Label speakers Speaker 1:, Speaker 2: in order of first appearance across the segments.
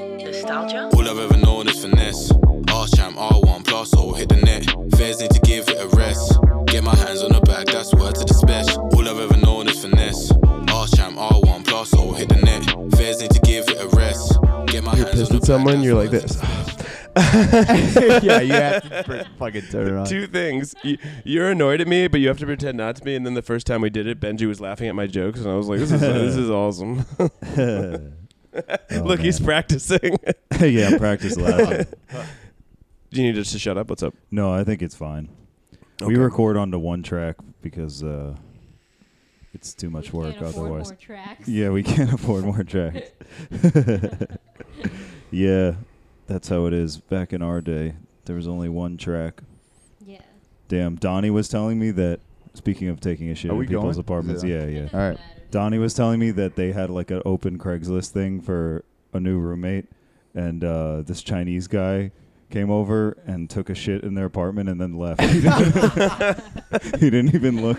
Speaker 1: Nostalgia?
Speaker 2: All I've ever known is finesse. R champ, R1 plus, or hit the net. Fairs need to give it a rest. Get my hands on the bag, that's word to the special. All I've ever known is finesse. R champ, R1 plus, or hit the net. Fairs need to give it a rest. Get my
Speaker 3: You're
Speaker 2: hands
Speaker 3: pissed
Speaker 2: on the
Speaker 3: at someone,
Speaker 2: bag,
Speaker 3: you're like
Speaker 2: that's word to
Speaker 3: this.
Speaker 4: yeah, you have to pr- fucking turn it on.
Speaker 3: Two things. You- You're annoyed at me, but you have to pretend not to be. And then the first time we did it, Benji was laughing at my jokes, and I was like, "This is this is awesome." Look, he's practicing.
Speaker 4: yeah, I'm practice laughing.
Speaker 3: you need us to shut up. What's up?
Speaker 4: No, I think it's fine.
Speaker 3: Okay.
Speaker 4: We record onto one track because uh, it's too much
Speaker 5: We
Speaker 4: work
Speaker 5: can't afford
Speaker 4: otherwise.
Speaker 5: more tracks.
Speaker 4: Yeah, we can't afford more tracks. yeah, that's how it is. Back in our day, there was only one track.
Speaker 5: Yeah.
Speaker 4: Damn, Donnie was telling me that. Speaking of taking a shit
Speaker 6: Are we
Speaker 4: in people's
Speaker 6: going? Is it
Speaker 4: apartments,
Speaker 6: on?
Speaker 4: yeah, yeah.
Speaker 5: All
Speaker 6: Alright.
Speaker 5: right.
Speaker 4: Donnie was telling me that they had like an open Craigslist thing for a new roommate, and uh, this Chinese guy came over and took a shit in their apartment and then left. he didn't even look.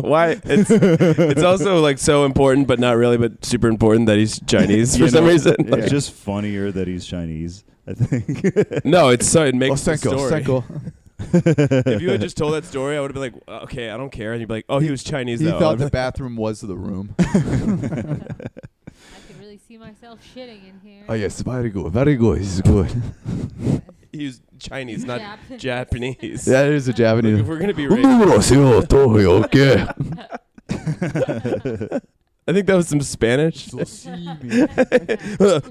Speaker 3: Why? It's it's also like so important, but not really, but super important that he's Chinese for
Speaker 4: You
Speaker 3: some
Speaker 4: know,
Speaker 3: reason.
Speaker 4: It's
Speaker 3: Like,
Speaker 4: just funnier that he's Chinese. I think.
Speaker 3: no, it's so it makes the
Speaker 6: Osenko,
Speaker 3: story.
Speaker 6: Osenko.
Speaker 3: If you had just told that story, I would have been like, okay, I don't care, and you'd be like, oh, he was Chinese
Speaker 6: He
Speaker 3: though.
Speaker 6: thought
Speaker 3: I'd be
Speaker 6: the
Speaker 3: like,
Speaker 6: bathroom was the room.
Speaker 5: I can really see myself shitting in here.
Speaker 6: oh yes, very good, very good. This is good.
Speaker 3: he was Chinese, not
Speaker 5: Japanese.
Speaker 3: Japanese.
Speaker 6: that is a Japanese.
Speaker 3: If we're gonna be racist,
Speaker 6: okay.
Speaker 3: I think that was some Spanish.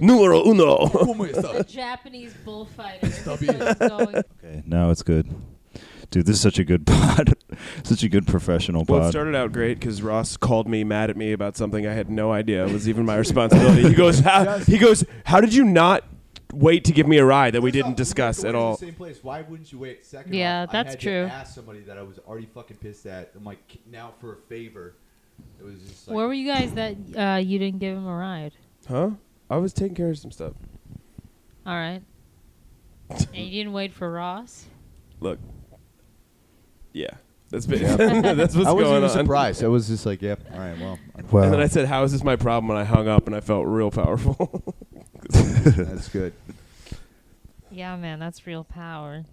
Speaker 3: Numero uno.
Speaker 5: A Japanese bullfighter. is
Speaker 6: Stop
Speaker 5: what it's going-
Speaker 4: okay, now it's good. Dude, this is such a good pod. such a good professional
Speaker 3: Well, it
Speaker 4: pod.
Speaker 3: started out great because Ross called me mad at me about something I had no idea was even my responsibility. He goes, how, he goes, how did you not wait to give me a ride that we didn't discuss at all?
Speaker 7: Same place. Why wouldn't you wait? Second,
Speaker 5: Yeah,
Speaker 7: off,
Speaker 5: that's
Speaker 7: I had
Speaker 5: true.
Speaker 7: To ask somebody that I was already fucking pissed at. I'm like, "K- now for a favor. It was just like,
Speaker 5: Where were you guys that uh, you didn't give him a ride?
Speaker 3: Huh? I was taking care of some stuff.
Speaker 5: All right. And you didn't wait for Ross?
Speaker 3: Look, yeah, that's been, that's what's
Speaker 6: I wasn't
Speaker 3: going
Speaker 6: even
Speaker 3: on.
Speaker 6: surprised. I was just like, yep. All right, well,
Speaker 4: Wow.
Speaker 3: And then I said, "How is this my problem?" And I hung up, and I felt real powerful.
Speaker 6: that's good.
Speaker 5: Yeah, man, that's real power.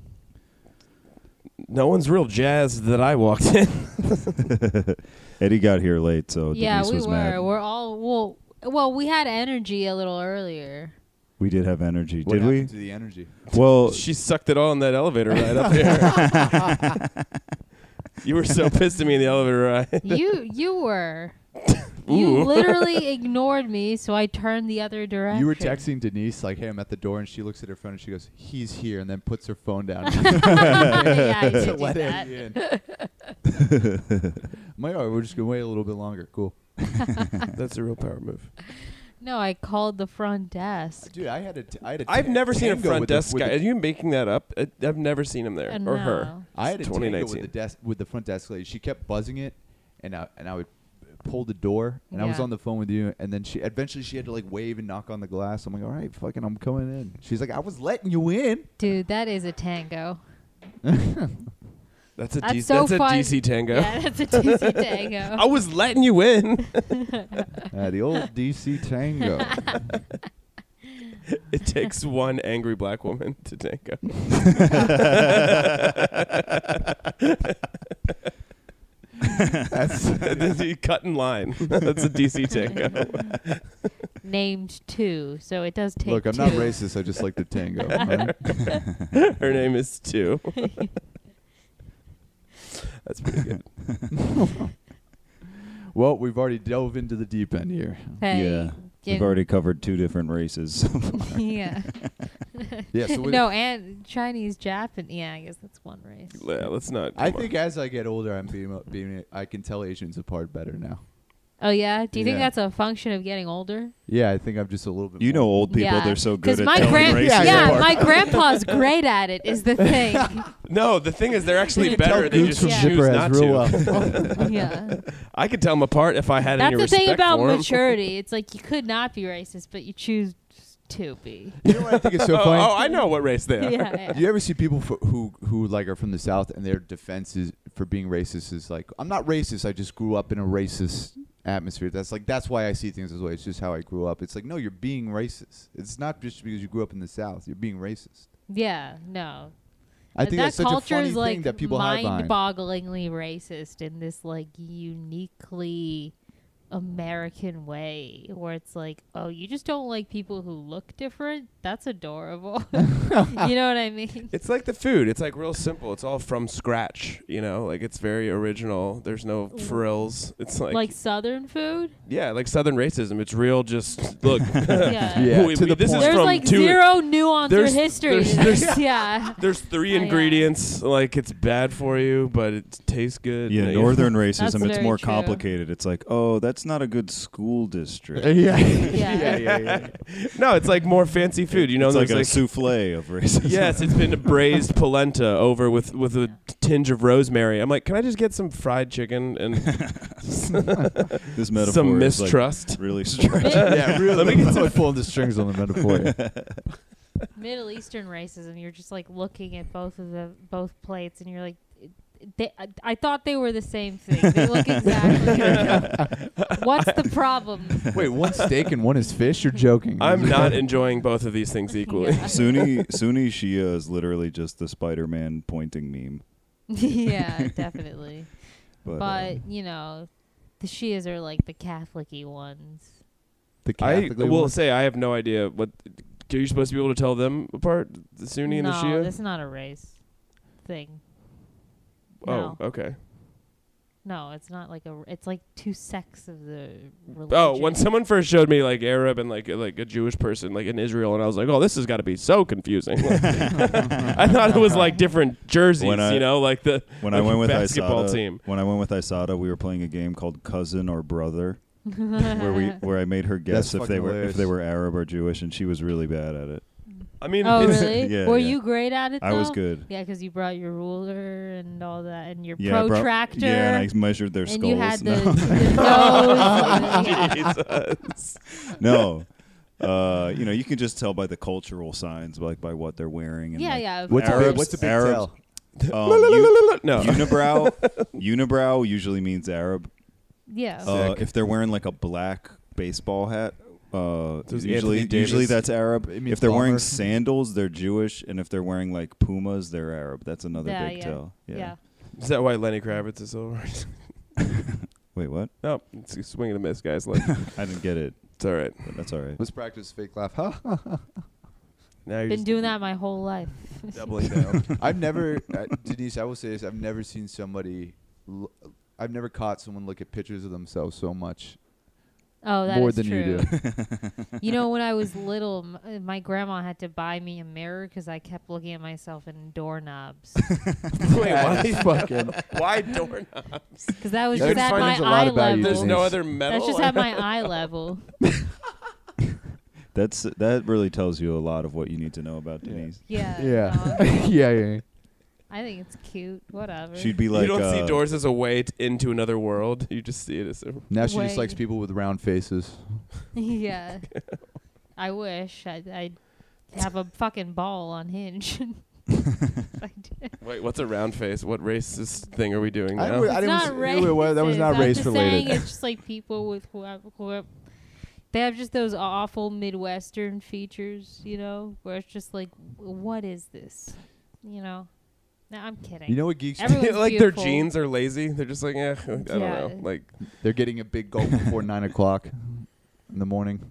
Speaker 3: no one's real jazzed that I walked in.
Speaker 4: Eddie got here late, so
Speaker 5: yeah,
Speaker 4: Denise
Speaker 5: we
Speaker 4: was
Speaker 5: were.
Speaker 4: mad.
Speaker 5: We're all well. Well, we had energy a little earlier.
Speaker 4: We did have energy,
Speaker 6: What
Speaker 4: did
Speaker 6: happened
Speaker 4: we?
Speaker 6: To the energy.
Speaker 4: Well,
Speaker 3: She sucked it all in that elevator ride up there. you were so pissed at me in the elevator ride.
Speaker 5: you you were. You literally ignored me, so I turned the other direction.
Speaker 6: You were texting Denise like, "Hey, I'm at the door," and she looks at her phone and she goes, "He's here," and then puts her phone down.
Speaker 5: yeah, I
Speaker 6: to
Speaker 5: did do
Speaker 6: let
Speaker 5: that.
Speaker 6: Eddie in. I'm like, all right, we're just gonna wait a little bit longer. Cool,
Speaker 3: That's a real power move.
Speaker 5: No, I called the front desk.
Speaker 6: dude. I had a, t- I had a.
Speaker 3: I've
Speaker 6: ta-
Speaker 3: never seen a
Speaker 6: tango
Speaker 3: front
Speaker 6: with the-
Speaker 3: desk
Speaker 6: with
Speaker 3: guy.
Speaker 6: the-
Speaker 3: Are you making that up? I, I've never seen him there
Speaker 5: And
Speaker 3: or her.
Speaker 5: now-
Speaker 6: I had a tango with the
Speaker 3: 2019.
Speaker 6: desk with the front desk lady. She kept buzzing it, and I and I would pull the door, and I was
Speaker 5: Yeah.
Speaker 6: on the phone with you, and then she eventually she had to like wave and knock on the glass. I'm like, all right, fucking, I'm coming in. She's like, I was letting you in.
Speaker 5: Dude, that is a tango.
Speaker 3: That's a
Speaker 5: That's
Speaker 3: DC
Speaker 5: so
Speaker 3: that's
Speaker 5: fun.
Speaker 3: a DC tango.
Speaker 5: Yeah, that's a TC
Speaker 3: I
Speaker 5: tango.
Speaker 3: was letting you in.
Speaker 6: Uh, the old DC tango.
Speaker 3: it takes one angry black woman to tango.
Speaker 6: That's
Speaker 3: you cut in line. That's a DC tango.
Speaker 5: Named two, so it does take.
Speaker 6: look. I'm not
Speaker 5: two.
Speaker 6: racist. I just like the tango. alright?
Speaker 3: Her name is Two. that's pretty good.
Speaker 6: Well, we've already dove into the deep end here.
Speaker 5: Hey,
Speaker 4: yeah, we've
Speaker 5: didn't-
Speaker 4: already covered two different races.
Speaker 5: yeah.
Speaker 6: Yeah. So we-
Speaker 5: no, and Chinese, Japan. Yeah, I guess that's one race.
Speaker 3: Yeah, let's not.
Speaker 6: I
Speaker 3: come on.
Speaker 6: think as I get older, I'm being, being I can tell Asians apart better now.
Speaker 5: Oh yeah. Do you think
Speaker 6: Yeah.
Speaker 5: that's a function of getting older?
Speaker 6: Yeah, I think I'm just a little bit.
Speaker 4: you know,
Speaker 6: more-
Speaker 4: old people,
Speaker 5: yeah.
Speaker 4: they're so good
Speaker 5: 'Cause
Speaker 4: at
Speaker 5: my
Speaker 4: telling
Speaker 5: grand-
Speaker 4: races
Speaker 5: Yeah,
Speaker 4: apart.
Speaker 5: my grandpa's great at it. Is the thing.
Speaker 3: No, the thing is, they're actually
Speaker 5: You
Speaker 3: better.
Speaker 6: tell
Speaker 3: They just
Speaker 6: dudes
Speaker 5: from
Speaker 3: choose
Speaker 6: Zipper as
Speaker 3: not
Speaker 6: real
Speaker 3: to.
Speaker 5: yeah.
Speaker 3: I could tell them apart if I had
Speaker 5: That's
Speaker 3: any
Speaker 5: the
Speaker 3: respect
Speaker 5: thing about
Speaker 3: for 'em.
Speaker 5: maturity. It's like you could not be racist, but you choose to be.
Speaker 6: You know what I think is so
Speaker 3: oh,
Speaker 6: funny?
Speaker 3: oh, I know what race they are.
Speaker 5: yeah.
Speaker 6: Do you ever see people for, who who like are from the South and their defenses for being racist is like, I'm not racist. I just grew up in a racist atmosphere. That's like that's why I see things this way. It's just how I grew up. It's like no, you're being racist. It's not just because you grew up in the South. You're being racist.
Speaker 5: Yeah, no.
Speaker 6: I think
Speaker 5: that
Speaker 6: that's such a
Speaker 5: culture
Speaker 6: funny
Speaker 5: is like
Speaker 6: thing that people hide behind.
Speaker 5: mind-bogglingly racist in this like uniquely American way, where it's like, oh, you just don't like people who look different. That's adorable. you know what I mean?
Speaker 3: It's like the food. It's like real simple. It's all from scratch. You know, like it's very original. There's no frills. It's like,
Speaker 5: Mm. Like, Southern food.
Speaker 3: yeah, like Southern racism. It's real. Just look.
Speaker 5: Yeah.
Speaker 6: Yeah,
Speaker 3: We-
Speaker 6: to
Speaker 3: we-
Speaker 6: the
Speaker 3: this
Speaker 6: point.
Speaker 3: is
Speaker 5: There's
Speaker 3: from
Speaker 5: like
Speaker 3: two-
Speaker 5: zero nuance or
Speaker 3: there's-
Speaker 5: history. to
Speaker 3: there's-
Speaker 5: this. yeah.
Speaker 3: There's three
Speaker 5: Oh, yeah.
Speaker 3: ingredients. Like it's bad for you, but it tastes good.
Speaker 4: Yeah, northern racism. It's
Speaker 5: very
Speaker 4: more
Speaker 5: true.
Speaker 4: complicated. It's like, oh, that's not a good school
Speaker 3: Uh,
Speaker 4: district.
Speaker 6: yeah.
Speaker 5: Yeah.
Speaker 6: yeah, yeah.
Speaker 3: No, it's like more fancy food. You know,
Speaker 4: it's like
Speaker 3: there's
Speaker 4: a souffle of racism.
Speaker 3: Yes, it's been braised polenta over with with a tinge of rosemary. I'm like, can I just get some fried chicken and
Speaker 4: this metaphor
Speaker 3: some
Speaker 4: is, like,
Speaker 3: mistrust?
Speaker 4: really strange.
Speaker 6: yeah, really. Let me get to pulling the strings on the metaphor.
Speaker 5: Middle Eastern racism. You're just like looking at both of the both plates, and you're like, they, I, I thought they were the same thing. They look exactly. What's the problem?
Speaker 6: Wait, one's steak and one is fish. You're joking.
Speaker 3: I'm not enjoying both of these things equally.
Speaker 5: Yeah.
Speaker 4: Sunni Sunni Shia is literally just the Spider-Man pointing meme.
Speaker 5: yeah, definitely.
Speaker 4: But, uh,
Speaker 5: But you know, the Shias are like the Catholicy ones.
Speaker 6: the
Speaker 3: I
Speaker 6: Catholic
Speaker 3: will
Speaker 6: one.
Speaker 3: say I have no idea what. Are you supposed to be able to tell them apart, the Sunni and the
Speaker 5: no,
Speaker 3: Shia?
Speaker 5: that's not a race thing.
Speaker 3: oh,
Speaker 5: No,
Speaker 3: okay.
Speaker 5: no, it's not like a. It's like two sects of the religion.
Speaker 3: Oh, when someone first showed me like Arab and like like a Jewish person like in Israel, and I was like, oh, this has got to be so confusing. I thought it was like different jerseys,
Speaker 4: When I-
Speaker 3: you know, like the
Speaker 4: when I
Speaker 3: like
Speaker 4: went with
Speaker 3: basketball
Speaker 4: Isada,
Speaker 3: team.
Speaker 4: when I went with Isada, we were playing a game called Cousin or Brother, where we where I made her guess
Speaker 6: That's
Speaker 4: if they
Speaker 6: fucking
Speaker 4: were
Speaker 6: hilarious.
Speaker 4: if they were Arab or Jewish, and she was really bad at it.
Speaker 3: I mean,
Speaker 5: Oh,
Speaker 3: it's-
Speaker 5: really?
Speaker 4: Yeah,
Speaker 5: Were
Speaker 4: yeah.
Speaker 5: you great at it?
Speaker 4: I was
Speaker 5: though?
Speaker 4: good.
Speaker 5: Yeah, because you brought your ruler and all that, and your
Speaker 4: Yeah, I brought-
Speaker 5: protractor.
Speaker 4: yeah, and I measured their
Speaker 5: and
Speaker 4: skulls.
Speaker 5: you had the,
Speaker 4: No.
Speaker 5: the nose. and- yeah.
Speaker 3: Jesus.
Speaker 4: no. Uh, you know, you can just tell by the cultural signs, like by what they're wearing. And
Speaker 5: yeah,
Speaker 4: like,
Speaker 5: yeah. of
Speaker 6: What's a
Speaker 5: course.
Speaker 6: big,
Speaker 4: Arabs-
Speaker 6: what's a big
Speaker 4: Arabs-
Speaker 6: tell?
Speaker 4: um,
Speaker 3: La, la, la,
Speaker 4: you-
Speaker 3: la, la, la. No.
Speaker 4: unibrow, unibrow usually means Arab.
Speaker 5: Yeah.
Speaker 4: Uh,
Speaker 6: Sick.
Speaker 4: if they're wearing like a black baseball hat, uh,
Speaker 3: Those
Speaker 4: usually
Speaker 3: Anthony
Speaker 4: usually
Speaker 3: Davis-
Speaker 4: that's Arab.
Speaker 6: It means
Speaker 4: If they're wearing
Speaker 6: bomber.
Speaker 4: sandals, they're Jewish, and if they're wearing like Pumas, they're Arab. That's another
Speaker 5: yeah,
Speaker 4: big
Speaker 5: yeah.
Speaker 4: tell. Yeah.
Speaker 5: Yeah.
Speaker 3: Is that why Lenny Kravitz is over?
Speaker 4: Wait, what?
Speaker 3: no, it's a swing and a miss, guys. Like,
Speaker 4: I didn't get it,
Speaker 3: it's all right.
Speaker 4: but that's all right.
Speaker 6: Let's practice fake laugh. Huh?
Speaker 3: Now you're
Speaker 5: Been
Speaker 3: just
Speaker 5: doing that my whole life.
Speaker 3: doubling down.
Speaker 6: I've never, uh, Denise. I will say this: I've never seen somebody. L- I've never caught someone look at pictures of themselves so much.
Speaker 5: Oh, that is
Speaker 6: More than
Speaker 5: true.
Speaker 6: you
Speaker 5: You know, when I was little, m- uh, my grandma had to buy me a mirror because I kept looking at myself in doorknobs.
Speaker 3: Wait,
Speaker 6: That
Speaker 3: why?
Speaker 6: is fucking.
Speaker 3: why doorknob?
Speaker 5: Because that was
Speaker 6: You
Speaker 5: just
Speaker 6: can
Speaker 5: at
Speaker 6: find
Speaker 5: my
Speaker 6: out a lot about
Speaker 5: eye
Speaker 6: you,
Speaker 5: level.
Speaker 3: There's
Speaker 6: Disney.
Speaker 3: no other metal.
Speaker 5: That's just at my eye level.
Speaker 4: That's that really tells you a lot of what you need to know about
Speaker 6: Yeah.
Speaker 4: Denise.
Speaker 5: Yeah.
Speaker 6: Yeah.
Speaker 5: no,
Speaker 6: yeah, yeah.
Speaker 5: I think it's cute. Whatever.
Speaker 4: She'd be like,
Speaker 3: you don't
Speaker 4: uh,
Speaker 3: see doors as a way t- into another world. You just see it as a.
Speaker 6: Now she just
Speaker 5: Way.
Speaker 6: likes people with round faces.
Speaker 5: yeah. I wish I'd, I'd have a fucking ball on hinge. I did.
Speaker 3: Wait, what's a round face? What racist thing are we doing
Speaker 6: I
Speaker 3: now?
Speaker 6: would-
Speaker 5: It's
Speaker 6: didn't
Speaker 5: not
Speaker 6: say- wait, wait, that was
Speaker 5: racist.
Speaker 6: not
Speaker 5: I'm
Speaker 6: race
Speaker 5: just
Speaker 6: related.
Speaker 5: Saying it's just like people with whoever, whoever. They have just those awful Midwestern features, you know, where it's just like, w- what is this? You know? No, I'm kidding.
Speaker 6: You know what geeks?
Speaker 5: Every- Everyone's
Speaker 3: like
Speaker 5: beautiful.
Speaker 3: their jeans are lazy. They're just like, eh, I don't
Speaker 5: Yeah.
Speaker 3: know. Like,
Speaker 6: They're getting a big gulp before nine o'clock in the morning.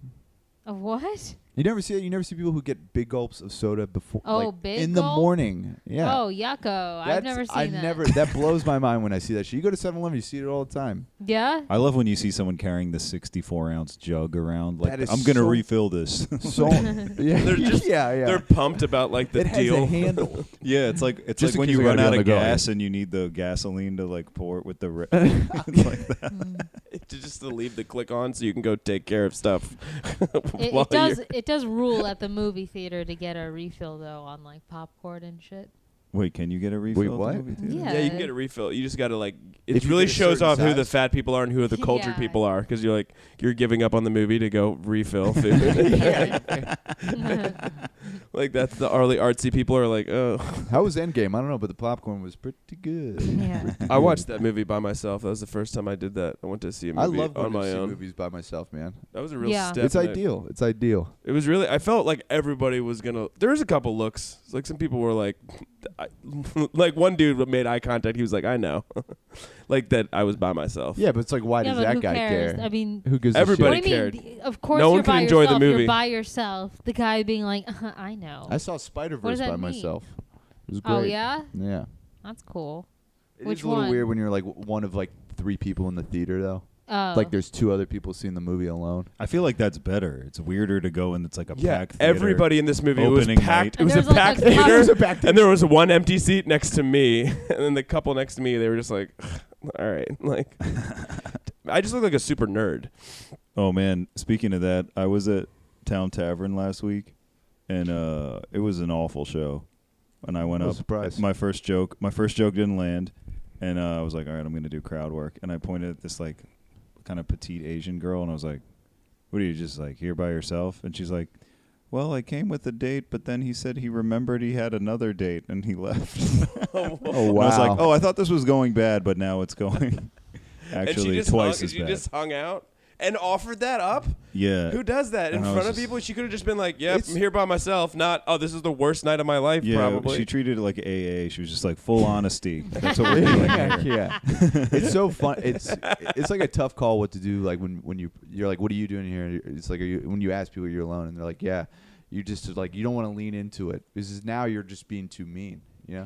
Speaker 5: A what?
Speaker 6: You never see that. You never see people who get big gulps of soda before,
Speaker 5: Oh,
Speaker 6: like
Speaker 5: big
Speaker 6: in the
Speaker 5: gulp?
Speaker 6: morning. Yeah.
Speaker 5: Oh, yucko. I've
Speaker 6: That's-
Speaker 5: never seen
Speaker 6: I've
Speaker 5: that.
Speaker 6: never. That blows my mind when I see that. shit. You go to 7-Eleven, you see it all the time.
Speaker 5: yeah?
Speaker 4: I love when you see someone carrying the 64 ounce jug around. Like,
Speaker 6: That is
Speaker 4: I'm gonna
Speaker 6: so-
Speaker 4: refill this.
Speaker 6: So yeah,
Speaker 3: They're just-
Speaker 6: yeah, yeah.
Speaker 3: they're pumped about like the
Speaker 6: it has
Speaker 3: deal.
Speaker 6: a handle.
Speaker 4: yeah, it's like it's
Speaker 6: Just
Speaker 4: like
Speaker 6: in
Speaker 4: when
Speaker 6: case
Speaker 4: you
Speaker 6: I gotta
Speaker 4: run
Speaker 6: be on
Speaker 4: out
Speaker 6: the
Speaker 4: of
Speaker 6: go.
Speaker 4: gas and you need the gasoline to like pour it with the. Re- like that.
Speaker 3: to just to leave the click on so you can go take care of stuff.
Speaker 5: It,
Speaker 3: while
Speaker 5: it does.
Speaker 3: you're-
Speaker 5: It does rule at the movie theater to get a refill though on like popcorn and shit.
Speaker 4: Wait, can you get a refill? at the
Speaker 6: what?
Speaker 4: movie theater?
Speaker 5: Yeah.
Speaker 3: Yeah, you can get a refill. You just gotta like. It
Speaker 6: If you
Speaker 3: really
Speaker 6: get a
Speaker 3: shows
Speaker 6: certain
Speaker 3: off who the
Speaker 6: size.
Speaker 3: fat people are and who the cultured
Speaker 5: Yeah.
Speaker 3: people are, because you're like you're giving up on the movie to go refill food. Like that's the early artsy people are like, oh.
Speaker 6: How was Endgame? I don't know, but the popcorn was pretty good.
Speaker 5: Yeah.
Speaker 3: I watched that movie by myself. That was the first time I did that. I went to see a
Speaker 6: I
Speaker 3: movie
Speaker 6: love
Speaker 3: on
Speaker 6: going to
Speaker 3: my
Speaker 6: see
Speaker 3: own.
Speaker 6: movies by myself, man.
Speaker 3: That was a real
Speaker 5: Yeah.
Speaker 3: step.
Speaker 6: It's
Speaker 3: in it.
Speaker 6: ideal. It's ideal.
Speaker 3: It was really. I felt like everybody was gonna. There was a couple looks. It's Like some people were like, I, like one dude made eye contact. He was like, I know, like that I was by myself.
Speaker 6: Yeah, but it's like, why
Speaker 5: yeah,
Speaker 6: does
Speaker 5: but who
Speaker 6: that guy
Speaker 5: cares?
Speaker 6: care?
Speaker 5: I mean,
Speaker 6: Who gives
Speaker 3: Everybody
Speaker 5: what
Speaker 6: a
Speaker 5: do
Speaker 6: shit?
Speaker 5: you
Speaker 3: cared.
Speaker 5: mean? The- Of course,
Speaker 3: No one
Speaker 5: you're
Speaker 3: could
Speaker 5: by
Speaker 3: enjoy the
Speaker 5: yourself.
Speaker 3: movie.
Speaker 5: You're by yourself. The guy being like, uh-huh, I know.
Speaker 6: I saw Spider
Speaker 5: What
Speaker 6: Verse
Speaker 5: does
Speaker 6: by
Speaker 5: that mean?
Speaker 6: myself. It was great.
Speaker 5: oh yeah,
Speaker 6: Yeah.
Speaker 5: that's cool.
Speaker 6: It is
Speaker 5: Which
Speaker 6: a little
Speaker 5: one?
Speaker 6: weird when you're like w- one of like three people in the theater though.
Speaker 5: Oh,
Speaker 6: Like there's two other people seeing the movie alone.
Speaker 4: I feel like that's better. It's weirder to go and it's like a
Speaker 3: Yeah,
Speaker 4: packed theater.
Speaker 3: everybody in this movie it was
Speaker 4: Opening
Speaker 3: packed.
Speaker 4: night.
Speaker 3: It was a
Speaker 5: And there's, like,
Speaker 3: packed
Speaker 5: a couple-
Speaker 3: theater.
Speaker 5: It was a
Speaker 3: and there was one empty seat next to me, and then the couple next to me. They were just like, all right, like. I just look like a super nerd.
Speaker 4: Oh man, speaking of that, I was at Town Tavern last week and uh it was an awful show. And I went
Speaker 6: No
Speaker 4: up
Speaker 6: surprise.
Speaker 4: my first joke, my first joke didn't land and uh, I was like, "All right, I'm going to do crowd work." And I pointed at this like kind of petite Asian girl and I was like, "What are you just like here by yourself?" And she's like, "Well, I came with a date, but then he said he remembered he had another date and he left."
Speaker 6: Oh
Speaker 4: And I was like, "Oh, I thought this was going bad, but now it's going
Speaker 3: and she
Speaker 4: actually
Speaker 3: just
Speaker 4: twice
Speaker 3: hung,
Speaker 4: as
Speaker 3: she
Speaker 4: bad."
Speaker 3: just hung out and offered that up.
Speaker 4: yeah.
Speaker 3: Who does that in
Speaker 4: and I was
Speaker 3: front of
Speaker 4: just-
Speaker 3: people? She could have just been like, "Yep,
Speaker 6: It's-
Speaker 3: I'm here by myself." Not, "Oh, this is the worst night of my life."
Speaker 4: Yeah,
Speaker 3: probably.
Speaker 4: she treated it like AA. She was just like full honesty. That's what we're doing.
Speaker 6: yeah,
Speaker 4: here.
Speaker 6: it's so fun. It's it's like a tough call what to do. Like when when you you're like, what are you doing here? It's like are you, when you ask people you're alone, and they're like, yeah. You just like you don't want to lean into it. This is now you're just being too mean. Yeah.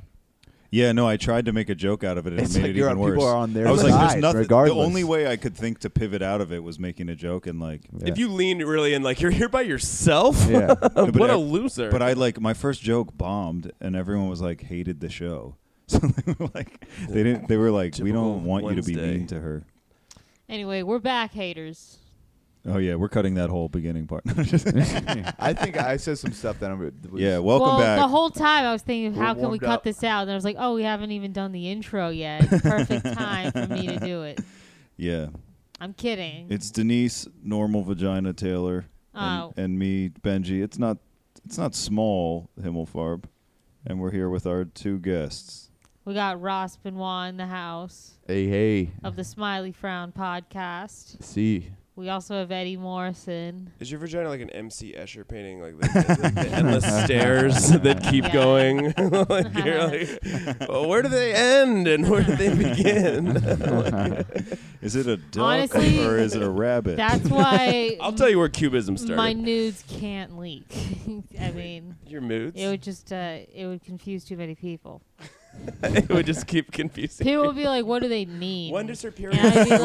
Speaker 4: Yeah, no, I tried to make a joke out of it, and
Speaker 6: It's
Speaker 4: it made
Speaker 6: like
Speaker 4: it
Speaker 6: you're
Speaker 4: even
Speaker 6: on-
Speaker 4: worse.
Speaker 6: people are on their
Speaker 4: I was like,
Speaker 6: side,
Speaker 4: there's nothing. The
Speaker 6: regardless.
Speaker 4: only way I could think to pivot out of it was making a joke, and like,
Speaker 3: If you leaned really in, like you're here by yourself,
Speaker 6: Yeah.
Speaker 4: No, but
Speaker 3: what
Speaker 4: I-
Speaker 3: a loser!
Speaker 4: But I like my first joke bombed, and everyone was like hated the show. So they were like, they didn't. They were like, we
Speaker 3: Typical
Speaker 4: don't want you to be
Speaker 3: Wednesday.
Speaker 4: mean to her.
Speaker 5: Anyway, we're back, haters.
Speaker 4: Oh yeah, we're cutting that whole beginning part.
Speaker 6: I think I said some stuff that I'm. was-
Speaker 4: yeah, welcome
Speaker 5: well,
Speaker 4: back.
Speaker 5: the whole time I was thinking,
Speaker 6: We're
Speaker 5: how can we
Speaker 6: warmed
Speaker 5: cut
Speaker 6: up.
Speaker 5: this out? And I was like, oh, we haven't even done the intro yet. Perfect time for me to do it.
Speaker 4: yeah,
Speaker 5: I'm kidding.
Speaker 4: it's Denise, normal vagina Taylor,
Speaker 5: oh,
Speaker 4: and, and me, Benji. It's not it's not small Himmelfarb, and we're here with our two guests.
Speaker 5: we got Ross Benoit in the house
Speaker 6: Hey hey.
Speaker 5: of the Smiley Frown podcast.
Speaker 6: See.
Speaker 5: We also have Eddie Morrison.
Speaker 3: is your vagina like an M.C. Escher painting, like the, the- the endless stairs that keep going? like you're like, well, where do they end and where do they begin?
Speaker 4: Is it a duck
Speaker 5: Honestly,
Speaker 4: or is it a rabbit?
Speaker 5: That's why
Speaker 3: I'll tell you where cubism started.
Speaker 5: my nudes can't leak. I mean,
Speaker 3: your moods.
Speaker 5: it would just uh, it would confuse too many people.
Speaker 3: it would just keep confusing.
Speaker 5: People would be like, "What do they mean?"
Speaker 3: When does her period?
Speaker 5: And I'd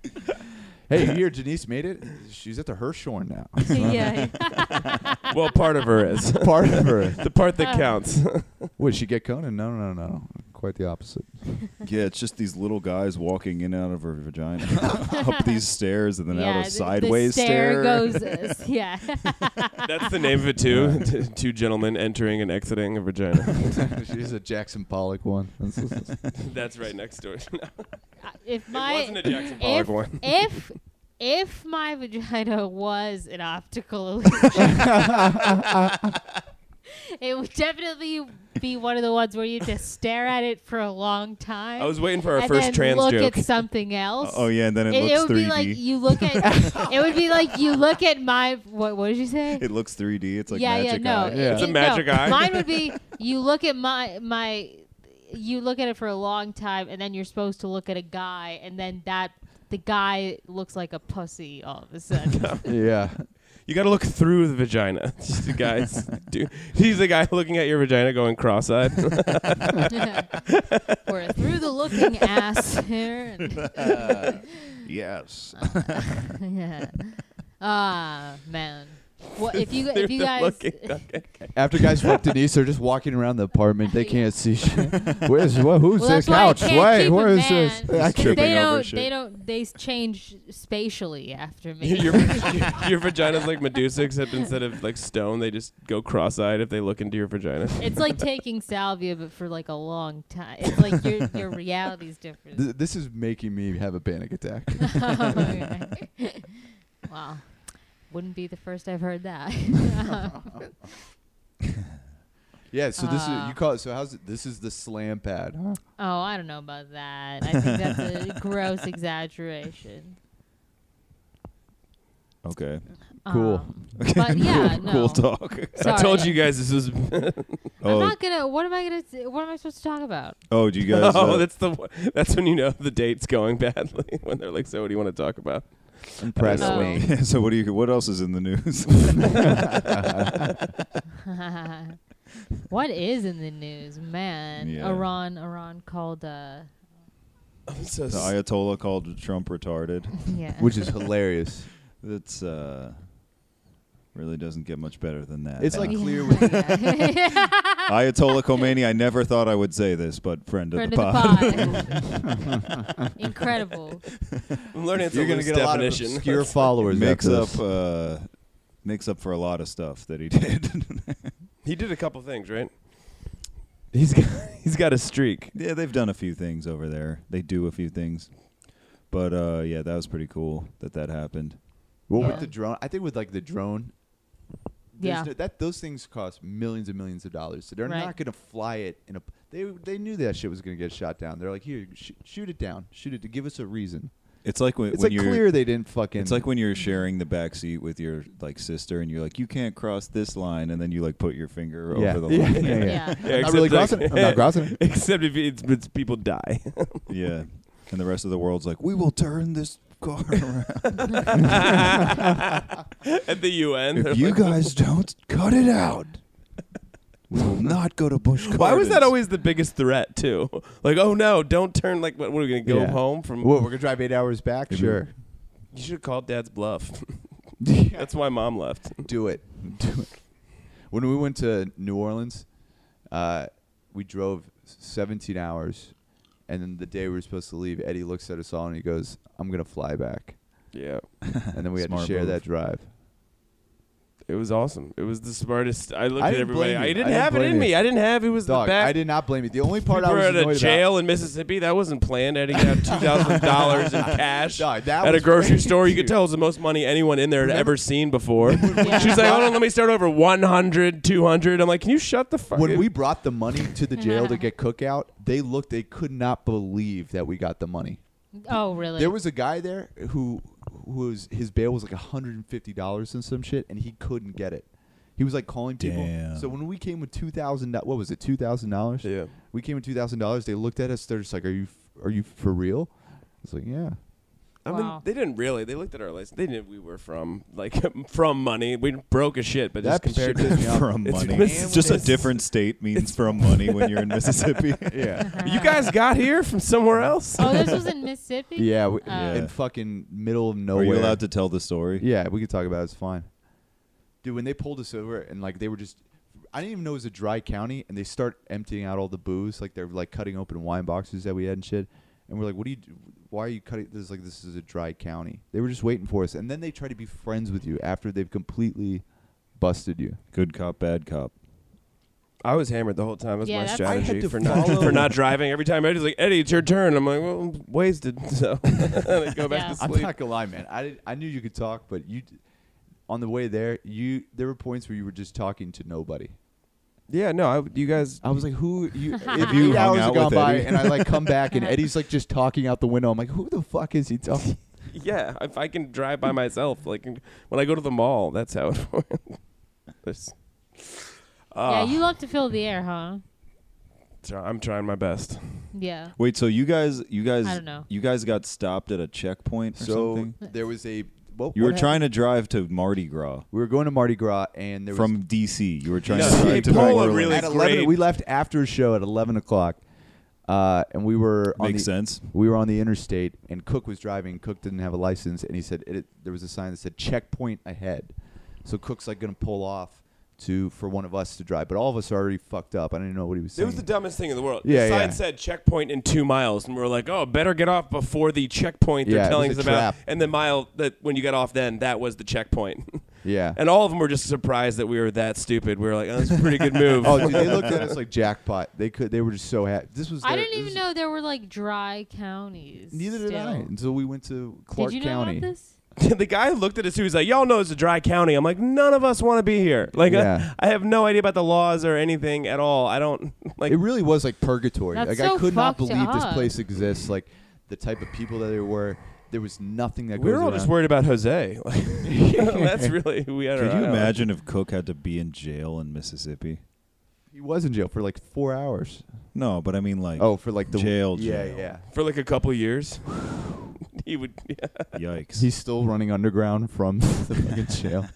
Speaker 5: be like, "Oh,
Speaker 6: Hey, you hear Denise made it. She's at the Hirshhorn now.
Speaker 5: yeah.
Speaker 3: well, part of her is
Speaker 6: Part of her.
Speaker 3: the part that counts.
Speaker 6: Would she get Conan? No, no, no. Quite the opposite.
Speaker 4: yeah, it's just these little guys walking in and out of her vagina, up these stairs and then
Speaker 5: yeah,
Speaker 4: out
Speaker 5: the-
Speaker 4: of sideways
Speaker 5: the stair. goes, uh, s- yeah.
Speaker 3: That's the name of it too. T- Two gentlemen entering and exiting a vagina.
Speaker 6: She's a Jackson Pollock one.
Speaker 3: That's right next door.
Speaker 5: if my
Speaker 3: it wasn't a Jackson Pollock
Speaker 5: if,
Speaker 3: one.
Speaker 5: if if my vagina was an optical illusion, it would definitely be one of the ones where you just stare at it for a long time.
Speaker 3: I was waiting for our
Speaker 5: and
Speaker 3: first
Speaker 5: then
Speaker 3: trans
Speaker 5: look
Speaker 3: joke.
Speaker 5: at something else.
Speaker 4: Oh yeah, and then it,
Speaker 5: It, it
Speaker 4: looks
Speaker 5: would
Speaker 4: 3D.
Speaker 5: be like you look at. it would be like you look at my. What, what did you say?
Speaker 4: it looks 3D. It's like
Speaker 5: yeah,
Speaker 4: magic
Speaker 5: yeah, no.
Speaker 4: eye.
Speaker 5: it-
Speaker 6: Yeah.
Speaker 3: It's a
Speaker 5: no.
Speaker 3: magic eye.
Speaker 5: Mine would be you look at my my you look at it for a long time and then you're supposed to look at a guy and then that the guy looks like a pussy all of a sudden.
Speaker 6: yeah.
Speaker 3: You got to look through the vagina. Just the guys, do. He's the guy looking at your vagina going cross-eyed.
Speaker 5: We're through the looking ass here. And
Speaker 4: Yes.
Speaker 5: yeah. Ah man. What if you if you
Speaker 3: They're
Speaker 5: guys
Speaker 3: looking, okay.
Speaker 6: After guys fuck Denise, they're just walking around the apartment. They can't see shit. Where's what? Who's
Speaker 5: well,
Speaker 6: this
Speaker 5: that's why I
Speaker 6: couch?
Speaker 5: can't
Speaker 6: Wait,
Speaker 5: keep
Speaker 6: where
Speaker 5: a
Speaker 6: is
Speaker 5: man,
Speaker 6: this?
Speaker 5: 'cause
Speaker 4: Tripping
Speaker 5: They
Speaker 4: over
Speaker 5: don't.
Speaker 4: shit.
Speaker 5: They don't. They change spatially after me.
Speaker 3: your, your, your vagina's like Medusa, except instead of like stone, they just go cross-eyed if they look into your vagina.
Speaker 5: It's like taking salvia, but for like a long time. It's like your your reality's different.
Speaker 6: Th- This is making me have a panic attack.
Speaker 5: wow. wouldn't be the first I've heard that.
Speaker 6: Yeah, so this is
Speaker 5: Uh,
Speaker 6: you call it. So how's it, this is the slam pad? Huh?
Speaker 5: oh, I don't know about that. I think that's a gross exaggeration.
Speaker 4: Okay.
Speaker 6: Cool.
Speaker 5: Um, but yeah, no.
Speaker 4: Cool talk.
Speaker 3: I told
Speaker 5: Sorry.
Speaker 3: you guys this was.
Speaker 5: I'm
Speaker 4: Oh,
Speaker 5: not gonna. What am I gonna? s- What am I supposed to talk about?
Speaker 4: oh, do you guys?
Speaker 3: oh,
Speaker 4: uh,
Speaker 3: that's the. one- That's when you know the date's going badly when they're like, "So, what do you want to talk about?"
Speaker 6: Impress
Speaker 5: know.
Speaker 6: me.
Speaker 4: yeah, so what do you? What else is in the news?
Speaker 5: what is in the news, man?
Speaker 4: Yeah.
Speaker 5: Iran, Iran called. Uh,
Speaker 3: I'm so
Speaker 4: the
Speaker 3: s-
Speaker 4: Ayatollah called Trump retarded.
Speaker 5: yeah.
Speaker 6: Which is hilarious.
Speaker 4: That's uh, really doesn't get much better than that. Uh,
Speaker 6: It's like
Speaker 5: Yeah,
Speaker 6: clear with
Speaker 5: yeah.
Speaker 4: Ayatollah Khomeini. I never thought I would say this, but friend of
Speaker 5: Friend
Speaker 4: the pod.
Speaker 5: pod. Incredible.
Speaker 3: I'm learning it's
Speaker 6: you're
Speaker 3: a
Speaker 6: gonna
Speaker 3: loose
Speaker 6: get
Speaker 3: definition.
Speaker 6: a lot of obscure followers.
Speaker 4: makes
Speaker 6: after
Speaker 4: up
Speaker 6: this.
Speaker 4: uh, makes up for a lot of stuff that he did.
Speaker 3: he did a couple things, right? He's got, he's got a streak.
Speaker 4: yeah, they've done a few things over there. They do a few things, but uh, yeah, that was pretty cool that that happened.
Speaker 6: Well,
Speaker 5: Yeah.
Speaker 6: with the drone, I think with like the drone, there's
Speaker 5: Oh. Yeah.
Speaker 6: no- that those things cost millions and millions of dollars. So they're
Speaker 5: Right.
Speaker 6: not going to fly it in a. They they knew that shit was going to get shot down. They're like, here, sh- shoot it down, shoot it to give us a reason.
Speaker 4: It's like when,
Speaker 6: It's
Speaker 4: when
Speaker 6: like
Speaker 4: you're
Speaker 6: clear they didn't fucking.
Speaker 4: It's like when you're sharing the back seat with your like sister, and you're like, "You can't cross this line," and then you like put your finger
Speaker 6: yeah,
Speaker 4: over the
Speaker 6: yeah,
Speaker 4: line.
Speaker 6: yeah, yeah.
Speaker 5: Yeah.
Speaker 3: Yeah,
Speaker 6: I'm not
Speaker 3: except
Speaker 6: really
Speaker 3: like-
Speaker 6: crossing. it. I'm not crossing. it.
Speaker 3: Except if it's, it's people die.
Speaker 4: Yeah. and the rest of the world's like, "We will turn this car around
Speaker 3: At the UN. they're
Speaker 4: if you
Speaker 3: like,
Speaker 4: guys don't cut it out. We will not go to Bush Gardens."
Speaker 3: Why was that always the biggest threat too? Like, oh no, don't turn. Like, what? What are we gonna go
Speaker 6: Yeah.
Speaker 3: home from?
Speaker 6: What, we're gonna drive eight hours back.
Speaker 4: Maybe-
Speaker 6: Sure,
Speaker 3: You should have called Dad's bluff.
Speaker 6: do
Speaker 3: That's why Mom left.
Speaker 6: it. Do it. When we went to New Orleans, uh, we drove 17 hours, and then the day we were supposed to leave, Eddie looks at us all and he goes, "I'm gonna fly back,"
Speaker 3: Yeah,
Speaker 6: and then we had to
Speaker 4: Smart
Speaker 6: share
Speaker 4: move.
Speaker 6: that drive.
Speaker 3: it was awesome. It was the smartest. I looked
Speaker 6: I
Speaker 3: at
Speaker 6: didn't
Speaker 3: everybody.
Speaker 6: blame
Speaker 3: I
Speaker 6: you.
Speaker 3: didn't
Speaker 6: I didn't
Speaker 3: have it
Speaker 6: blame
Speaker 3: in
Speaker 6: you.
Speaker 3: me. I didn't have. It was
Speaker 6: Dog,
Speaker 3: the back.
Speaker 6: I did not blame you. The only part
Speaker 3: we
Speaker 6: I
Speaker 3: were
Speaker 6: was
Speaker 3: at a
Speaker 6: annoyed
Speaker 3: jail in Mississippi. That wasn't planned. Eddie got two thousand dollars in cash
Speaker 6: about, Dog, that
Speaker 3: at a
Speaker 6: was
Speaker 3: grocery
Speaker 6: crazy.
Speaker 3: store. You could tell it was the most money anyone in there had
Speaker 6: Remember-
Speaker 3: ever seen before.
Speaker 5: Yeah.
Speaker 3: She's like, "Hold on, let me start over. 100, 200. I'm like, "Can you shut the fuck?"
Speaker 6: When we brought the money to the jail to get cookout, they looked. They could not believe that we got the money.
Speaker 5: Oh, really?
Speaker 6: There was a guy there who, who was his bail was like hundred and fifty dollars and some shit, and he couldn't get it. He was like calling people.
Speaker 4: Damn.
Speaker 6: So when we came with two thousand, what was it? Two thousand dollars.
Speaker 3: yeah.
Speaker 6: We came with two thousand dollars. They looked at us. They're just like, "Are you, f- are you for real?" It's like, yeah.
Speaker 3: I
Speaker 5: Wow.
Speaker 3: mean, they didn't really. They looked at our list. They knew we were from like from money. We broke as shit, but just
Speaker 6: That
Speaker 3: compared
Speaker 6: shit
Speaker 3: to
Speaker 6: pissed me off.
Speaker 4: from
Speaker 3: It's
Speaker 4: money?
Speaker 3: Missis-
Speaker 4: just a
Speaker 3: it's-
Speaker 4: different state means from money when you're in Mississippi.
Speaker 6: yeah.
Speaker 3: you guys got here from somewhere else.
Speaker 5: oh, this was in Mississippi.
Speaker 6: Yeah, we,
Speaker 5: Uh,
Speaker 6: in fucking middle of
Speaker 4: Are
Speaker 6: nowhere.
Speaker 4: you allowed to tell the story?
Speaker 6: Yeah, we can talk about it. It's fine. Dude, when they pulled us over and like they were just, I didn't even know it was a dry county, and they start emptying out all the booze, like they're like cutting open wine boxes that we had and shit. And we're like, "What do you? do- Why are you cutting this? Like this is a dry county." They were just waiting for us, and then they try to be friends with you after they've completely busted you.
Speaker 4: Good cop, bad cop.
Speaker 3: I was hammered the whole time. That was
Speaker 5: Yeah,
Speaker 3: my
Speaker 5: that's- I
Speaker 6: had
Speaker 3: strategy
Speaker 6: to
Speaker 3: for not
Speaker 6: follow-
Speaker 3: for not driving. Every time Eddie's like, "Eddie, it's your turn." I'm like, "Well, wasted." So I go back
Speaker 5: Yeah.
Speaker 3: to
Speaker 6: I'm
Speaker 3: sleep.
Speaker 6: not gonna lie, man. I did, I knew you could talk, but you, d- on the way there, you there were points where you were just talking to nobody.
Speaker 3: yeah, no, I, you guys.
Speaker 6: I was like, "Who you?" If
Speaker 4: you
Speaker 6: eight hours
Speaker 4: hung out
Speaker 6: have gone
Speaker 4: with
Speaker 6: by,
Speaker 4: Eddie.
Speaker 6: and I like come back, and Eddie's like just talking out the window. I'm like, "Who the fuck is he talking?"
Speaker 3: Yeah, if I can drive by myself, like when I go to the mall, that's how it works. There's-
Speaker 5: Yeah,
Speaker 3: Ah,
Speaker 5: you love to fill the air, huh?
Speaker 3: try- I'm trying my best.
Speaker 5: Yeah.
Speaker 4: Wait, so you guys, you guys,
Speaker 5: I don't know. Mm.
Speaker 4: you guys got stopped at a checkpoint or
Speaker 6: So
Speaker 4: something?
Speaker 6: there was a. Well,
Speaker 4: You were trying to drive to Mardi Gras
Speaker 6: We were going to Mardi Gras, and there was
Speaker 4: from DC. You were trying
Speaker 3: No,
Speaker 4: to
Speaker 3: hey,
Speaker 4: drive to
Speaker 3: Paul,
Speaker 4: New
Speaker 3: I'm
Speaker 4: Orleans.
Speaker 3: really
Speaker 6: at eleven.
Speaker 3: great.
Speaker 6: We left after a show at eleven o'clock, uh, and we were on
Speaker 4: Makes
Speaker 6: the,
Speaker 4: sense.
Speaker 6: We were on the interstate, and Cook was driving. Cook didn't have a license, and he said it, there was a sign that said checkpoint ahead. So Cook's like going to pull off to for one of us to drive, but all of us are already fucked up. I didn't know what he was
Speaker 3: It
Speaker 6: saying.
Speaker 3: was the dumbest thing in the world.
Speaker 6: Yeah,
Speaker 3: the sign
Speaker 6: yeah.
Speaker 3: said checkpoint in two miles, and we were like, "Oh, better get off before the checkpoint." They're
Speaker 6: Yeah, it
Speaker 3: telling us
Speaker 6: was a
Speaker 3: about,
Speaker 6: trap.
Speaker 3: and the mile that when you got off, then that was the checkpoint.
Speaker 6: yeah.
Speaker 3: and all of them were just surprised that we were that stupid. We were like, "Oh, that's a pretty good move."
Speaker 6: oh, dude, they looked at us like jackpot. They could. They were just so happy. This was.
Speaker 5: I
Speaker 6: their-
Speaker 5: didn't
Speaker 6: this was-
Speaker 5: even know there were like dry counties.
Speaker 6: Neither did I
Speaker 5: still.
Speaker 6: until we went to Clark
Speaker 5: Did you know
Speaker 6: County.
Speaker 5: about this?
Speaker 3: the guy looked at us. He was like, "Y'all know it's a dry county." I'm like, "None of us want to be here. Like, I-
Speaker 6: Yeah.
Speaker 3: I, have no idea about the laws or anything at all. I don't like."
Speaker 6: it really was like purgatory.
Speaker 5: That's
Speaker 6: like I
Speaker 5: so
Speaker 6: could not
Speaker 5: fucked
Speaker 6: believe this
Speaker 5: up.
Speaker 6: place exists. Like the type of people that there were. There was nothing that
Speaker 3: we
Speaker 6: goes
Speaker 3: were all
Speaker 6: around.
Speaker 3: just worried about Jose. Like, that's really who we had.
Speaker 4: Could
Speaker 3: our
Speaker 4: you
Speaker 3: eye on.
Speaker 4: imagine if Cook had to be in jail in Mississippi?
Speaker 6: He was in jail for like four hours.
Speaker 4: No, but I mean like,
Speaker 6: Oh, for like the
Speaker 4: Jail,
Speaker 6: Yeah,
Speaker 4: jail.
Speaker 6: yeah.
Speaker 3: for like a couple years? he would.
Speaker 4: yikes.
Speaker 6: He's still running underground from the fucking jail.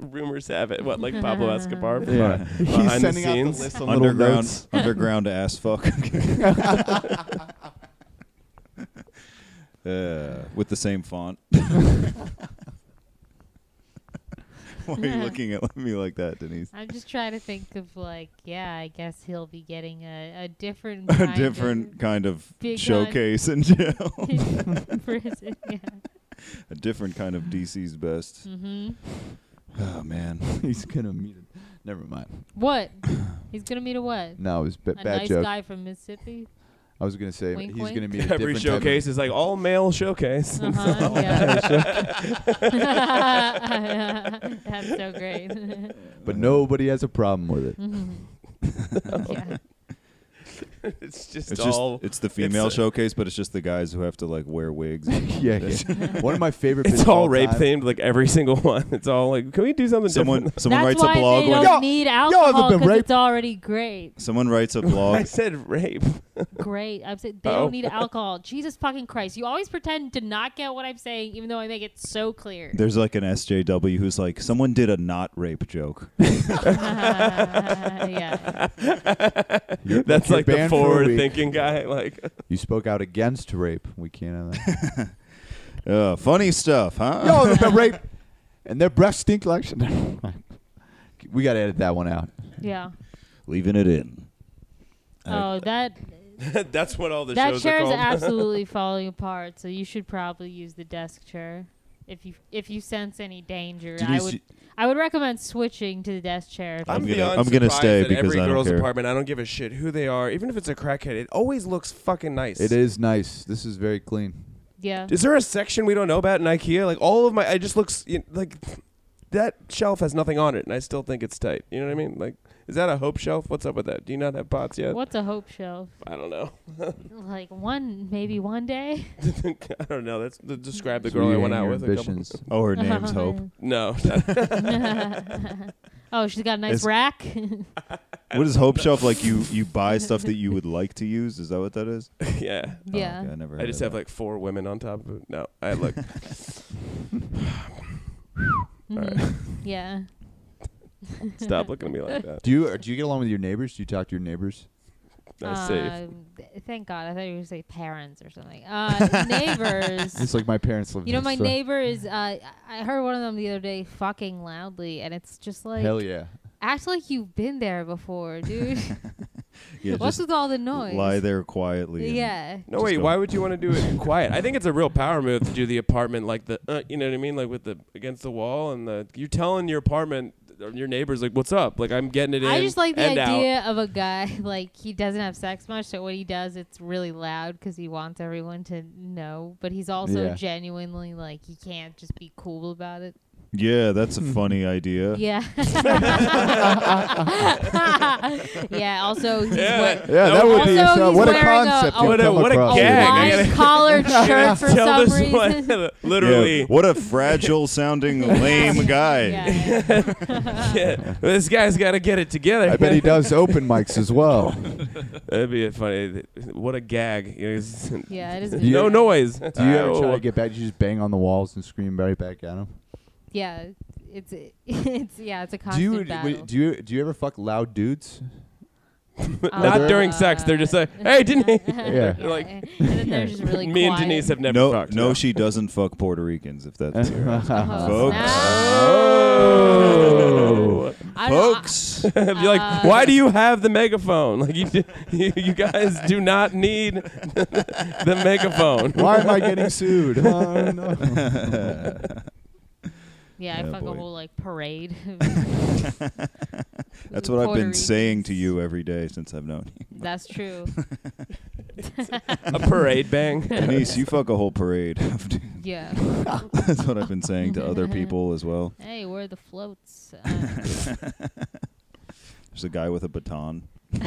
Speaker 3: rumors have it. What like Pablo Escobar? from
Speaker 6: Yeah.
Speaker 3: Uh, Behind
Speaker 6: He's
Speaker 3: the
Speaker 6: sending out
Speaker 3: scenes.
Speaker 6: the list on little notes.
Speaker 4: underground, underground ass fuck. Uh, with the same font. Why are you looking at me like that, Denise?
Speaker 5: I'm just trying to think of like, yeah, I guess he'll be getting a, a different
Speaker 4: A
Speaker 5: kind of
Speaker 4: different kind of
Speaker 5: big
Speaker 4: showcase in jail.
Speaker 5: prison. Yeah.
Speaker 4: A different kind of DC's best.
Speaker 5: Mm-hmm.
Speaker 4: Oh man.
Speaker 6: He's gonna meet. Him. Never mind.
Speaker 5: What? He's gonna meet a what?
Speaker 6: No, it was b-
Speaker 5: a
Speaker 6: bad
Speaker 5: nice
Speaker 6: joke.
Speaker 5: guy from Mississippi.
Speaker 6: I was gonna say
Speaker 5: Wink,
Speaker 6: he's
Speaker 5: wink.
Speaker 6: gonna meet a
Speaker 3: Every
Speaker 6: different
Speaker 3: showcase
Speaker 6: Type
Speaker 3: is like all male showcase.
Speaker 5: Uh-huh, yeah. That's so great.
Speaker 6: of, but nobody has a problem with it.
Speaker 5: Mhm. yeah.
Speaker 3: it's just
Speaker 4: It's just
Speaker 3: all.
Speaker 4: it's the female
Speaker 3: a-
Speaker 4: showcase, but it's just the guys who have to like wear wigs.
Speaker 6: yeah, yeah. One of my favorite.
Speaker 3: it's
Speaker 6: bits of
Speaker 3: all rape
Speaker 6: time-
Speaker 3: themed, like every single one. It's all like, can we do something
Speaker 4: Someone
Speaker 3: different?
Speaker 4: someone
Speaker 5: That's
Speaker 4: writes a
Speaker 5: why
Speaker 4: blog
Speaker 5: they
Speaker 4: one
Speaker 5: don't
Speaker 6: Y'all-
Speaker 5: need
Speaker 6: y'all haven't
Speaker 5: alcohol
Speaker 6: been
Speaker 5: because
Speaker 6: raped?
Speaker 5: it's already great.
Speaker 4: someone writes a
Speaker 3: I
Speaker 4: blog
Speaker 3: said rape.
Speaker 5: Great. I'm saying they
Speaker 3: Oh.
Speaker 5: don't need alcohol. Jesus fucking Christ! You always pretend to not get what I'm saying, even though I make it so clear.
Speaker 4: There's like an SJW who's like, someone did a not rape joke.
Speaker 5: yeah.
Speaker 6: You're-
Speaker 3: That's
Speaker 6: you're
Speaker 3: like the
Speaker 6: banned for a week.
Speaker 3: forward thinking guy. Like,
Speaker 6: You spoke out against rape. We can't. Have that.
Speaker 4: Uh, funny stuff, huh?
Speaker 6: Y'all have been raped, and their breasts stink like. shit. Never mind. we gotta edit that one out.
Speaker 5: Yeah.
Speaker 4: Leaving it in.
Speaker 5: Oh, that
Speaker 3: that's what all the
Speaker 5: that
Speaker 3: shows
Speaker 5: chair
Speaker 3: are
Speaker 5: is
Speaker 3: called.
Speaker 5: absolutely falling apart. So you should probably use the desk chair if you if you sense any danger. I
Speaker 4: Denise,
Speaker 5: would
Speaker 4: you-
Speaker 5: I would recommend switching to the desk chair. if
Speaker 3: I'm,
Speaker 4: gonna-
Speaker 3: beyond
Speaker 4: I'm gonna
Speaker 3: surprised
Speaker 4: stay
Speaker 3: that
Speaker 4: because
Speaker 3: every
Speaker 4: I don't
Speaker 3: girl's
Speaker 4: care.
Speaker 3: apartment. I don't give a shit who they are, even if it's a crackhead. It always looks fucking nice.
Speaker 6: It is nice. This is very clean.
Speaker 5: Yeah.
Speaker 3: Is there a section we don't know about in IKEA? Like all of my, I just looks you know, like that shelf has nothing on it, and I still think it's tight. You know what I mean? Like, is that a hope shelf? What's up with that? Do you not have pots yet?
Speaker 5: What's a hope shelf?
Speaker 3: I don't know.
Speaker 5: Like one, maybe one day.
Speaker 3: I don't know. That's the, describe the
Speaker 6: So
Speaker 3: girl
Speaker 6: you
Speaker 3: I went
Speaker 6: hang
Speaker 3: out
Speaker 6: your
Speaker 3: with. A couple,
Speaker 6: ambitions.
Speaker 4: Oh, her name's Hope.
Speaker 3: no,
Speaker 5: oh, she's got a nice
Speaker 4: Is-
Speaker 5: rack.
Speaker 4: What is Hope Shelf like? You you buy stuff that you would like to use? Is that what that is?
Speaker 3: yeah.
Speaker 4: Oh,
Speaker 5: yeah.
Speaker 4: okay, I never.
Speaker 3: I just have like four women on top of it. No, I look. All right,
Speaker 5: Mm-hmm. Yeah.
Speaker 3: stop looking at me like that.
Speaker 6: Do you or do you get along with your neighbors? Do you talk to your neighbors?
Speaker 3: Nice save.
Speaker 5: Um, th- thank God. I thought you were going to say parents or something. Uh, neighbors.
Speaker 6: It's like my parents live.
Speaker 5: You know,
Speaker 6: next
Speaker 5: my
Speaker 6: door.
Speaker 5: neighbor is, uh, I- I heard one of them the other day fucking loudly, and it's just like,
Speaker 6: Hell yeah.
Speaker 5: act like you've been there before, dude.
Speaker 4: Yeah,
Speaker 5: What's
Speaker 4: just
Speaker 5: with all the noise?
Speaker 4: lie there quietly. and-
Speaker 5: Yeah.
Speaker 3: No,
Speaker 4: Just
Speaker 3: wait.
Speaker 4: go.
Speaker 3: Why would you want to do it quiet? I think it's a real power move to do the apartment like the, uh, you know what I mean, like with the against the wall and the. You're telling your apartment, or your neighbors, like, what's up? Like, I'm getting it in.
Speaker 5: I just like the
Speaker 3: and out."
Speaker 5: idea of a guy like he doesn't have sex much, so what he does it's really loud because he wants everyone to know, but he's also
Speaker 6: Yeah.
Speaker 5: genuinely like he can't just be cool about it.
Speaker 4: Yeah, that's a funny idea.
Speaker 5: Yeah. yeah. Also, he's
Speaker 3: Yeah.
Speaker 5: wear-
Speaker 6: Yeah, that would
Speaker 5: also,
Speaker 6: be
Speaker 5: he's
Speaker 6: uh, what a
Speaker 5: wearing a-
Speaker 6: concept.
Speaker 5: a-
Speaker 6: you've
Speaker 3: What a-
Speaker 6: come
Speaker 3: what a
Speaker 5: a
Speaker 6: across.
Speaker 3: gag. I
Speaker 5: wine collared shirt for
Speaker 3: Tell
Speaker 5: some
Speaker 3: this
Speaker 5: reason.
Speaker 3: one,
Speaker 4: Yeah,
Speaker 3: literally.
Speaker 4: what a fragile sounding lame guy.
Speaker 5: Yeah.
Speaker 3: Yeah, this guy's got to get it together.
Speaker 6: I bet he does open mics as well.
Speaker 3: That'd be a funny. What a gag. You know, it's-
Speaker 5: Yeah, it is.
Speaker 6: Do you-
Speaker 3: no noise.
Speaker 6: Do you ever try to get back? Do you just bang on the walls and scream right back at him?
Speaker 5: Yeah. It's it's yeah. It's a
Speaker 6: Do
Speaker 5: constant
Speaker 6: you
Speaker 5: battle.
Speaker 6: do you do you ever fuck loud dudes?
Speaker 3: Not
Speaker 6: Uh,
Speaker 3: during sex. They're just like, hey, Denise.
Speaker 6: Yeah.
Speaker 3: They're like,
Speaker 5: and then they're just really
Speaker 3: me and
Speaker 5: quiet.
Speaker 3: Denise have never
Speaker 4: No,
Speaker 3: fucked.
Speaker 4: no, she doesn't fuck Puerto Ricans. If that's your
Speaker 5: Oh,
Speaker 4: Folks.
Speaker 5: snap. I don't know,
Speaker 4: folks,
Speaker 3: You're Oh. like, why do you have the megaphone? Like, you, d- you, you guys do not need the megaphone.
Speaker 6: Why am I getting sued? Oh, no.
Speaker 5: Yeah, I
Speaker 4: Yeah,
Speaker 5: fuck
Speaker 4: boy.
Speaker 5: a whole like parade.
Speaker 4: that's what I've been saying to you every day since I've known you.
Speaker 5: That's true.
Speaker 3: A parade bang.
Speaker 4: Denise, you fuck a whole parade of dudes.
Speaker 5: Yeah.
Speaker 4: That's what I've been saying to other people as well.
Speaker 5: Hey, where are the floats? Uh,
Speaker 4: There's a guy with a baton.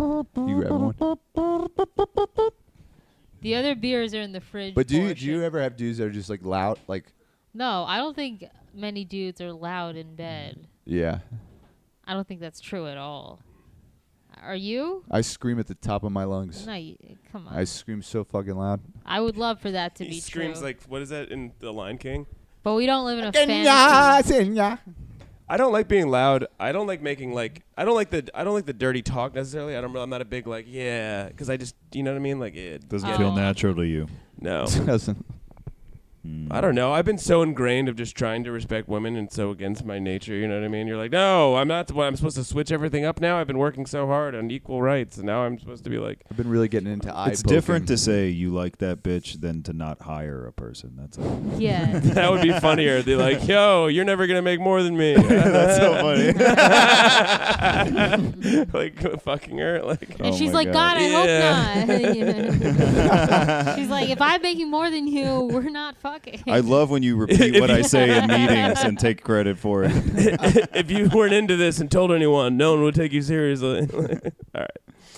Speaker 6: You grab one.
Speaker 5: the other beers are in the fridge.
Speaker 6: But do you, do
Speaker 5: portion.
Speaker 6: you ever have dudes that are just like loud? Like,
Speaker 5: No, I don't think many dudes are loud in bed.
Speaker 6: yeah,
Speaker 5: I don't think that's true at all. Are you?
Speaker 6: I scream at the top of my lungs.
Speaker 5: No, you, come on.
Speaker 6: I scream so fucking loud.
Speaker 5: I would love for that to
Speaker 3: He
Speaker 5: be
Speaker 3: screams
Speaker 5: true.
Speaker 3: like, "What is that in The Lion King?"
Speaker 5: but we don't live in a fantasy.
Speaker 3: I don't like being loud. I don't like making like I don't like the I don't like the dirty talk necessarily. I don't. I'm not a big like yeah because I just you know what I mean like it
Speaker 4: Doesn't
Speaker 5: Oh.
Speaker 4: feel natural to you.
Speaker 3: no.
Speaker 6: Doesn't.
Speaker 4: Hmm.
Speaker 3: I don't know. I've been so ingrained of just trying to respect women and so against my nature. You know what I mean? You're like, no, I'm not. Well, I'm supposed to switch everything up now. I've been working so hard on equal rights, and now I'm supposed to be like,
Speaker 6: I've been really getting into eye.
Speaker 4: It's different
Speaker 6: poking.
Speaker 4: to say you like that bitch than to not hire a person. That's all.
Speaker 5: Yeah.
Speaker 3: that would be funnier. They're like, yo, you're never gonna make more than me.
Speaker 4: That's so funny.
Speaker 3: like fucking her. Like,
Speaker 5: And
Speaker 4: Oh
Speaker 5: she's
Speaker 4: my
Speaker 5: like, God,
Speaker 4: God.
Speaker 5: I
Speaker 3: Yeah.
Speaker 5: hope not. You know? she's like, if I'm making more than you, we're not fucking.
Speaker 4: I love when you repeat what I say in meetings and take credit for it.
Speaker 3: if you weren't into this and told anyone, no one would take you seriously. All right,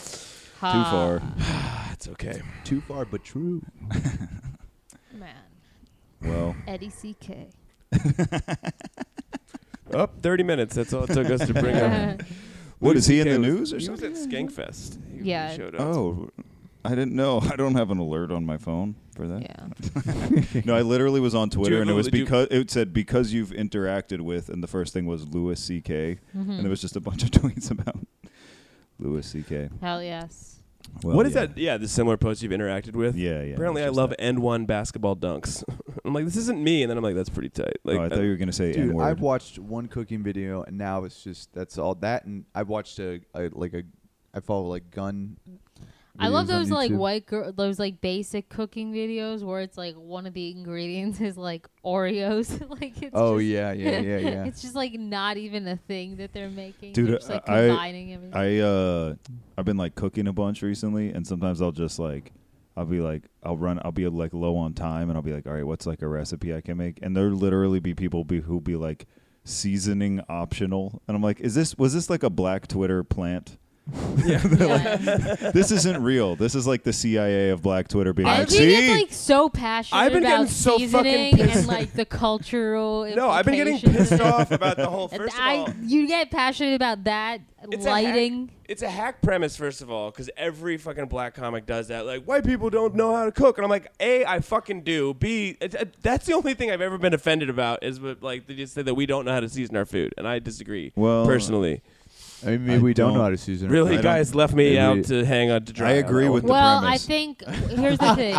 Speaker 5: Ha,
Speaker 3: that's okay.
Speaker 6: Ah. Too far, but true.
Speaker 5: Man,
Speaker 4: Well,
Speaker 5: Eddie CK.
Speaker 3: Up 30 Oh, minutes. That's all it took us to bring up.
Speaker 4: what is he in the
Speaker 3: Louis
Speaker 4: news or
Speaker 3: He was
Speaker 4: something?
Speaker 3: at Skankfest. He
Speaker 5: Yeah.
Speaker 3: showed up.
Speaker 4: Oh, I didn't know. I don't have an alert on my phone for that.
Speaker 5: yeah.
Speaker 4: No, I literally was on Twitter,
Speaker 3: have
Speaker 4: and it
Speaker 3: a-
Speaker 4: was
Speaker 3: do you-
Speaker 4: because it said because you've interacted with, and the first thing was Louis C.K., and
Speaker 6: Hmm.
Speaker 5: Mm-hmm.
Speaker 4: there was just a bunch of tweets about Louis C.K.
Speaker 5: Hell yes.
Speaker 4: Well,
Speaker 3: what is
Speaker 4: yeah.
Speaker 3: that? Yeah, the similar post you've interacted with.
Speaker 4: Yeah, yeah.
Speaker 3: Apparently, I
Speaker 4: it's just
Speaker 3: love
Speaker 4: that.
Speaker 3: end one basketball dunks. I'm like, this isn't me, and then I'm like, that's pretty tight. Like,
Speaker 4: oh, I
Speaker 3: uh,
Speaker 4: thought you were gonna say
Speaker 6: Dude,
Speaker 4: N-word.
Speaker 6: I've watched one cooking video, and now it's just that's all that. And I've watched a, a like a, I follow like gun.
Speaker 5: I love
Speaker 6: videos on
Speaker 5: those like
Speaker 6: YouTube.
Speaker 5: white girl, those like basic cooking videos where it's like one of the ingredients is like Oreos. like it's
Speaker 6: Oh
Speaker 5: just,
Speaker 6: yeah, yeah, yeah, yeah.
Speaker 5: it's just like not even a thing that they're making.
Speaker 4: Dude,
Speaker 5: they're just, like
Speaker 4: I- I-
Speaker 5: combining everything.
Speaker 4: I uh, I've been like cooking a bunch recently, and sometimes I'll just like, I'll be like, I'll run, I'll be like low on time, and I'll be like, all right, what's like a recipe I can make? And there literally be people be who be like, seasoning optional, and I'm like, is this was this like a black Twitter plant?
Speaker 5: yeah.
Speaker 4: this isn't real. This is like the CIA of black Twitter being
Speaker 5: I've
Speaker 4: like,
Speaker 5: been
Speaker 4: see,
Speaker 5: getting like so passionate
Speaker 3: I've been
Speaker 5: about
Speaker 3: getting so fucking
Speaker 5: seasoning and
Speaker 3: pissed.
Speaker 5: like the cultural.
Speaker 3: no, I've been getting
Speaker 5: implications
Speaker 3: pissed
Speaker 5: of-
Speaker 3: off about the whole. First of
Speaker 5: I,
Speaker 3: all,
Speaker 5: you get passionate about that
Speaker 3: It's a hack-
Speaker 5: lighting.
Speaker 3: it's a hack premise, first of all, because every fucking black comic does that. Like, white people don't know how to cook, and I'm like, a, I fucking do. B, it- it- that's the only thing I've ever been offended about is what, like they just say that we don't know how to season our food, and I disagree.
Speaker 4: Well,
Speaker 3: personally,
Speaker 6: I mean, maybe
Speaker 4: I
Speaker 6: we don't, know
Speaker 4: don't-
Speaker 6: how to season. it. I
Speaker 3: really,
Speaker 6: don't-
Speaker 3: guys left me
Speaker 6: maybe-
Speaker 3: out to hang on to dry.
Speaker 4: I
Speaker 3: on
Speaker 4: agree
Speaker 3: that
Speaker 4: with
Speaker 3: one.
Speaker 4: the
Speaker 5: Well, I
Speaker 4: premise.
Speaker 5: think here's the thing.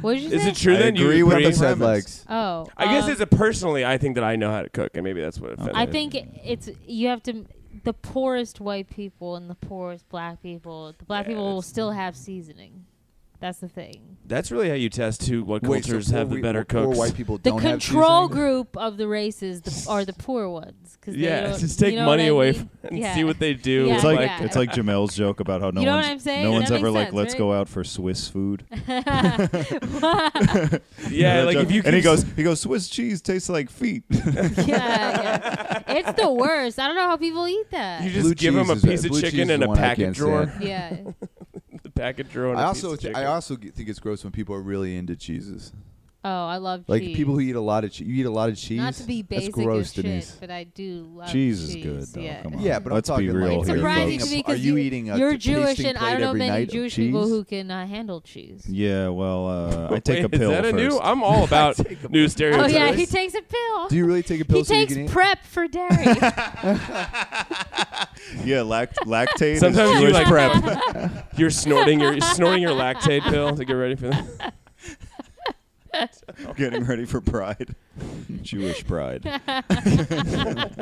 Speaker 5: What did you
Speaker 3: Is
Speaker 5: say?
Speaker 3: it true?
Speaker 4: I
Speaker 3: then you
Speaker 4: agree with
Speaker 6: What
Speaker 4: the
Speaker 6: the sad
Speaker 4: premise.
Speaker 6: legs?
Speaker 5: Oh,
Speaker 3: I guess
Speaker 5: um,
Speaker 3: it's a personally. I think that I know how to cook, and maybe that's what offended.
Speaker 5: I
Speaker 3: me.
Speaker 5: think it's you have to. The poorest white people and the poorest black people. The black people will
Speaker 3: Yes.
Speaker 5: still have seasoning. That's the thing.
Speaker 3: That's really how you test who what
Speaker 6: Wait, so
Speaker 3: cultures
Speaker 6: poor
Speaker 3: have the
Speaker 6: we-
Speaker 3: better
Speaker 6: poor
Speaker 3: cooks.
Speaker 6: white people
Speaker 5: The
Speaker 6: don't have
Speaker 5: control
Speaker 6: seasoning?
Speaker 5: group of the races the, are the poor ones. 'cause they
Speaker 3: yeah,
Speaker 5: don't-
Speaker 3: just
Speaker 5: you
Speaker 3: take
Speaker 5: know
Speaker 3: money
Speaker 5: what I
Speaker 3: away
Speaker 5: mean?
Speaker 3: f- and
Speaker 5: Yeah.
Speaker 3: see what they do.
Speaker 5: Yeah,
Speaker 4: it's like
Speaker 5: yeah.
Speaker 4: it's like Jamel's joke about how no
Speaker 5: You know what
Speaker 4: one's
Speaker 5: I'm saying?
Speaker 4: no one's
Speaker 5: That
Speaker 4: ever
Speaker 5: makes
Speaker 4: like
Speaker 5: sense,
Speaker 4: let's
Speaker 5: right?
Speaker 4: go out for Swiss food.
Speaker 3: yeah,
Speaker 4: That
Speaker 3: like
Speaker 4: joke.
Speaker 3: if you
Speaker 4: and he
Speaker 3: keep-
Speaker 4: goes he goes Swiss cheese tastes like feet.
Speaker 5: yeah, yeah. It's the worst. I don't know how people eat that.
Speaker 3: you just
Speaker 6: Blue
Speaker 3: give them a
Speaker 6: cheese is a-
Speaker 3: piece of
Speaker 6: blue cheese
Speaker 3: chicken
Speaker 6: is
Speaker 3: and
Speaker 6: the
Speaker 3: a
Speaker 6: one I
Speaker 3: packet
Speaker 6: can't
Speaker 3: drawer,
Speaker 6: stand.
Speaker 5: yeah.
Speaker 3: the packet drawer. And
Speaker 6: I
Speaker 3: a
Speaker 6: also,
Speaker 3: piece of
Speaker 6: th- I
Speaker 3: chicken.
Speaker 6: also g- think it's gross when people are really into cheeses.
Speaker 5: Oh, I love
Speaker 6: Like
Speaker 5: cheese.
Speaker 6: people who eat a lot of cheese. You eat a lot of cheese.
Speaker 5: Not to be
Speaker 6: That's
Speaker 5: basic
Speaker 6: gross,
Speaker 5: as shit,
Speaker 6: Denise.
Speaker 5: but I do love
Speaker 4: cheese is
Speaker 5: cheese,
Speaker 4: good though.
Speaker 5: Yeah.
Speaker 4: Come on.
Speaker 6: Yeah, but I'm
Speaker 4: let's
Speaker 6: talking
Speaker 4: be
Speaker 6: like-
Speaker 4: real
Speaker 6: It's
Speaker 4: here.
Speaker 5: Surprising
Speaker 4: folks.
Speaker 5: to me
Speaker 6: Are
Speaker 5: because
Speaker 6: you eating a
Speaker 5: you're
Speaker 6: t-
Speaker 5: Jewish,
Speaker 6: tasting
Speaker 5: and I
Speaker 6: plate
Speaker 5: don't know
Speaker 6: every
Speaker 5: many
Speaker 6: night of
Speaker 5: Jewish people
Speaker 6: cheese?
Speaker 5: who can uh, handle cheese.
Speaker 4: Yeah, well, uh, I take
Speaker 3: Wait,
Speaker 4: a pill
Speaker 3: Is that
Speaker 4: first.
Speaker 3: a new? I'm all about new
Speaker 5: Oh
Speaker 3: stereotypes.
Speaker 5: yeah, he takes a pill.
Speaker 6: Do you really take a pill
Speaker 5: he
Speaker 6: so
Speaker 5: takes
Speaker 6: you can eat?
Speaker 5: prep for dairy.
Speaker 4: Yeah, lact- lactate
Speaker 3: Sometimes you
Speaker 4: is Jewish
Speaker 3: like
Speaker 4: prep.
Speaker 3: You're snorting your you're snorting your lactate pill to get ready for that.
Speaker 4: Getting ready for pride, Jewish pride.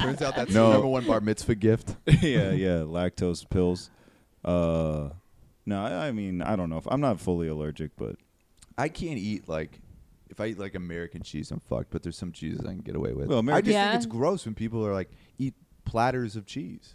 Speaker 6: Turns out that's
Speaker 4: No.
Speaker 6: the number one bar mitzvah gift.
Speaker 4: yeah, yeah, lactose pills. Uh, no, I, I mean I don't know. If, I'm not fully allergic, but
Speaker 6: I can't eat like. If I eat like American cheese, I'm fucked. But there's some cheeses I can get away with.
Speaker 4: Well,
Speaker 6: I
Speaker 4: American-
Speaker 6: just
Speaker 5: Yeah.
Speaker 6: think it's gross when people are like eat platters of cheese.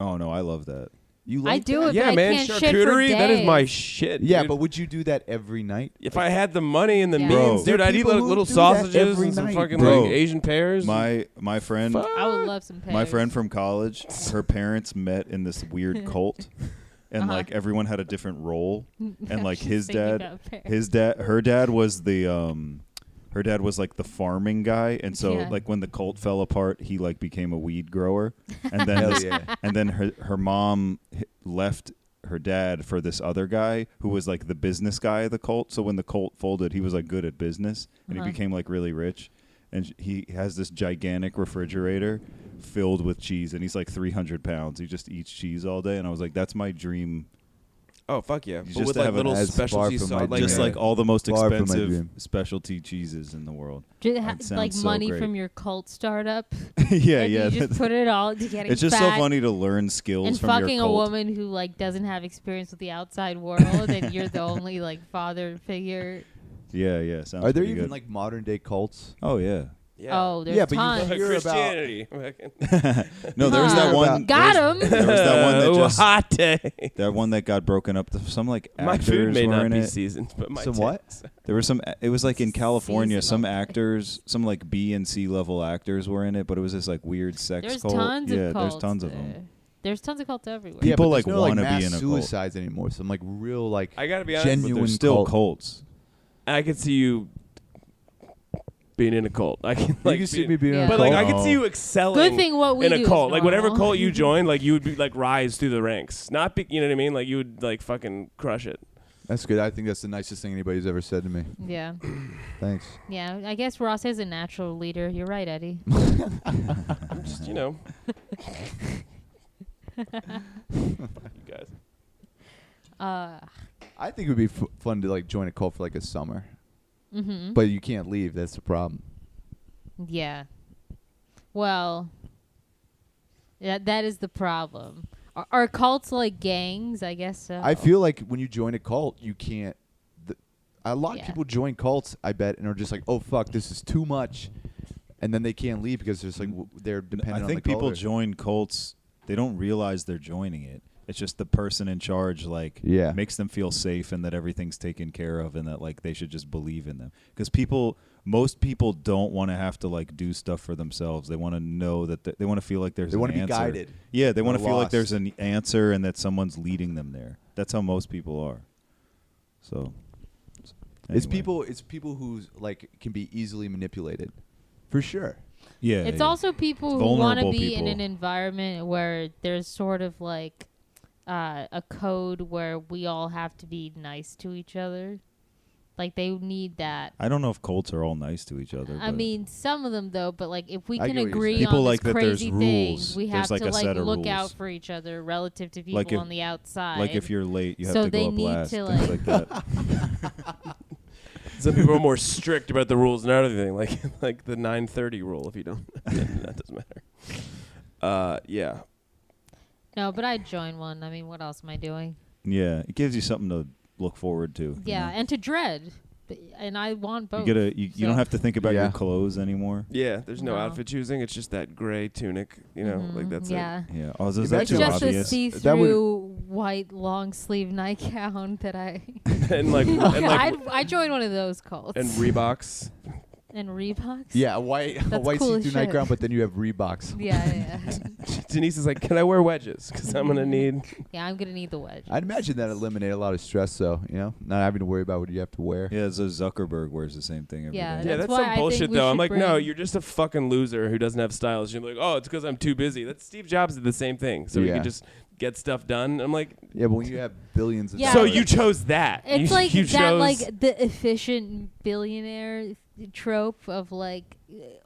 Speaker 4: oh no, I love that.
Speaker 6: You like
Speaker 5: I do
Speaker 6: that?
Speaker 5: it,
Speaker 3: yeah,
Speaker 5: but
Speaker 3: man,
Speaker 5: I can't shit for
Speaker 3: charcuterie. That is my
Speaker 5: days.
Speaker 3: shit.
Speaker 6: Yeah,
Speaker 3: dude.
Speaker 6: but would you do that every night?
Speaker 3: if I had the money and the
Speaker 5: Yeah.
Speaker 3: means,
Speaker 4: Bro.
Speaker 3: dude, I'd eat
Speaker 6: People
Speaker 3: like
Speaker 6: who
Speaker 3: little
Speaker 6: do that
Speaker 3: sausages
Speaker 6: every
Speaker 3: and some
Speaker 6: night.
Speaker 3: fucking
Speaker 4: Bro.
Speaker 3: like Asian pears.
Speaker 4: My my friend,
Speaker 5: I would love some pears.
Speaker 4: my friend from college, her parents met in this weird cult, and
Speaker 5: Uh-huh.
Speaker 4: like everyone had a different role, and like
Speaker 5: She's
Speaker 4: his
Speaker 5: thinking
Speaker 4: dad,
Speaker 5: about pears.
Speaker 4: his dad, her dad was the um, her dad was like the farming guy, and so
Speaker 5: Yeah.
Speaker 4: like when the cult fell apart, he like became a weed grower, and then
Speaker 6: Hell
Speaker 4: this-
Speaker 6: yeah.
Speaker 4: and then her her mom h- left her dad for this other guy who was like the business guy of the cult. So when the cult folded, he was like good at business and
Speaker 5: Uh-huh.
Speaker 4: he became like really rich. And sh- he has this gigantic refrigerator filled with cheese, and he's like 300 pounds. He just eats cheese all day. And I was like, that's my dream.
Speaker 3: oh fuck yeah,
Speaker 4: You
Speaker 3: but
Speaker 4: just
Speaker 3: with
Speaker 4: to
Speaker 3: like
Speaker 4: have an
Speaker 3: little
Speaker 6: as far
Speaker 3: specialty
Speaker 6: from
Speaker 3: sauce,
Speaker 6: my
Speaker 3: like
Speaker 4: just
Speaker 6: dream.
Speaker 4: like all the most
Speaker 6: Far from my
Speaker 4: expensive
Speaker 6: dream.
Speaker 4: specialty cheeses in the world.
Speaker 5: Ju- ha-
Speaker 4: That
Speaker 5: like
Speaker 4: sounds so
Speaker 5: money
Speaker 4: great.
Speaker 5: from your cult startup.
Speaker 4: yeah,
Speaker 5: and
Speaker 4: yeah.
Speaker 5: You just
Speaker 4: that's-
Speaker 5: put it all to getting
Speaker 4: it's just so
Speaker 5: fat
Speaker 4: funny to learn skills
Speaker 5: And
Speaker 4: from
Speaker 5: fucking
Speaker 4: your
Speaker 5: a
Speaker 4: cult.
Speaker 5: woman who like doesn't have experience with the outside world, and you're the only like father figure.
Speaker 4: Yeah, yeah. Sounds
Speaker 6: Are there
Speaker 4: pretty
Speaker 6: even
Speaker 4: good.
Speaker 6: like modern day cults?
Speaker 4: Oh yeah.
Speaker 3: yeah.
Speaker 5: Oh, there's
Speaker 6: Yeah, but you
Speaker 5: tons.
Speaker 6: hear about-
Speaker 3: Christianity. Fucking-
Speaker 4: No, there was
Speaker 5: Huh.
Speaker 4: that one.
Speaker 5: Got him.
Speaker 4: There was that one that
Speaker 3: Uh,
Speaker 4: just
Speaker 3: hot day.
Speaker 4: that one that got broken up. Some like actors
Speaker 3: My food may
Speaker 4: were
Speaker 3: not
Speaker 4: in
Speaker 3: be
Speaker 4: it.
Speaker 3: seasoned, but my
Speaker 6: Some what?
Speaker 3: tits-
Speaker 4: There were some. It was like in California. Some
Speaker 5: Seasonal.
Speaker 4: actors, some like B and C level actors were in it, but it was this like weird sex
Speaker 5: There's
Speaker 4: cult.
Speaker 5: tons
Speaker 4: yeah,
Speaker 5: of cults.
Speaker 4: there's tons of
Speaker 5: there.
Speaker 4: them.
Speaker 5: There's tons of cults everywhere.
Speaker 4: Yeah, People,
Speaker 6: but there's
Speaker 4: like,
Speaker 6: no,
Speaker 4: wanna be
Speaker 6: mass
Speaker 4: in a cult.
Speaker 6: suicides anymore. Some like real like
Speaker 3: I gotta be honest.
Speaker 4: But
Speaker 6: genuine
Speaker 4: they're still
Speaker 6: cult.
Speaker 4: cults.
Speaker 3: I could see you being in a cult. I can like,
Speaker 6: you can see
Speaker 3: being-
Speaker 6: me being,
Speaker 5: Yeah.
Speaker 6: a
Speaker 3: but like I
Speaker 4: cult.
Speaker 3: could see you excelling.
Speaker 5: Good thing what we
Speaker 3: in
Speaker 5: do
Speaker 3: a
Speaker 5: is
Speaker 3: cult, like whatever
Speaker 5: normal.
Speaker 3: cult you join, like you would be like rise through the ranks. Not be, you know what I mean? Like you would like fucking crush it.
Speaker 6: That's good. I think that's the nicest thing anybody's ever said to me.
Speaker 5: Yeah,
Speaker 6: Thanks.
Speaker 5: yeah. I guess Ross is a natural leader. You're right, Eddie.
Speaker 3: Just you know. you guys.
Speaker 5: Uh,
Speaker 6: I think it would be f- fun to like join a cult for like a summer,
Speaker 5: hmm
Speaker 6: but you can't leave. That's the problem.
Speaker 5: Yeah. Well, that that is the problem. Are, are cults like gangs? I guess so.
Speaker 6: I feel like when you join a cult, you can't. Th- a lot
Speaker 5: Yeah.
Speaker 6: of people join cults, I bet, and are just like, "Oh fuck, this is too much," and then they can't leave because there's like w- they're dependent.
Speaker 4: I
Speaker 6: on
Speaker 4: think
Speaker 6: the
Speaker 4: people
Speaker 6: cult or-
Speaker 4: join cults. They don't realize they're joining it. It's just the person in charge, like,
Speaker 6: Yeah.
Speaker 4: makes them feel safe and that everything's taken care of and that like they should just believe in them. Because people, most people don't want to have to like do stuff for themselves. They want to know that th- they want to feel like there's
Speaker 6: They
Speaker 4: an
Speaker 6: wanna be
Speaker 4: answer.
Speaker 6: guided.
Speaker 4: Yeah, they want to
Speaker 6: They're
Speaker 4: feel like
Speaker 6: lost.
Speaker 4: there's an answer and that someone's leading them there. That's how most people are. So,
Speaker 6: It's
Speaker 4: anyway.
Speaker 6: people. It's people who like can be easily manipulated, for sure.
Speaker 4: Yeah,
Speaker 5: it's
Speaker 4: yeah.
Speaker 5: also people who want to
Speaker 4: Vulnerable
Speaker 5: be in an
Speaker 4: people.
Speaker 5: environment where there's sort of like uh, a code where we all have to be nice to each other. Like they need that.
Speaker 4: I don't know if cults are all nice to each other.
Speaker 5: I
Speaker 4: but-
Speaker 5: mean, some of them though, but like if we
Speaker 6: I
Speaker 5: can
Speaker 6: get what you're
Speaker 5: agree
Speaker 4: saying. People
Speaker 5: on
Speaker 4: like
Speaker 5: this
Speaker 4: that there's
Speaker 5: crazy
Speaker 4: rules.
Speaker 5: thing, we
Speaker 4: There's,
Speaker 5: have
Speaker 4: like,
Speaker 5: to
Speaker 4: a
Speaker 5: like
Speaker 4: set of
Speaker 5: look
Speaker 4: rules.
Speaker 5: out for each other relative to people
Speaker 4: Like if-
Speaker 5: on the outside.
Speaker 4: like if you're late, you have
Speaker 5: So
Speaker 4: to
Speaker 5: they
Speaker 4: go up
Speaker 5: need
Speaker 4: last,
Speaker 5: to,
Speaker 4: things
Speaker 5: like-
Speaker 4: like that.
Speaker 3: Some people are more strict about the rules and everything, like like the 9:30 rule. If you don't, then that doesn't matter. Uh, yeah.
Speaker 5: no, but I'd join one. I mean, what else am I doing?
Speaker 4: Yeah, it gives you something to look forward to. you
Speaker 5: Yeah,
Speaker 4: know?
Speaker 5: and to dread, But- and I want
Speaker 4: Mm-hmm. you,
Speaker 5: both.
Speaker 4: get a you, you
Speaker 5: so-
Speaker 4: don't have to think about
Speaker 6: Yeah.
Speaker 4: your clothes anymore.
Speaker 3: Yeah, there's no,
Speaker 5: No.
Speaker 3: outfit choosing. It's just that gray tunic, you know, like
Speaker 5: Mhm,
Speaker 3: that's it.
Speaker 5: yeah.
Speaker 4: Yeah, oh, is,
Speaker 6: That's
Speaker 4: is that
Speaker 5: It's
Speaker 4: too
Speaker 5: just a
Speaker 4: obvious?
Speaker 5: see-through white long sleeve nightgown that I.
Speaker 3: and like and like
Speaker 5: I'd, I joined one of those cults
Speaker 3: and Reeboks.
Speaker 5: and Reeboks.
Speaker 6: Yeah, a white a
Speaker 5: That's
Speaker 6: white
Speaker 5: cool as
Speaker 6: see-through
Speaker 5: shit.
Speaker 6: nightgown, but then you have Reeboks.
Speaker 5: Yeah, yeah, yeah.
Speaker 3: Denise is like, "Can I wear wedges? Because I'm gonna need."
Speaker 5: Yeah, I'm gonna need the wedge.
Speaker 6: I'd imagine that eliminate a lot of stress, though. You know, not having to worry about what you have to wear.
Speaker 4: yeah, so Zuckerberg wears the same thing every day.
Speaker 5: Yeah,
Speaker 3: Yeah,
Speaker 5: That's
Speaker 3: that's,
Speaker 5: why I
Speaker 3: some
Speaker 5: think
Speaker 3: bullshit
Speaker 5: we
Speaker 3: though. I'm
Speaker 5: should
Speaker 3: like, no,
Speaker 5: bring-
Speaker 3: you're just a fucking loser who doesn't have styles. You're like, oh, it's because I'm too busy. That's Steve Jobs did the same thing, so he
Speaker 6: Yeah.
Speaker 3: could just get stuff done. I'm like,
Speaker 6: Yeah, but when you have billions of
Speaker 5: Yeah.
Speaker 3: so
Speaker 6: dollars-
Speaker 3: you chose that.
Speaker 5: It's
Speaker 3: You-
Speaker 5: like
Speaker 3: you
Speaker 5: that,
Speaker 3: chose-
Speaker 5: like the efficient billionaire trope of like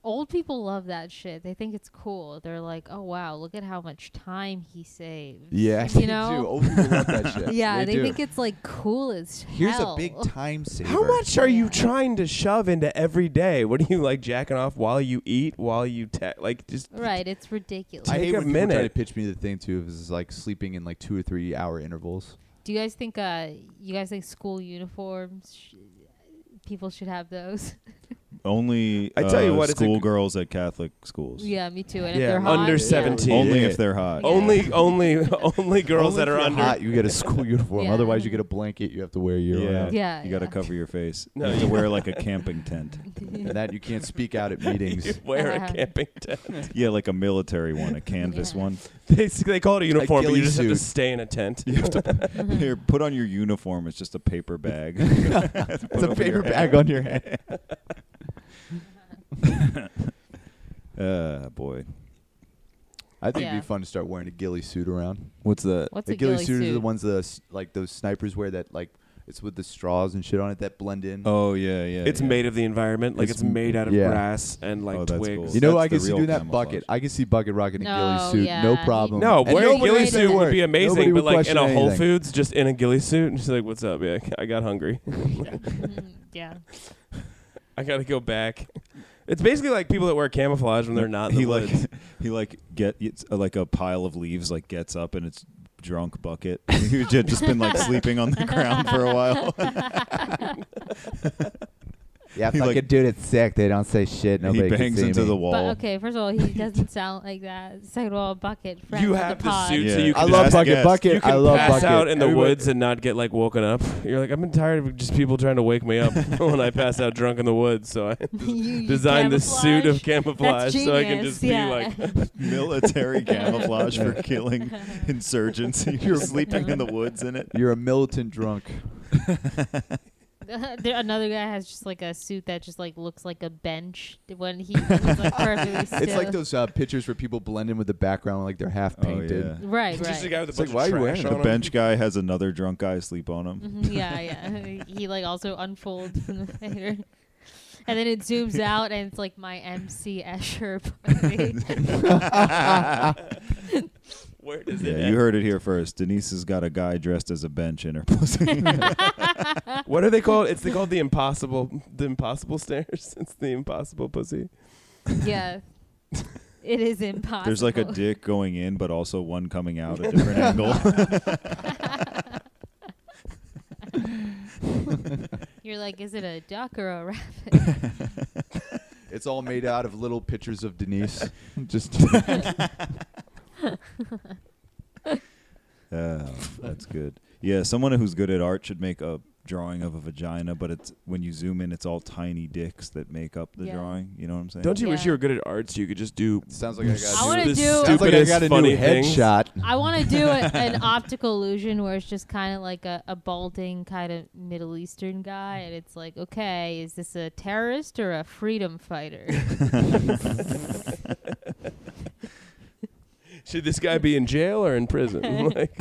Speaker 5: old people love that shit. They think it's cool. They're like, oh wow, look at how much time he saved.
Speaker 6: yeah,
Speaker 5: you
Speaker 6: they
Speaker 5: know?
Speaker 6: do. Old people love that shit.
Speaker 5: Yeah,
Speaker 6: they,
Speaker 5: they,
Speaker 6: do.
Speaker 5: think it's like cool as
Speaker 6: Here's
Speaker 5: hell.
Speaker 6: a big time saver.
Speaker 3: How much are
Speaker 5: Yeah.
Speaker 3: you trying to shove into every day? What are you like jacking off while you eat, while you te- like just
Speaker 5: Right, it's ridiculous.
Speaker 6: I
Speaker 3: Take
Speaker 6: hate
Speaker 3: a
Speaker 6: when people try to
Speaker 3: minute.
Speaker 6: pitch me the thing too. Is like sleeping in like two or three hour intervals.
Speaker 5: Do you guys think uh you guys think school uniforms sh- people should have those?
Speaker 4: only
Speaker 3: I tell you
Speaker 4: uh,
Speaker 3: what, it's a-
Speaker 4: schoolgirls at Catholic schools.
Speaker 5: Yeah, me too. And
Speaker 6: Yeah,
Speaker 5: if they're hot,
Speaker 3: under
Speaker 5: yeah.
Speaker 3: 17.
Speaker 4: Only
Speaker 6: Yeah.
Speaker 4: if they're hot.
Speaker 5: Yeah.
Speaker 3: Only, only, only girls
Speaker 6: Only
Speaker 3: that
Speaker 6: if
Speaker 3: are
Speaker 6: you're
Speaker 3: under.
Speaker 6: hot, you get a school uniform.
Speaker 5: Yeah.
Speaker 6: Otherwise, you get a blanket you have to wear year
Speaker 4: Yeah.
Speaker 6: round.
Speaker 5: Yeah,
Speaker 4: You got to
Speaker 5: yeah.
Speaker 4: cover your face.
Speaker 3: No,
Speaker 4: you have
Speaker 3: you-
Speaker 4: to wear like a camping tent.
Speaker 6: And that you can't speak out at
Speaker 3: You
Speaker 6: meetings.
Speaker 3: wear a
Speaker 5: Uh-huh.
Speaker 3: camping tent.
Speaker 4: Yeah, like a military one, a canvas
Speaker 5: Yeah.
Speaker 4: one.
Speaker 3: They, s- they call it a uniform, but
Speaker 6: ghillie
Speaker 3: you just have to
Speaker 6: suit.
Speaker 3: stay in a tent.
Speaker 4: You have to here, put on your uniform. It's just a paper bag. it's
Speaker 6: It's a paper bag on your head.
Speaker 4: Uh, boy.
Speaker 6: I think
Speaker 5: Yeah.
Speaker 6: it'd be fun to start wearing a ghillie suit around.
Speaker 4: What's that?
Speaker 5: What's
Speaker 6: the
Speaker 5: a
Speaker 6: ghillie,
Speaker 5: ghillie
Speaker 6: suits are the
Speaker 5: suit?
Speaker 6: ones the s- like those snipers wear that like it's with the straws and shit on it that blend in.
Speaker 4: Oh yeah, yeah.
Speaker 3: It's
Speaker 4: yeah.
Speaker 3: made of the environment, like it's,
Speaker 4: It's-
Speaker 3: made out of
Speaker 6: yeah.
Speaker 3: grass and like
Speaker 4: Oh, that's
Speaker 3: twigs.
Speaker 6: you
Speaker 4: cool.
Speaker 6: know,
Speaker 4: That's
Speaker 6: I can
Speaker 4: the
Speaker 6: see
Speaker 4: real
Speaker 6: doing that
Speaker 4: camouflage.
Speaker 6: bucket. I can see bucket rocking a
Speaker 5: No,
Speaker 6: ghillie suit, no
Speaker 5: yeah,
Speaker 6: problem.
Speaker 3: No,
Speaker 6: And
Speaker 3: wearing a
Speaker 6: nobody
Speaker 3: ghillie
Speaker 6: would
Speaker 5: did
Speaker 3: suit
Speaker 5: that.
Speaker 3: would be
Speaker 6: Nobody
Speaker 3: amazing, but
Speaker 6: would
Speaker 3: like in
Speaker 6: question
Speaker 3: a Whole
Speaker 6: anything.
Speaker 3: Foods, just in a ghillie suit, and she's like, "What's up? Yeah, I got hungry.
Speaker 5: yeah.
Speaker 3: I gotta go back." It's basically like people that wear camouflage when they're not. In the
Speaker 4: he like
Speaker 3: woods.
Speaker 4: he like get it's uh, like a pile of leaves like gets up and it's drunk bucket. he had just been like sleeping on the ground for a while.
Speaker 6: Yeah,
Speaker 4: He,
Speaker 6: fucking
Speaker 4: like-
Speaker 6: dude, it's sick. They don't say shit.
Speaker 4: And
Speaker 6: Nobody
Speaker 4: he bangs
Speaker 6: can see
Speaker 4: into
Speaker 6: me.
Speaker 4: the wall.
Speaker 5: But okay, first of all, he doesn't sound like that. Second of all, bucket. Friend
Speaker 3: you
Speaker 5: of
Speaker 3: have
Speaker 5: the
Speaker 3: the
Speaker 5: pod.
Speaker 3: suit,
Speaker 4: Yeah.
Speaker 3: so you
Speaker 6: I
Speaker 3: can
Speaker 6: love
Speaker 3: just-
Speaker 6: bucket
Speaker 4: guessed.
Speaker 6: bucket.
Speaker 3: You can
Speaker 6: I love
Speaker 3: pass
Speaker 6: bucket.
Speaker 3: out in the
Speaker 6: Everybody-
Speaker 3: woods and not get like woken up. You're like, I've been tired of just people trying to wake me up when I pass out drunk in the woods. So I
Speaker 5: You- you
Speaker 3: designed this suit of
Speaker 5: camouflage.
Speaker 3: camouflage so I can
Speaker 5: genius,
Speaker 3: just be
Speaker 5: yeah.
Speaker 3: like,
Speaker 4: Military camouflage for killing insurgents. You're sleeping in the woods in it.
Speaker 6: You're a militant drunk.
Speaker 5: there, another guy has just like a suit that just like looks like a bench when he when he's like perfectly still.
Speaker 6: It's like those uh, pictures where people blend in with the background like they're half
Speaker 4: Oh,
Speaker 6: painted.
Speaker 4: yeah.
Speaker 5: right,
Speaker 3: just a
Speaker 5: right.
Speaker 3: guy with a
Speaker 6: It's like,
Speaker 3: bunch
Speaker 6: why
Speaker 3: of
Speaker 6: are you
Speaker 3: trash on
Speaker 6: wearing it?
Speaker 4: The
Speaker 3: him.
Speaker 4: bench guy has another drunk guy sleep on
Speaker 3: Mm-hmm.
Speaker 4: him.
Speaker 5: Mhm, yeah, yeah. he like also unfolds in the later. And then it zooms out and it's like my MC Escher.
Speaker 3: Where does it?
Speaker 4: Yeah,
Speaker 3: end?
Speaker 4: you heard it here first. Denise has got a guy dressed as a bench in her pussy.
Speaker 3: What are they called? It's they called the impossible, the impossible stairs. It's the impossible pussy.
Speaker 5: yeah. It is impossible.
Speaker 4: There's like a dick going in, but also one coming out at different angle.
Speaker 5: You're like, is it a duck or a rabbit?
Speaker 6: It's all made out of little pictures of Denise. Just
Speaker 4: Oh, that's good. Yeah, someone who's good at art should make a drawing of a vagina, but it's when you zoom in, it's all tiny dicks that make up the
Speaker 5: Yeah.
Speaker 4: drawing. You know what I'm saying?
Speaker 3: Don't you wish
Speaker 5: Yeah.
Speaker 3: you were good at arts? You could just do.
Speaker 6: sounds like I got. a
Speaker 5: I
Speaker 6: new-
Speaker 5: wanna
Speaker 3: the
Speaker 5: do-
Speaker 6: Sounds like I
Speaker 3: stupidest
Speaker 6: got a
Speaker 3: funny
Speaker 6: new
Speaker 3: things.
Speaker 6: headshot.
Speaker 5: I want to do a, an optical illusion where it's just kind of like a, a balding kind of Middle Eastern guy, and it's like, okay, is this a terrorist or a freedom fighter?
Speaker 3: Should this guy be in jail or in prison? Like,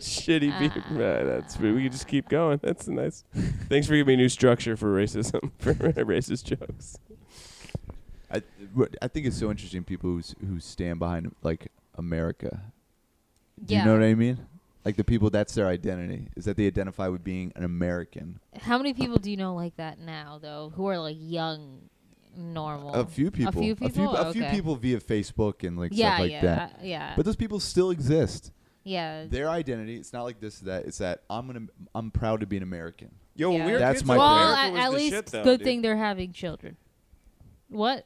Speaker 3: should he
Speaker 5: Uh.
Speaker 3: be? Right, that's we could just keep going. That's a nice. Thanks for giving me a new structure for racism for racist jokes.
Speaker 6: I, I think it's so interesting people who s- who stand behind like America. Do
Speaker 5: yeah.
Speaker 6: you know what I mean? Like the people that's their identity is that they identify with being an American.
Speaker 5: How many people do you know like that now, though, who are like young, normal?
Speaker 6: A few people.
Speaker 5: A few
Speaker 6: A few,
Speaker 5: people.
Speaker 6: a few
Speaker 5: Okay.
Speaker 6: people via Facebook and like
Speaker 5: Yeah,
Speaker 6: stuff like
Speaker 5: yeah,
Speaker 6: that.
Speaker 5: uh, yeah.
Speaker 6: But those people still exist.
Speaker 5: yeah.
Speaker 6: Their identity, it's not like this or that, it's that I'm gonna I'm proud to be an American.
Speaker 3: Yo,
Speaker 5: when Yeah. we were
Speaker 6: That's kids, my
Speaker 5: Well,
Speaker 6: America
Speaker 5: at, at least good thing they're having children. What?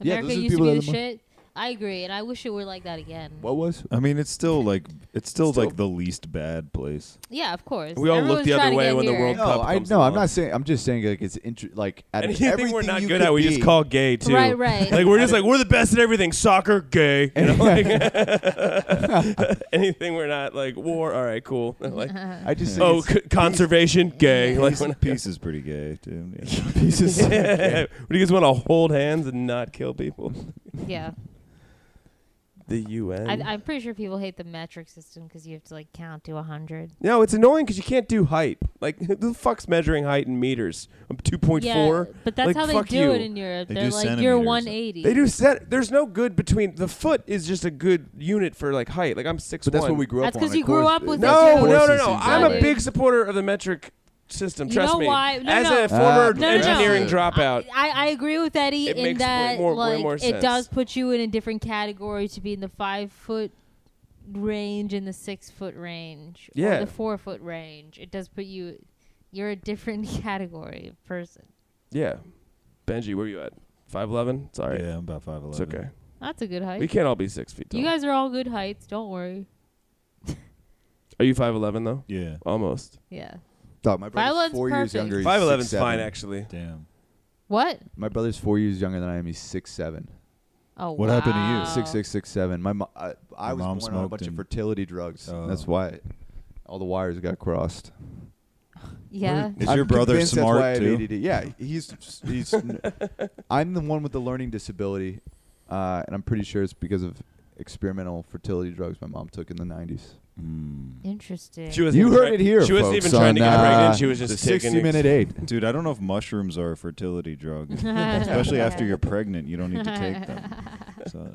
Speaker 6: Yeah,
Speaker 5: America
Speaker 6: those are the
Speaker 5: used to
Speaker 6: people
Speaker 5: be the
Speaker 6: that are the
Speaker 5: shit. I agree, and I wish it were like that again.
Speaker 6: What was
Speaker 4: I mean, it's still like it's still,
Speaker 3: Still-
Speaker 4: like the least bad place.
Speaker 5: Yeah, of course.
Speaker 3: We all look
Speaker 5: Everyone's
Speaker 3: the other
Speaker 5: trying to
Speaker 3: way
Speaker 5: get
Speaker 3: when the
Speaker 5: here.
Speaker 3: world
Speaker 6: no,
Speaker 3: Cup
Speaker 6: I
Speaker 3: comes
Speaker 6: no, I'm
Speaker 3: along.
Speaker 6: not saying I'm just saying like it's inter- like out of
Speaker 3: Anything
Speaker 6: everything
Speaker 3: we're not
Speaker 6: you
Speaker 3: good
Speaker 6: could
Speaker 3: at, we just
Speaker 6: be-
Speaker 3: call gay too.
Speaker 5: Right, right.
Speaker 3: Like we're just like we're the best at everything. Soccer, gay. You know, like, anything we're not like war. All right, cool. Like
Speaker 6: I just think
Speaker 3: oh,
Speaker 6: it's-
Speaker 3: c- conservation, gay. Like
Speaker 4: Peace,
Speaker 3: when,
Speaker 4: Peace is pretty gay too. Yeah.
Speaker 6: pieces.
Speaker 3: yeah. What do you guys want to hold hands and not kill people?
Speaker 5: Yeah,
Speaker 3: The UN.
Speaker 5: I, I'm pretty sure people hate the metric system because you have to like count to a hundred.
Speaker 3: no, it's annoying because you can't do height. Like who the fuck's measuring height in meters? I'm two point
Speaker 5: yeah,
Speaker 3: four.
Speaker 5: but that's
Speaker 3: Like,
Speaker 5: how they
Speaker 3: fuck
Speaker 5: do
Speaker 3: you.
Speaker 5: it in Europe.
Speaker 4: They do
Speaker 5: are like you're
Speaker 4: centimeters.
Speaker 5: 180.
Speaker 3: They do set. There's no good between the foot is just a good unit for like height. Like I'm six.
Speaker 6: But that's what we grew up
Speaker 5: That's
Speaker 6: on.
Speaker 5: 'cause
Speaker 6: of
Speaker 5: you grew
Speaker 6: course.
Speaker 5: up with
Speaker 6: That's
Speaker 3: No,
Speaker 5: Of
Speaker 6: what
Speaker 3: no,
Speaker 5: course
Speaker 3: no,
Speaker 6: it
Speaker 3: no.
Speaker 6: seems
Speaker 3: I'm
Speaker 6: like.
Speaker 3: a
Speaker 5: dude.
Speaker 3: big supporter of the metric system.
Speaker 5: You
Speaker 3: Trust
Speaker 5: know
Speaker 3: me.
Speaker 5: why- no,
Speaker 3: As
Speaker 5: no.
Speaker 3: a former
Speaker 6: Uh, No,
Speaker 5: no, no.
Speaker 3: engineering dropout,
Speaker 5: I, I agree with Eddie
Speaker 3: It
Speaker 5: in
Speaker 3: makes way
Speaker 5: that
Speaker 3: more- way
Speaker 5: like
Speaker 3: more
Speaker 5: it
Speaker 3: sense.
Speaker 5: does put you in a different category to be in the five foot range in the six foot range
Speaker 3: Yeah.
Speaker 5: or the four foot range, it does put you. You're a different category of person.
Speaker 3: Yeah. Benji, where you at? Five eleven? It's all right.
Speaker 4: Yeah, I'm about five eleven.
Speaker 3: It's okay.
Speaker 5: That's a good
Speaker 3: We
Speaker 5: height.
Speaker 3: can't all be six feet tall.
Speaker 5: You guys are all good heights. Don't worry.
Speaker 3: Are you five eleven though?
Speaker 4: Yeah,
Speaker 3: Almost.
Speaker 5: Yeah.
Speaker 6: Dog, my brother's
Speaker 5: Violin's
Speaker 6: four
Speaker 5: perfect.
Speaker 6: years younger. He's
Speaker 3: Five eleven's
Speaker 6: 6'7".
Speaker 3: fine actually.
Speaker 4: damn.
Speaker 5: What?
Speaker 6: My brother's four years younger than I am. He's six seven.
Speaker 5: Oh,
Speaker 4: What happened to you?
Speaker 5: wow.
Speaker 6: Six six six seven. My mo- I, I
Speaker 4: Your
Speaker 6: was
Speaker 4: mom
Speaker 6: born on a
Speaker 4: smoked
Speaker 6: bunch of
Speaker 4: and-
Speaker 6: fertility drugs.
Speaker 4: Oh.
Speaker 6: That's why all the wires got crossed.
Speaker 5: Yeah.
Speaker 4: Is
Speaker 6: I'm
Speaker 4: your brother
Speaker 6: convinced that's
Speaker 4: smart
Speaker 6: why I have
Speaker 4: too?
Speaker 6: ADD. Yeah, he's he's. I'm the one with the learning disability, uh, and I'm pretty sure it's because of experimental fertility drugs my mom took in the 90s.
Speaker 4: Mm.
Speaker 5: Interesting.
Speaker 3: She wasn't
Speaker 6: You
Speaker 3: even
Speaker 6: heard
Speaker 3: try-
Speaker 6: it here.
Speaker 3: She wasn't
Speaker 6: folks,
Speaker 3: even trying to
Speaker 6: on,
Speaker 3: get
Speaker 6: uh,
Speaker 3: pregnant. She was
Speaker 6: the
Speaker 3: just
Speaker 6: 60
Speaker 3: taking ex-
Speaker 6: minute aid.
Speaker 4: Dude, I don't know if mushrooms are a fertility drug, especially after you're pregnant. You don't need to take them. So,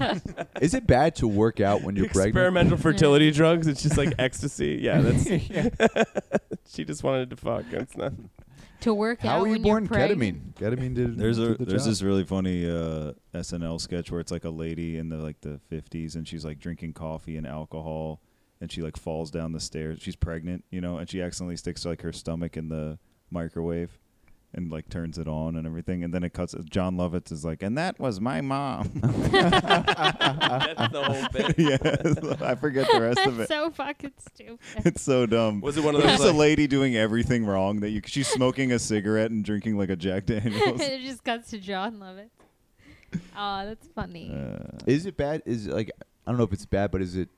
Speaker 4: uh,
Speaker 6: Is it bad to work out when you're pregnant?
Speaker 3: experimental fertility drugs. It's just like ecstasy. Yeah, that's. she just wanted to fuck. It's not.
Speaker 5: to work out.
Speaker 6: How were you
Speaker 5: when you're
Speaker 6: born ketamine?
Speaker 5: pregnant.
Speaker 6: Ketamine did.
Speaker 4: There's a
Speaker 6: did the
Speaker 4: there's
Speaker 6: job.
Speaker 4: this really funny uh, SNL sketch where it's like a lady in the like the 50s and she's like drinking coffee and alcohol and she like falls down the stairs. She's pregnant, you know, and she accidentally sticks like her stomach in the microwave and like turns it on and everything. And then it cuts. John Lovitz is like, and that was my mom.
Speaker 8: That's the whole bit.
Speaker 4: yeah, I forget the rest of
Speaker 5: That's
Speaker 4: it.
Speaker 5: so fucking stupid.
Speaker 4: It's so dumb.
Speaker 8: Was it one of
Speaker 4: There's
Speaker 8: those
Speaker 4: a
Speaker 8: like,
Speaker 4: lady doing everything wrong that you. She's smoking a cigarette and drinking like a Jack Daniels.
Speaker 5: it just cuts to John Lovett. Oh, that's funny.
Speaker 4: Uh,
Speaker 6: Is it bad? Is it like I don't know if it's bad, but is it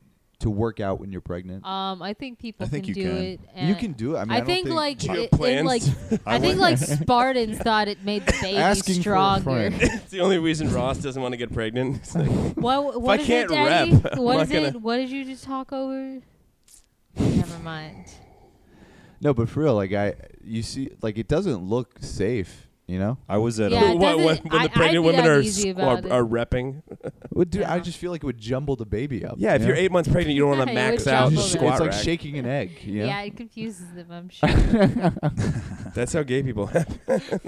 Speaker 6: to work out when you're pregnant?
Speaker 5: um, I think people
Speaker 4: I think
Speaker 5: can
Speaker 4: you
Speaker 5: do
Speaker 4: can.
Speaker 5: it.
Speaker 6: you
Speaker 5: and-
Speaker 6: can do it. I mean,
Speaker 5: eh, I,
Speaker 6: I, don't
Speaker 5: think,
Speaker 6: think
Speaker 5: like
Speaker 3: you have
Speaker 5: it, it
Speaker 3: plans?
Speaker 5: like
Speaker 4: I
Speaker 5: I think
Speaker 4: would-
Speaker 5: like Spartans thought it made the baby
Speaker 6: Asking for a
Speaker 5: stronger.
Speaker 6: friend.
Speaker 3: it's the only reason Ross doesn't want to get pregnant. It's like,
Speaker 5: What what
Speaker 3: I
Speaker 5: is
Speaker 3: can't
Speaker 5: it, Daddy?
Speaker 3: rep, I'm
Speaker 5: What
Speaker 3: not
Speaker 5: is it?
Speaker 3: gonna-
Speaker 5: What did you just talk over? Never mind.
Speaker 6: no, but for real, like I, you see, like it doesn't look safe. You know,
Speaker 4: I was at uh, a
Speaker 5: Yeah, it
Speaker 3: What, when,
Speaker 5: doesn't-
Speaker 3: when the
Speaker 5: I- I'd
Speaker 3: pregnant
Speaker 5: be
Speaker 3: women are,
Speaker 5: uneasy
Speaker 3: squ-
Speaker 5: about it.
Speaker 3: are, are repping.
Speaker 6: well, dude, I
Speaker 5: Yeah.
Speaker 6: just feel like it would jumble the baby up.
Speaker 3: Yeah, if
Speaker 6: you
Speaker 3: you're
Speaker 6: know?
Speaker 3: eight months pregnant, you don't want
Speaker 5: Yeah,
Speaker 3: to
Speaker 5: you
Speaker 3: max
Speaker 5: would
Speaker 3: out
Speaker 5: jump
Speaker 3: your
Speaker 5: over.
Speaker 6: it's
Speaker 3: squat
Speaker 6: like
Speaker 3: rack.
Speaker 6: shaking an egg. You know?
Speaker 5: Yeah, it confuses them. I'm sure.
Speaker 3: That's how gay people.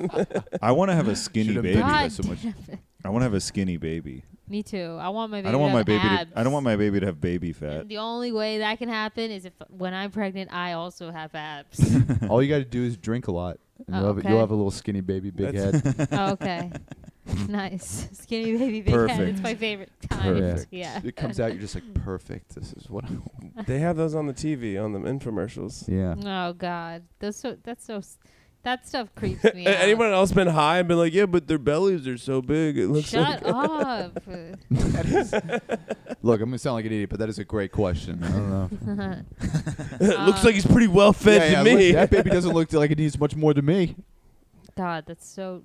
Speaker 4: I want to have a skinny
Speaker 6: Should've
Speaker 4: baby.
Speaker 6: done
Speaker 5: God
Speaker 6: so much.
Speaker 5: damn it.
Speaker 4: I want to have a skinny baby.
Speaker 5: Me too. I want my baby.
Speaker 4: I don't want
Speaker 5: to
Speaker 4: my
Speaker 5: have
Speaker 4: baby.
Speaker 5: Abs.
Speaker 4: To, I don't want my baby to have baby fat.
Speaker 5: And The only way that can happen is if when I'm pregnant, I also have abs.
Speaker 6: All you got to do is drink a lot. And
Speaker 5: Oh,
Speaker 6: you'll, have,
Speaker 5: okay.
Speaker 6: you'll have a little skinny baby, big head.
Speaker 5: Oh, okay. Nice. Skinny baby big head.
Speaker 4: Perfect.
Speaker 5: It's my favorite kind.
Speaker 6: Perfect.
Speaker 5: Yeah.
Speaker 6: It comes out, you're just like perfect. This is what. I want.
Speaker 3: they have those on the TV on the infomercials.
Speaker 6: Yeah.
Speaker 5: Oh God. That's so that's so s- that stuff creeps me
Speaker 3: A-
Speaker 5: out.
Speaker 3: Anyone else been high and been like, yeah, but their bellies are so big. It looks
Speaker 5: Shut
Speaker 3: like.
Speaker 5: up.
Speaker 6: That is- look, I'm gonna sound like an idiot, but that is a great question. I don't know.
Speaker 3: it looks like he's pretty well fed
Speaker 6: yeah,
Speaker 3: to
Speaker 6: yeah,
Speaker 3: me.
Speaker 6: look, that baby doesn't look like it needs much more than me.
Speaker 5: God, that's so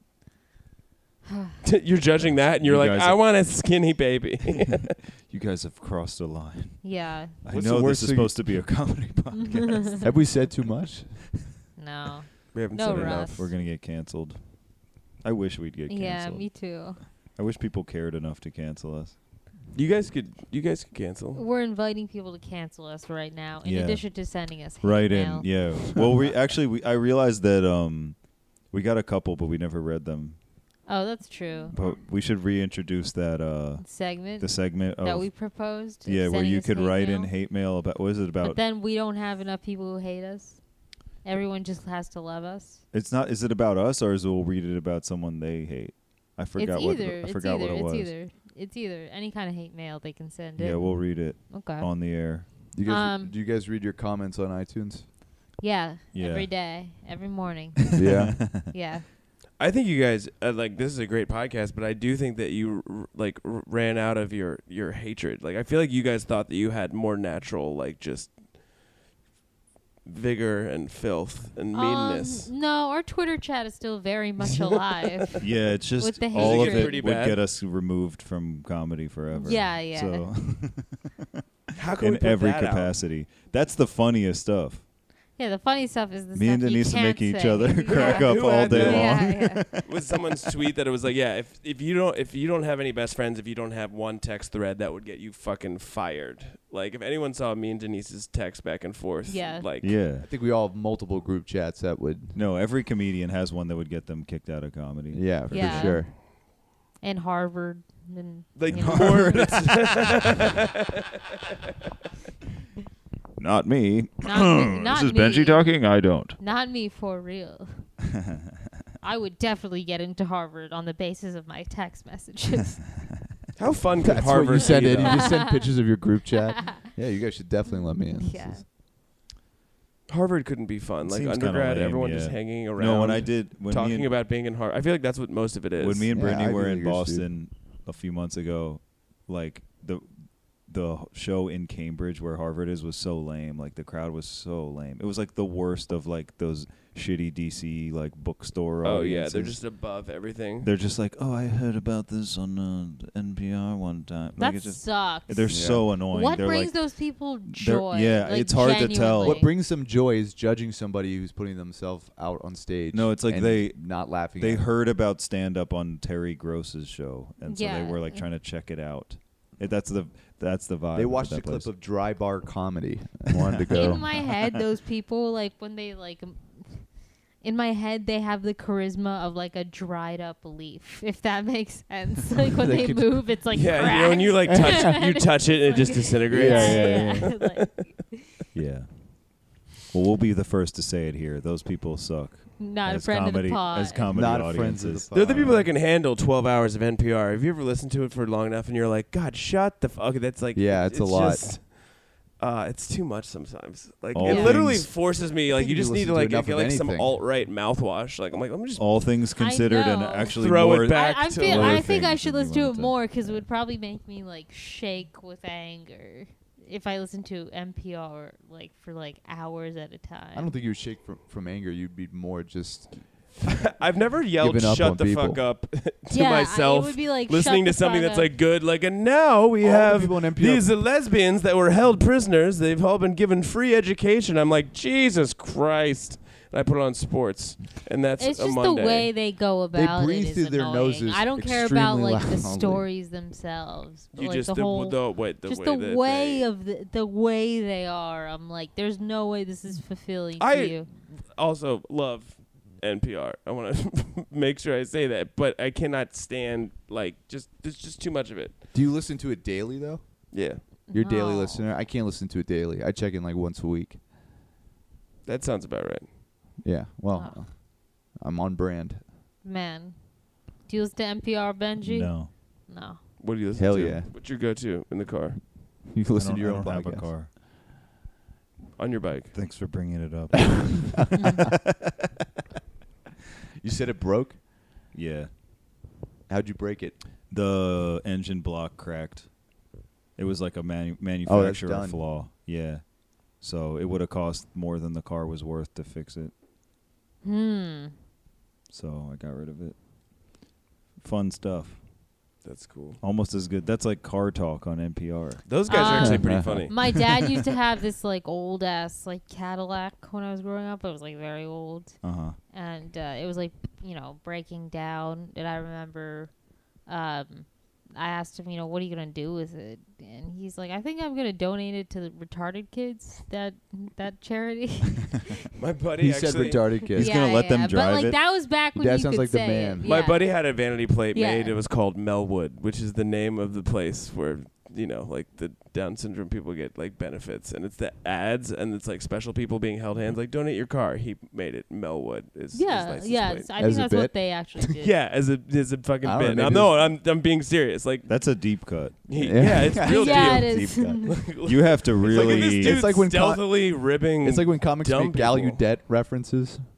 Speaker 3: you're judging that, and you're
Speaker 4: You
Speaker 3: like,
Speaker 4: guys
Speaker 3: I
Speaker 4: are-
Speaker 3: want a skinny baby.
Speaker 4: You guys have crossed a line.
Speaker 5: yeah.
Speaker 4: I
Speaker 6: What's the
Speaker 4: know
Speaker 6: worst
Speaker 4: this is
Speaker 6: thing-
Speaker 4: supposed to be a comedy podcast.
Speaker 6: Have we said too much?
Speaker 5: No.
Speaker 3: we haven't
Speaker 5: No,
Speaker 3: said
Speaker 5: Ross.
Speaker 3: enough.
Speaker 4: We're gonna get canceled. I wish we'd get canceled.
Speaker 5: Yeah, me too.
Speaker 4: I wish people cared enough to cancel us.
Speaker 3: You guys could. You guys could cancel.
Speaker 5: We're inviting people to cancel us right now, in
Speaker 4: Yeah.
Speaker 5: addition to sending us hate
Speaker 4: Right
Speaker 5: mail.
Speaker 4: in, yeah. Well, we actually we I realized that um we got a couple, but we never read them.
Speaker 5: Oh, that's true.
Speaker 4: But we should reintroduce that uh
Speaker 5: Segment
Speaker 4: the segment of
Speaker 5: that we proposed. of
Speaker 4: oh. yeah where
Speaker 5: sending
Speaker 4: you
Speaker 5: us
Speaker 4: could
Speaker 5: hate
Speaker 4: write in
Speaker 5: mail.
Speaker 4: hate mail about what is it
Speaker 5: But
Speaker 4: about?
Speaker 5: then we don't have enough people who hate us. Everyone just has to love us.
Speaker 4: It's not. Is it about us or is we'll read it about someone they hate? I forgot
Speaker 5: it's
Speaker 4: what
Speaker 5: either.
Speaker 4: I
Speaker 5: it's
Speaker 4: forgot
Speaker 5: either.
Speaker 4: what it
Speaker 5: it's
Speaker 4: was.
Speaker 5: either. It's either any kind of hate mail they can send.
Speaker 4: Yeah,
Speaker 5: in.
Speaker 4: we'll read it
Speaker 5: okay.
Speaker 4: on the air.
Speaker 6: Do you guys,
Speaker 5: Um,
Speaker 6: do you guys read your comments on iTunes?
Speaker 5: yeah,
Speaker 4: Yeah.
Speaker 5: Every day, every morning.
Speaker 6: yeah.
Speaker 5: yeah.
Speaker 3: I think you guys uh, like this is a great podcast, but I do think that you r- like r- ran out of your your hatred. Like I feel like you guys thought that you had more natural like just vigor and filth and meanness.
Speaker 5: Um, no, our Twitter chat is still very much alive.
Speaker 4: Yeah, it's just
Speaker 5: With the
Speaker 4: all of
Speaker 5: hatred.
Speaker 4: it
Speaker 3: Pretty
Speaker 4: would
Speaker 3: bad.
Speaker 4: get us removed from comedy forever.
Speaker 5: Yeah, yeah.
Speaker 4: So
Speaker 3: How can we
Speaker 4: in
Speaker 3: put
Speaker 4: every
Speaker 3: that out?
Speaker 4: capacity, that's the funniest stuff.
Speaker 5: yeah, the funny stuff is the
Speaker 4: Me
Speaker 5: stuff
Speaker 4: and Denise
Speaker 5: you can't
Speaker 4: make each
Speaker 5: say.
Speaker 4: other
Speaker 5: yeah.
Speaker 4: crack up
Speaker 3: Who
Speaker 4: all
Speaker 3: had
Speaker 4: day
Speaker 3: that?
Speaker 4: long.
Speaker 5: Yeah, yeah.
Speaker 3: With someone's tweet that it was like, yeah, if if you don't if you don't have any best friends, if you don't have one text thread, that would get you fucking fired. Like if anyone saw me and Denise's text back and forth,
Speaker 5: Yeah.
Speaker 3: like
Speaker 4: Yeah.
Speaker 6: I think we all have multiple group chats that would.
Speaker 4: No, every comedian has one that would get them kicked out of comedy.
Speaker 6: Yeah,
Speaker 5: Yeah.
Speaker 6: for sure.
Speaker 5: and Harvard and
Speaker 3: Like
Speaker 5: you know.
Speaker 3: more.
Speaker 4: Not me.
Speaker 5: Not me- not
Speaker 4: this is
Speaker 5: me.
Speaker 4: Benji talking. I don't.
Speaker 5: Not me for real. I would definitely get into Harvard on the basis of my text messages.
Speaker 3: How fun could
Speaker 6: That's
Speaker 3: Harvard
Speaker 6: what you send
Speaker 3: be?
Speaker 6: in. You
Speaker 3: though?
Speaker 6: just send pictures of your group chat. Yeah, you guys should definitely let me in. This
Speaker 5: yeah.
Speaker 6: is-
Speaker 3: Harvard couldn't be fun. Like
Speaker 4: Seems kinda
Speaker 3: undergrad,
Speaker 4: lame,
Speaker 3: everyone
Speaker 4: yeah.
Speaker 3: just hanging around.
Speaker 4: No, when I did, when me
Speaker 3: talking
Speaker 4: and,
Speaker 3: about being in Harvard. I feel like that's what most of it is.
Speaker 4: when me and
Speaker 6: Yeah,
Speaker 4: Brittany
Speaker 6: I
Speaker 4: were
Speaker 6: agree
Speaker 4: in
Speaker 6: with yours, dude.
Speaker 4: Boston a few months ago, like the the show in Cambridge where Harvard is was so lame. Like the crowd was so lame. It was like the worst of like those shitty DC like bookstore.
Speaker 3: oh yeah, they're
Speaker 4: audiences.
Speaker 3: just above everything.
Speaker 4: they're just like, oh, I heard about this on uh, NPR one time. Like
Speaker 5: that
Speaker 4: it's just
Speaker 5: sucks.
Speaker 4: they're so annoying.
Speaker 5: what
Speaker 4: they're
Speaker 5: brings
Speaker 4: like,
Speaker 5: those people joy?
Speaker 4: yeah,
Speaker 5: like,
Speaker 4: it's hard to tell.
Speaker 5: genuinely.
Speaker 4: What
Speaker 6: What brings some joy is judging somebody who's putting themselves out on stage.
Speaker 4: No, it's like
Speaker 6: and
Speaker 4: they-
Speaker 6: not laughing.
Speaker 4: they
Speaker 6: at it.
Speaker 4: heard about stand up on Terry Gross's show, and so
Speaker 5: Yeah.
Speaker 4: they were like trying to check it out. It- That's the that's the vibe.
Speaker 6: They
Speaker 4: of
Speaker 6: watched
Speaker 4: that
Speaker 6: a clip
Speaker 4: place.
Speaker 6: of dry bar comedy and wanted to go.
Speaker 5: in my head those people like when they like m- in my head they have the charisma of like a dried up leaf if that makes sense like when
Speaker 6: They
Speaker 5: they,
Speaker 6: could-
Speaker 5: move it's like
Speaker 3: yeah, you know, when you like touch you touch it and it just disintegrates.
Speaker 4: Yeah, yeah,
Speaker 5: yeah, like,
Speaker 4: yeah. Well, we'll be the first to say it here. Those people suck.
Speaker 5: not a
Speaker 4: as
Speaker 5: friend
Speaker 4: comedy,
Speaker 5: of the pod
Speaker 4: as comedy
Speaker 6: Not a friend of
Speaker 4: audiences.
Speaker 6: the
Speaker 3: They're the people that can handle 12 hours of NPR. Have you ever listened to it for long enough and you're like, God, shut the fuck. Okay, that's like,
Speaker 6: Yeah, it's a lot.
Speaker 3: just- uh, it's too much sometimes. Like
Speaker 4: All
Speaker 3: it literally
Speaker 4: things-
Speaker 3: forces me. Like
Speaker 6: think
Speaker 3: you
Speaker 6: you
Speaker 3: just need
Speaker 6: listen
Speaker 3: to
Speaker 6: to
Speaker 3: like
Speaker 6: enough
Speaker 3: get
Speaker 6: of
Speaker 3: like some
Speaker 6: anything.
Speaker 3: alt right mouthwash. Like I'm like, let me just
Speaker 4: All things considered, and
Speaker 5: know.
Speaker 4: actually
Speaker 3: Throw it
Speaker 4: more-
Speaker 3: back.
Speaker 5: I, I,
Speaker 3: to
Speaker 5: feel,
Speaker 4: lower
Speaker 5: I think I
Speaker 4: things
Speaker 5: should
Speaker 4: than you
Speaker 5: listen to it
Speaker 4: wanted to.
Speaker 5: more because it would probably make me like shake with anger if I listened to NPR like for like hours at a time.
Speaker 6: I don't think you would shake from, from anger. You'd be more just.
Speaker 3: I've never yelled
Speaker 6: Giving up
Speaker 3: "shut
Speaker 6: on
Speaker 3: the fuck
Speaker 6: people.
Speaker 3: up" to
Speaker 5: yeah, I-
Speaker 3: myself.
Speaker 5: it would be like
Speaker 3: listening
Speaker 5: shut
Speaker 3: to
Speaker 5: the
Speaker 3: something
Speaker 5: fuck
Speaker 3: that's
Speaker 5: up.
Speaker 3: like good, like and now we
Speaker 6: All the
Speaker 3: have
Speaker 6: people in NPR
Speaker 3: these lesbians that were held prisoners. They've all been given free education. I'm like, Jesus Christ! And I put it on sports, and that's
Speaker 5: It's
Speaker 3: a
Speaker 5: just
Speaker 3: Monday.
Speaker 5: the way they go about
Speaker 6: breathe
Speaker 5: it. is
Speaker 6: through their
Speaker 5: annoying.
Speaker 6: noses
Speaker 5: I don't care about
Speaker 6: extremely
Speaker 5: like the
Speaker 6: loudly.
Speaker 5: stories themselves. but,
Speaker 3: you
Speaker 5: like,
Speaker 3: just
Speaker 5: the
Speaker 3: the,
Speaker 5: whole,
Speaker 3: the way the
Speaker 5: just
Speaker 3: way
Speaker 5: the
Speaker 3: that
Speaker 5: way
Speaker 3: they-
Speaker 5: of the, the way they are. I'm like, there's no way this is fulfilling
Speaker 3: I-
Speaker 5: to you.
Speaker 3: also love NPR. I want to make sure I say that, but I cannot stand like just there's just too much of it.
Speaker 6: Do you listen to it daily though?
Speaker 3: Yeah,
Speaker 6: You're a daily
Speaker 5: No.
Speaker 6: listener. I can't listen to it daily. I check in like once a week.
Speaker 3: that sounds about right.
Speaker 6: Yeah. Well,
Speaker 5: Oh.
Speaker 6: I'm on brand.
Speaker 5: Man, do you listen to NPR, Benji?
Speaker 4: No,
Speaker 5: No.
Speaker 3: What do you listen
Speaker 6: Hell
Speaker 3: to?
Speaker 6: yeah.
Speaker 3: What's your go-to in the car
Speaker 6: You
Speaker 4: I
Speaker 6: listen
Speaker 4: don't-
Speaker 6: to your
Speaker 4: I
Speaker 6: own
Speaker 4: don't have a
Speaker 6: podcast.
Speaker 4: car.
Speaker 3: on your bike?
Speaker 4: Thanks for bringing it up.
Speaker 6: You said it broke.
Speaker 4: yeah,
Speaker 6: How'd you break it?
Speaker 4: the engine block cracked. It was like a manu- manufacturer
Speaker 6: Oh, done.
Speaker 4: flaw. Yeah, so it would have cost more than the car was worth to fix it.
Speaker 5: Hmm.
Speaker 4: So I got rid of it. Fun stuff.
Speaker 3: That's cool.
Speaker 4: Almost as good. That's like car talk on NPR.
Speaker 3: Those guys are
Speaker 5: Uh,
Speaker 3: actually pretty funny.
Speaker 5: My dad used to have this like old ass like Cadillac when I was growing up. It was like very old.
Speaker 4: Uh huh.
Speaker 5: and uh, it was like you know breaking down and i remember um i asked him you know what are you gonna do with it and he's like i think i'm gonna donate it to the retarded kids that that charity
Speaker 3: My buddy
Speaker 6: He
Speaker 3: actually
Speaker 6: said retarded kid.
Speaker 4: He's gonna let them drive
Speaker 5: but like
Speaker 4: it?
Speaker 5: that was back when
Speaker 6: That
Speaker 5: you
Speaker 6: sounds
Speaker 5: could
Speaker 6: like the
Speaker 5: say
Speaker 6: man.
Speaker 5: it.
Speaker 3: My
Speaker 5: Yeah.
Speaker 3: buddy had a vanity plate
Speaker 5: Yeah.
Speaker 3: made. It was called Melwood, which is the name of the place where you know, like the Down syndrome people get like benefits, and it's the ads, and it's like special people being held hands. Like donate your car. He made it. Melwood is his
Speaker 5: yeah
Speaker 3: license
Speaker 5: yeah
Speaker 3: plate.
Speaker 5: it's- i
Speaker 6: As
Speaker 5: think
Speaker 6: a
Speaker 5: that's
Speaker 6: bit?
Speaker 5: what they actually did
Speaker 3: Yeah, as a as a
Speaker 6: I
Speaker 3: fucking
Speaker 6: don't
Speaker 3: bit.
Speaker 6: know,
Speaker 3: I'm,
Speaker 6: maybe
Speaker 3: no, I'm I'm being serious. Like
Speaker 4: That's a deep cut.
Speaker 3: he,
Speaker 6: Yeah.
Speaker 3: yeah. it's real
Speaker 5: yeah
Speaker 3: deep.
Speaker 5: it is
Speaker 4: You have to
Speaker 3: Like, and
Speaker 4: really.
Speaker 3: this dude's
Speaker 6: It's like when co-
Speaker 3: stealthily ribbing.
Speaker 6: It's like when comics
Speaker 3: Dumb
Speaker 6: make Gallaudet
Speaker 3: people.
Speaker 6: references.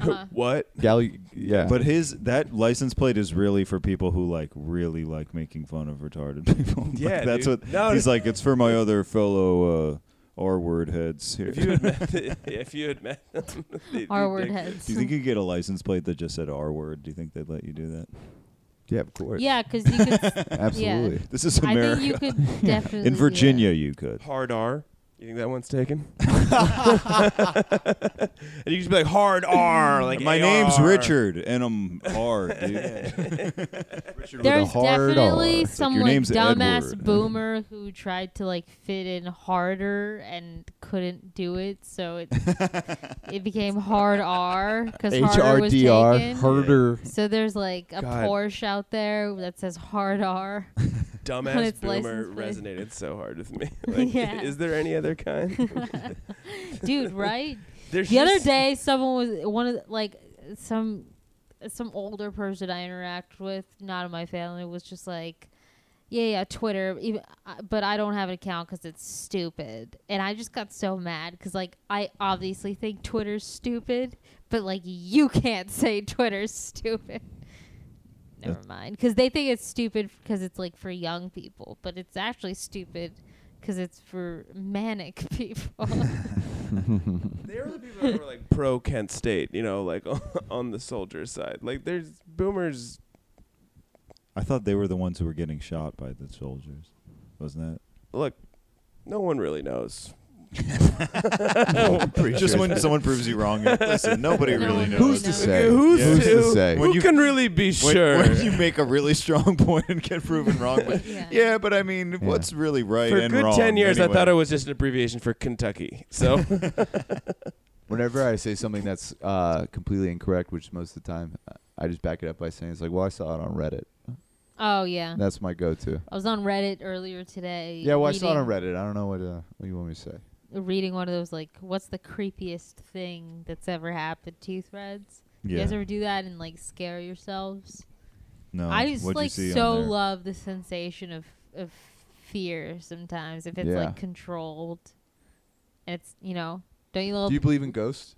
Speaker 5: Uh-huh.
Speaker 3: what?
Speaker 6: Gal, yeah.
Speaker 4: but his that license plate is really for people who like really like making fun of retarded people. Like,
Speaker 3: Yeah,
Speaker 4: that's
Speaker 3: dude.
Speaker 4: what
Speaker 3: No,
Speaker 4: he's like. It's for my other fellow uh, R word heads here.
Speaker 3: If you had met, if you had met them, they-
Speaker 5: our
Speaker 3: they'd
Speaker 5: word
Speaker 3: like-
Speaker 5: heads
Speaker 4: do you think you could get a license plate that just said R word? Do you think they'd let you do that?
Speaker 6: yeah, of course.
Speaker 5: yeah because you could
Speaker 6: Absolutely.
Speaker 4: This is
Speaker 5: i
Speaker 4: America.
Speaker 5: think you could definitely uh,
Speaker 4: In Virginia, you could.
Speaker 3: Hard R. You think that one's taken?
Speaker 8: and you just be like hard R, like
Speaker 4: My name's
Speaker 8: AR.
Speaker 4: Richard, and I'm hard, dude. Richard
Speaker 5: There's
Speaker 4: with a hard
Speaker 5: definitely
Speaker 4: R. It's like,
Speaker 5: some
Speaker 4: your
Speaker 5: like
Speaker 4: name's
Speaker 5: dumbass
Speaker 4: Edward.
Speaker 5: boomer who tried to like fit in harder and couldn't do it, so it it became hard R because harder was taken.
Speaker 6: herder.
Speaker 5: So there's like a
Speaker 8: God.
Speaker 5: Porsche out there that says hard R. On
Speaker 8: Dumbass
Speaker 5: its
Speaker 8: boomer
Speaker 5: license plate.
Speaker 8: resonated so hard with me. Like,
Speaker 5: Yeah.
Speaker 8: is there any other kind?
Speaker 5: Dude, right?
Speaker 8: There's
Speaker 5: the other
Speaker 8: just-
Speaker 5: day someone was one of the- like some some older person i interact with not in my family was just like yeah yeah twitter even, I- but i don't have an account because it's stupid and i just got so mad because like i obviously think twitter's stupid but like you can't say twitter's stupid never mind because they think it's stupid because it's like for young people but it's actually stupid because it's for manic people
Speaker 8: They're the people that were like pro Kent State, you know, like on the soldier side. Like there's boomers.
Speaker 4: I thought they were the ones who were getting shot by the soldiers, wasn't that?
Speaker 8: Look, no one really knows.
Speaker 4: Just when someone proves you wrong, listen, nobody
Speaker 5: No
Speaker 4: really
Speaker 5: one
Speaker 4: knows.
Speaker 5: really
Speaker 6: Who's to
Speaker 5: knows.
Speaker 6: say?
Speaker 8: Who's,
Speaker 4: Who's
Speaker 8: to,
Speaker 6: to say?
Speaker 8: Who
Speaker 4: When you-
Speaker 8: can really be
Speaker 4: When-
Speaker 8: sure?
Speaker 4: when you make a really strong point and get proven wrong. But
Speaker 5: Yeah.
Speaker 4: yeah. but I mean, what's really right
Speaker 8: for a
Speaker 4: and
Speaker 8: good
Speaker 4: wrong?
Speaker 8: ten years, I
Speaker 4: anyway?
Speaker 8: thought it was just an abbreviation for Kentucky. So
Speaker 6: Whenever I say something that's uh, completely incorrect, which most of the time, uh, I just back it up by saying it's like, well, I saw it on Reddit.
Speaker 5: oh yeah
Speaker 6: That's my go-to.
Speaker 5: I was on Reddit earlier today.
Speaker 6: Yeah, well, I saw it on
Speaker 5: reading-
Speaker 6: Reddit. I don't know what uh, what you want me to say.
Speaker 5: Reading one of those like, what's the creepiest thing that's ever happened to you threads? You guys
Speaker 4: Yeah.
Speaker 5: ever do that and like scare yourselves?
Speaker 4: No,
Speaker 5: I just
Speaker 4: what'd you
Speaker 5: like
Speaker 4: see on
Speaker 5: so uh,
Speaker 4: there?
Speaker 5: love the sensation of of fear sometimes if it's
Speaker 6: Yeah.
Speaker 5: like controlled. And it's you know, don't you love?
Speaker 6: Do you believe in ghosts?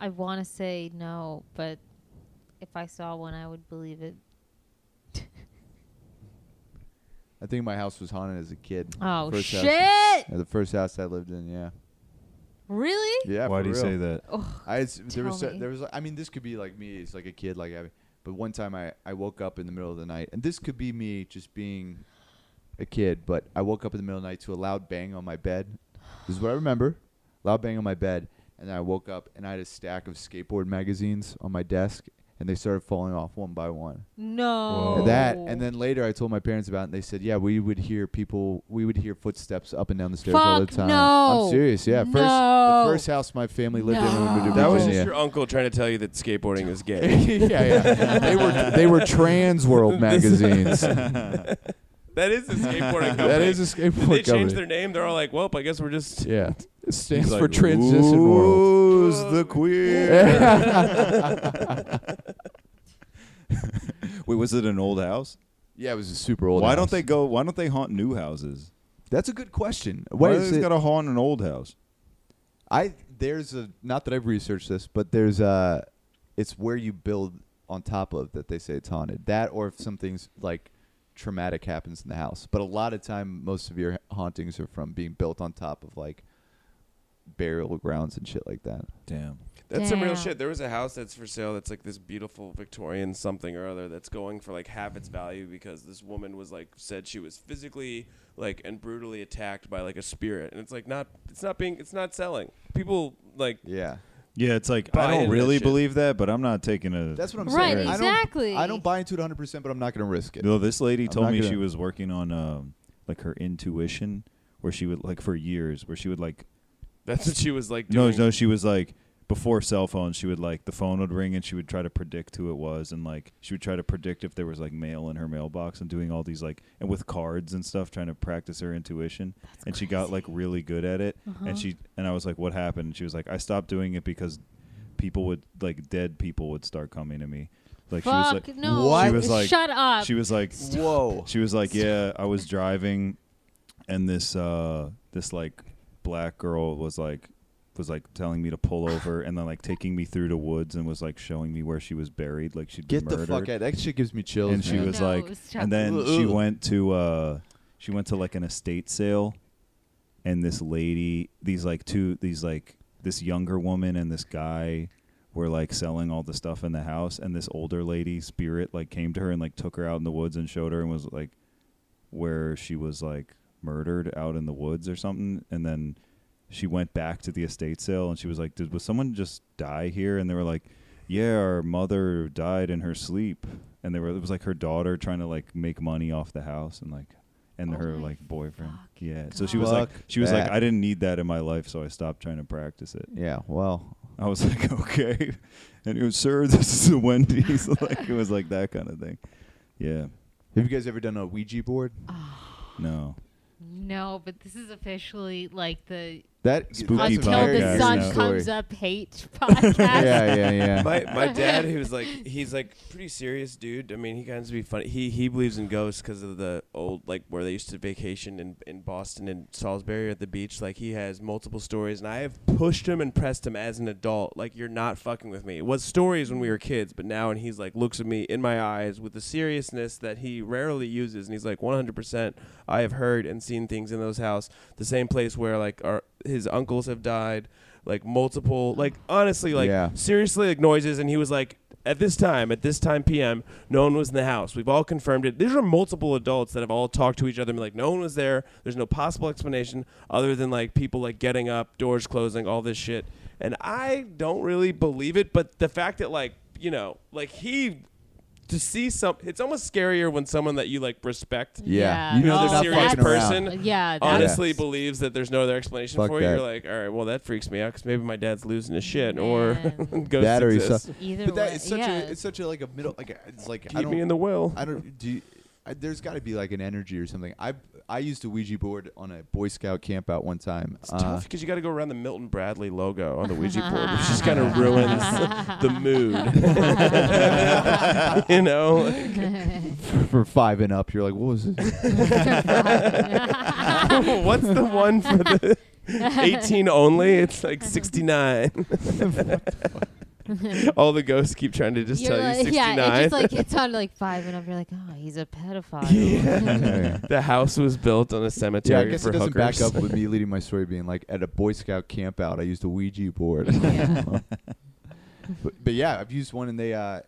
Speaker 5: I want to say no, but if I saw one, I would believe it.
Speaker 6: I think my house was haunted as a kid.
Speaker 5: Oh
Speaker 6: First house-
Speaker 5: shit!
Speaker 6: Yeah, the first house I lived in, yeah.
Speaker 5: Really?
Speaker 6: Yeah.
Speaker 4: Why
Speaker 6: for
Speaker 4: do you
Speaker 6: real.
Speaker 4: say that?
Speaker 6: I s- there was
Speaker 5: Tell
Speaker 6: so-
Speaker 5: me.
Speaker 6: there was I mean this could be like me it's like a kid like I but one time I I woke up in the middle of the night and this could be me just being a kid but I woke up in the middle of the night to a loud bang on my bed this is what I remember loud bang on my bed and then I woke up and I had a stack of skateboard magazines on my desk and they started falling off one by one
Speaker 5: No.
Speaker 8: Oh.
Speaker 6: that and then later I told my parents about it and they said yeah we would hear people we would hear footsteps up and down the stairs all the
Speaker 5: Fuck
Speaker 6: time
Speaker 5: no.
Speaker 6: I'm serious yeah first
Speaker 5: No.
Speaker 6: the first house my family lived in when we moved to
Speaker 8: that was
Speaker 6: Virginia.
Speaker 8: just your uncle trying to tell you that skateboarding is gay.
Speaker 6: yeah, yeah. They were they were Trans World magazines. that
Speaker 8: that is a skateboarding company.
Speaker 6: is a
Speaker 8: Did they
Speaker 6: skateboard
Speaker 8: change
Speaker 6: company.
Speaker 8: their name? They're all like, "Well, I guess we're just."
Speaker 6: Yeah, it stands
Speaker 4: He's
Speaker 6: for
Speaker 4: like,
Speaker 6: Transition World.
Speaker 4: Who's the queer? Wait, was it an old house?
Speaker 6: Yeah, it was a super old.
Speaker 4: why
Speaker 6: house.
Speaker 4: don't they go? Why don't they haunt new houses?
Speaker 6: That's a good question.
Speaker 4: Why
Speaker 6: What
Speaker 4: is
Speaker 6: is
Speaker 4: they
Speaker 6: it?
Speaker 4: gotta haunt an old house?
Speaker 6: I there's a not that I've researched this, but there's a it's where you build on top of that they say it's haunted. That or if something's like traumatic happens in the house. But a lot of time, most of your hauntings are from being built on top of like burial grounds and shit like that.
Speaker 4: Damn.
Speaker 8: That's some real
Speaker 5: Damn.
Speaker 8: shit. There was a house that's for sale that's like this beautiful Victorian something or other that's going for like half its value because this woman was like said she was physically like and brutally attacked by like a spirit and it's like not it's not being it's not selling. People like
Speaker 6: Yeah.
Speaker 4: Yeah, it's like
Speaker 8: Buy
Speaker 4: I don't
Speaker 8: into
Speaker 4: really
Speaker 8: that shit.
Speaker 4: believe that, but I'm not taking a.
Speaker 6: That's what I'm
Speaker 5: Right,
Speaker 6: saying.
Speaker 5: exactly.
Speaker 6: I don't, I don't buy into it 100, percent but I'm not going to risk it.
Speaker 4: No, this lady
Speaker 6: I'm
Speaker 4: told
Speaker 6: not
Speaker 4: me
Speaker 6: gonna-
Speaker 4: she was working on um, like her intuition, where she would like for years, where she would like
Speaker 8: that's what she was like
Speaker 4: no,
Speaker 8: doing.
Speaker 4: no, she was like before cell phones, she would like the phone would ring and she would try to predict who it was, and like she would try to predict if there was like mail in her mailbox, and doing all these like and with cards and stuff, trying to practice her intuition, and she got like really good at it,
Speaker 8: Uh-huh.
Speaker 4: and she and I was like, what happened? And she was like, I stopped doing it because people would like dead people would start coming to me, like she was
Speaker 5: Fuck
Speaker 4: like,
Speaker 5: no.
Speaker 4: She was like,
Speaker 5: Shut up.
Speaker 4: she was like,
Speaker 6: Whoa.
Speaker 4: she was like, "Yeah, I was driving, and this uh this like black girl was like was like telling me to pull over, and then like taking me through the woods, and was like showing me where she was buried, like she'd
Speaker 6: Get
Speaker 4: been
Speaker 6: the
Speaker 4: murdered."
Speaker 6: fuck out. That shit gives me chills.
Speaker 4: and she
Speaker 5: man.
Speaker 4: was
Speaker 5: No,
Speaker 4: like,
Speaker 5: stop.
Speaker 4: and then
Speaker 6: Ugh.
Speaker 4: she went to uh she went to like an estate sale, and this lady, these like two, these like this younger woman and this guy were like selling all the stuff in the house and this older lady spirit like came to her and like took her out in the woods and showed her and was like where she was like murdered out in the woods or something, and then she went back to the estate sale and she was like, "Did was someone just die here?" And they were like, "Yeah, our mother died in her sleep." And they were it was like her daughter trying to like make money off the house and like and
Speaker 5: Oh
Speaker 4: her
Speaker 5: my
Speaker 4: like boyfriend.
Speaker 5: fucking
Speaker 4: Yeah. So she was like
Speaker 6: Fuck
Speaker 4: she was like
Speaker 6: that.
Speaker 4: I didn't need that in my life, so I stopped trying to practice it.
Speaker 6: Yeah, well,
Speaker 4: I was like, okay. And it was, sir, this is a Wendy's. like it was like that kind of thing. Yeah.
Speaker 6: have you guys ever done a Ouija board?
Speaker 4: No.
Speaker 5: No, but this is officially like the
Speaker 6: That
Speaker 4: Spooky
Speaker 6: that's a
Speaker 5: until
Speaker 6: very
Speaker 5: the
Speaker 4: podcast
Speaker 5: sun
Speaker 4: now.
Speaker 6: interesting
Speaker 5: comes
Speaker 6: story.
Speaker 5: up hate podcast.
Speaker 6: Yeah, yeah, yeah.
Speaker 3: my my dad, he was like, he's like pretty serious dude. I mean, he kind of be funny. He he believes in ghosts because of the old like where they used to vacation in in Boston and Salisbury at the beach. Like he has multiple stories, and I have pushed him and pressed him as an adult. Like you're not fucking with me. It was stories when we were kids, but now and he's like looks at me in my eyes with the seriousness that he rarely uses, and he's like 100. percent I have heard and seen things in those house, the same place where like our his uncles have died. Like multiple, like honestly, like
Speaker 6: Yeah.
Speaker 3: seriously like noises and he was like at this time at this time pm no one was in the house we've all confirmed it these are multiple adults that have all talked to each other and been like no one was there there's no possible explanation other than like people like getting up doors closing all this shit and i don't really believe it but the fact that like you know like he to see some it's almost scarier when someone that you like respect
Speaker 6: Yeah. You know
Speaker 3: a
Speaker 6: they're not
Speaker 3: serious
Speaker 6: fucking around.
Speaker 3: person
Speaker 5: Yeah, that-
Speaker 3: honestly believes that there's no other explanation
Speaker 6: Fuck
Speaker 3: for it,
Speaker 6: that.
Speaker 3: you're like, all right, well that freaks me out because maybe my dad's losing his shit or
Speaker 5: Man.
Speaker 3: ghosts
Speaker 6: That or he's
Speaker 3: exist.
Speaker 6: su-
Speaker 5: Either
Speaker 6: But that
Speaker 5: way,
Speaker 6: is such
Speaker 5: yeah.
Speaker 6: a it's such a like a middle like a- it's like I
Speaker 3: keep
Speaker 6: don't
Speaker 3: me in the will.
Speaker 6: I don't do. You, I, there's got to be like an energy or something. I I used a Ouija board on a Boy Scout camp out one time.
Speaker 3: It's
Speaker 5: Uh-huh.
Speaker 6: Uh,
Speaker 3: tough because you got to go around the Milton Bradley logo on the Ouija board, which just kind of ruins the mood. you know, like,
Speaker 6: uh, for five and up, you're like, what was it?
Speaker 3: what's the one for the 18 only? It's like 69. All the ghosts keep trying to just
Speaker 5: You're
Speaker 3: tell
Speaker 5: like,
Speaker 3: you 69.
Speaker 5: Yeah, it's just like it's on like five and up. You're like, oh, he's a pedophile.
Speaker 3: Yeah. the house was built on a
Speaker 6: yeah, I
Speaker 3: cemetery
Speaker 6: guess
Speaker 3: for
Speaker 6: it doesn't
Speaker 3: hookers.
Speaker 6: back up with me leading my story being like at a Boy Scout camp out. I used a Ouija board.
Speaker 5: Yeah.
Speaker 6: but, but yeah, I've used one and they. uh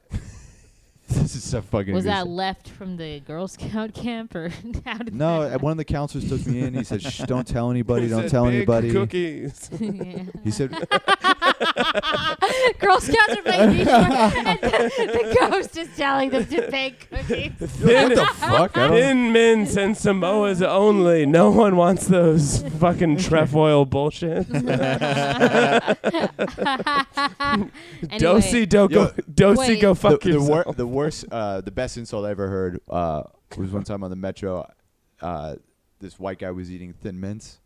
Speaker 6: This is so fucking.
Speaker 5: Was that
Speaker 6: goose-
Speaker 5: left from the Girl Scout camp or how did
Speaker 6: no, uh,
Speaker 5: that
Speaker 6: one of the counselors took me in. He said, "Shh, don't tell anybody.
Speaker 3: It
Speaker 6: Don't
Speaker 3: said
Speaker 6: tell
Speaker 3: big
Speaker 6: anybody."
Speaker 3: Cookies.
Speaker 5: Yeah.
Speaker 6: He said,
Speaker 5: Girl Scouts are making and the, the ghost is telling them to bake cookies.
Speaker 3: Thin,
Speaker 6: "Fuck, I don't."
Speaker 3: thin mints and Samoa's only. No one wants those fucking trefoil bullshit.
Speaker 5: Anyway,
Speaker 3: Dosi do go, Dosi
Speaker 5: Wait.
Speaker 3: go fuck
Speaker 6: the, the, wor-
Speaker 3: yourself.
Speaker 6: the worst, uh, the best insult I ever heard uh, was one time on the metro. Uh, this white guy was eating thin mints,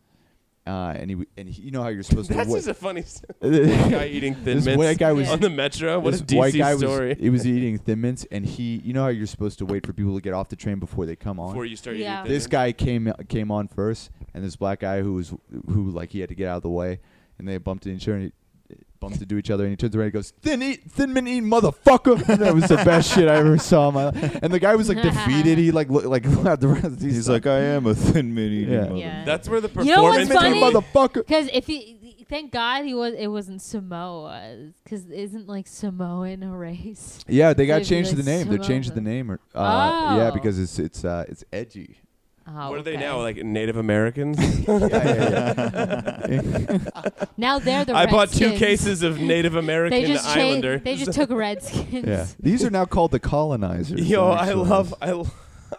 Speaker 6: uh, and he w- and he, you know how you're supposed to.
Speaker 3: That's
Speaker 6: wa-
Speaker 3: just a funny s-
Speaker 6: this
Speaker 3: guy eating thin
Speaker 6: white
Speaker 3: mints
Speaker 6: guy was.
Speaker 5: Yeah.
Speaker 3: on the metro. What a
Speaker 6: this white guy
Speaker 3: DC
Speaker 6: was.
Speaker 3: story.
Speaker 6: He was eating thin mints, and he, you know how you're supposed to wait for people to get off the train before they come on.
Speaker 3: Before you start
Speaker 5: Yeah.
Speaker 3: eating thin
Speaker 6: this guy came came on first, and this black guy who was who like he had to get out of the way, and they bumped into each other. And he, bumped into each other, and he turns around and goes, "Thin eat, thin man eat, motherfucker!" And that was the best shit I ever saw. In my life. And the guy was like defeated. He like looked like at the rest. He's,
Speaker 4: He's like, "Oh, I am a thin mini.
Speaker 6: Yeah.
Speaker 4: mother-
Speaker 5: Yeah.
Speaker 3: That's where the
Speaker 5: You know what's
Speaker 3: performance.
Speaker 5: funny?
Speaker 6: motherfucker.
Speaker 5: Because if he, thank God he was, it wasn't Samoa. Because isn't like Samoan a race?
Speaker 6: Yeah, they
Speaker 5: So
Speaker 6: got
Speaker 5: if you
Speaker 6: changed the
Speaker 5: like
Speaker 6: name. They
Speaker 5: swim
Speaker 6: changed
Speaker 5: over-
Speaker 6: the name. Or, uh, Yeah,
Speaker 5: Oh.
Speaker 6: because it's it's uh, it's edgy.
Speaker 5: Oh,
Speaker 3: What are they
Speaker 5: okay.
Speaker 3: now? Like Native Americans?
Speaker 6: Yeah, yeah, yeah.
Speaker 5: Now they're the.
Speaker 3: I bought two
Speaker 5: Redskins.
Speaker 3: cases of Native
Speaker 5: They
Speaker 3: American
Speaker 5: just changed-
Speaker 3: Islander.
Speaker 5: They just took Redskins.
Speaker 6: yeah. These are now called the colonizers.
Speaker 3: Yo, I
Speaker 6: actually.
Speaker 3: love I, l-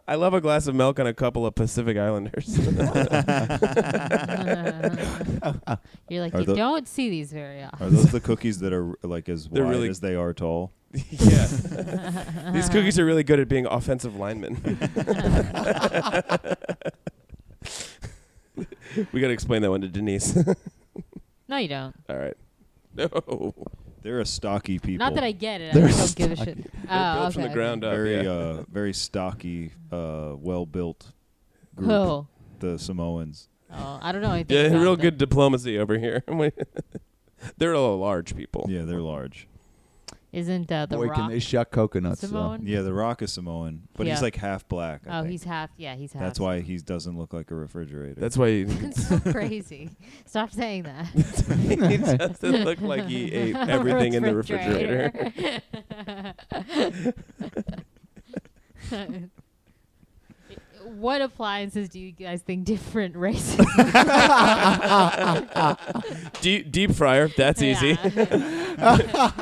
Speaker 3: I love a glass of milk and a couple of Pacific Islanders.
Speaker 5: You're like
Speaker 4: Are
Speaker 5: you
Speaker 4: the-
Speaker 5: don't see these very often.
Speaker 4: Are those the cookies that are like as
Speaker 3: They're
Speaker 4: wide
Speaker 3: really-
Speaker 4: as they are tall?
Speaker 3: yeah. These cookies are really good at being offensive linemen. we got to explain that one to Denise.
Speaker 5: No, you don't.
Speaker 3: All right.
Speaker 5: Oh,
Speaker 3: No.
Speaker 4: They're a stocky people.
Speaker 5: Not that I get it. I
Speaker 6: They're
Speaker 5: just don't give a shit.
Speaker 3: They're
Speaker 5: Oh,
Speaker 3: built from
Speaker 5: okay,
Speaker 3: the
Speaker 5: okay.
Speaker 3: ground up.
Speaker 4: very
Speaker 3: yeah.
Speaker 4: uh, very stocky, uh, well built group.
Speaker 5: Who?
Speaker 4: The Samoans.
Speaker 5: Oh, I don't know anything.
Speaker 3: Yeah,
Speaker 5: about
Speaker 3: real
Speaker 5: them.
Speaker 3: good diplomacy over here. They're all large people.
Speaker 4: Yeah, they're large.
Speaker 5: Isn't uh, the
Speaker 6: Boy,
Speaker 5: Rock
Speaker 6: can they shuck coconuts? though.
Speaker 5: Samoan?
Speaker 4: Yeah, the Rock is Samoan, but
Speaker 5: Yeah.
Speaker 4: he's like half black. I
Speaker 5: Oh,
Speaker 4: think.
Speaker 5: he's half. Yeah, he's half.
Speaker 4: That's why he doesn't look like a refrigerator.
Speaker 3: That's why he
Speaker 5: It's so crazy. Stop saying that.
Speaker 3: he doesn't look like he ate everything in the refrigerator.
Speaker 5: refrigerator. what appliances do you guys think different races?
Speaker 3: Deep, deep fryer. That's easy.
Speaker 5: Yeah.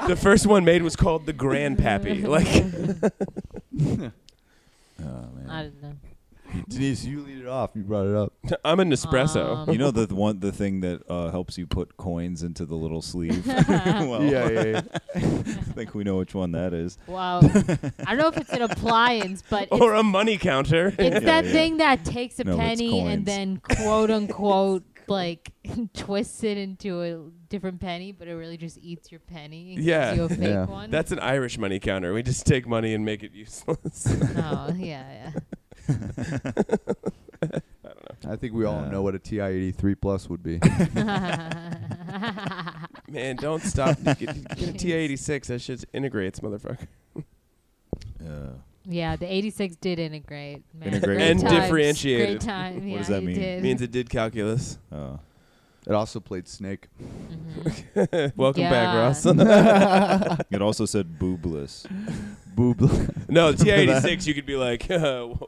Speaker 3: the first one made was called the Grandpappy. Like,
Speaker 4: Oh,
Speaker 5: I don't know.
Speaker 6: Denise, you lead it off. You brought it up.
Speaker 3: I'm an espresso.
Speaker 5: Um,
Speaker 4: You know the th- one the thing that uh, helps you put coins into the little sleeve. well,
Speaker 6: yeah, yeah, yeah.
Speaker 4: I think we know which one that is.
Speaker 5: Wow. I don't know if it's an appliance, but it's,
Speaker 3: or a money counter.
Speaker 5: it's
Speaker 4: Yeah,
Speaker 5: that
Speaker 4: yeah.
Speaker 5: thing that takes a
Speaker 4: No, it's
Speaker 5: penny
Speaker 4: coins.
Speaker 5: and then quote unquote like twists it into a different penny, but it really just eats your penny and
Speaker 3: Yeah.
Speaker 5: gives you a fake
Speaker 6: Yeah.
Speaker 5: one.
Speaker 3: That's an Irish money counter. We just take money and make it useless.
Speaker 5: oh yeah, yeah.
Speaker 6: I think we all
Speaker 4: Yeah.
Speaker 6: know what a TI eighty three plus would be.
Speaker 3: Man, don't stop. Get, get a T86. That shit integrates, motherfucker.
Speaker 4: Uh,
Speaker 5: yeah, the 86 did integrate. Man.
Speaker 4: Integrate
Speaker 5: Great
Speaker 4: with what?
Speaker 5: times,
Speaker 4: And
Speaker 3: differentiated.
Speaker 5: Great time. Yeah,
Speaker 4: does that
Speaker 5: you
Speaker 4: mean?
Speaker 5: Did.
Speaker 3: Means it did calculus.
Speaker 4: oh.
Speaker 6: It also played Snake.
Speaker 5: Mhm.
Speaker 3: Welcome back,
Speaker 5: Yeah.
Speaker 3: Ross.
Speaker 4: It also said boobless.
Speaker 6: Boob.
Speaker 3: no, T86, you could be like, uh, wh-